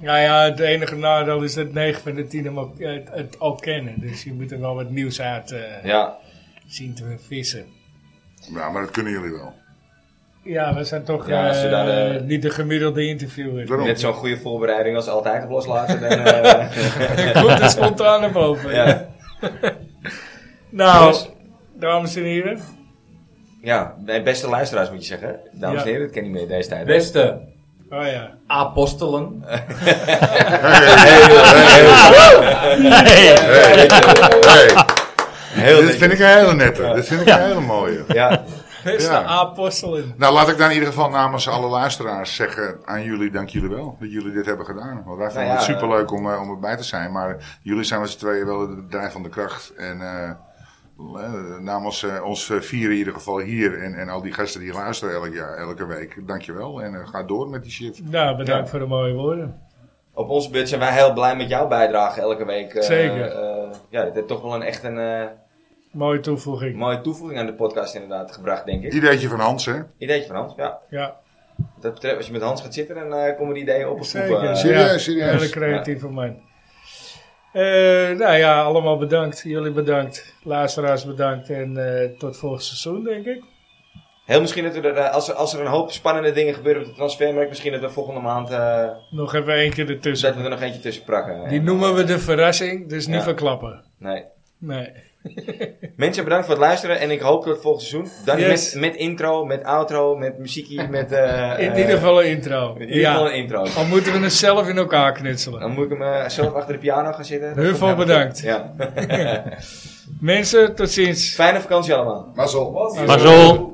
Nou ja, het enige nadeel is dat 9 van de 10 hem ook, eh, het, het al kennen. Dus je moet er wel wat nieuws uit eh, Ja, zien te vissen. Ja, maar dat kunnen jullie wel. Ja, we zijn toch Ja, als je eh, daar, eh, niet de gemiddelde interviewer. Daarom. net zo'n goede voorbereiding als altijd op loslaten. Dan, eh, Ik komt er spontaan naar boven. ja. Nou, Dus- dames en heren. ja, nee, beste luisteraars moet je zeggen. Dames en Ja. heren, dat ken je niet meer deze tijd. Beste Oh ja. apostelen. Hey. Hey, hey. Heel Dit vind ik een hele nette. Dit vind ik een hele mooie. Ja, Beste Ja. apostelen. Nou, laat ik dan in ieder geval namens alle luisteraars zeggen aan jullie, dank jullie wel dat jullie dit hebben gedaan. Want wij vonden ja, het superleuk om, eh, om erbij te zijn, maar jullie zijn met z'n tweeën wel het bedrijf van de kracht. En eh, eh, namens eh, ons eh, vier in ieder geval hier en, en al die gasten die luisteren elk jaar, elke week, dank je wel. En eh, ga door met die shift. Nou, bedankt voor de mooie woorden. op ons beurt zijn wij heel blij met jouw bijdrage elke week. eh, Zeker. eh, ja, dit heeft toch wel een echt een eh, Mooie toevoeging. mooie toevoeging aan de podcast inderdaad gebracht, denk ik. Ideetje van Hans, hè? Ideetje van Hans, ja. Ja, Wat dat betreft, als je met Hans gaat zitten, dan eh, komen die ideeën op eh. ons zeker. op. serieus, ja, serieus. Hele creatieve man. Eh, nou ja, allemaal bedankt. Jullie bedankt. Luisteraars bedankt. En eh, tot volgend seizoen, denk ik. Heel misschien dat er, eh, als, er- als er een hoop spannende dingen gebeuren op de transfermarkt, misschien dat we volgende maand eh, Nog even één keer ertussen. dat we er nog eentje tussen prakken. Die noemen we de verrassing, dus niet Ja. verklappen. Nee. Nee. Mensen, bedankt voor het luisteren en ik hoop dat volgend seizoen, dan Yes. met, met intro, met outro, met muziekie, met... eh, In eh, ieder geval een intro. in ieder geval een intro. Al moeten we het zelf in elkaar knutselen. Dan moet ik hem eh, zelf achter de piano gaan zitten. Heel veel bedankt. Ja. Mensen, tot ziens. Fijne vakantie allemaal. Mazzel. Mazzel.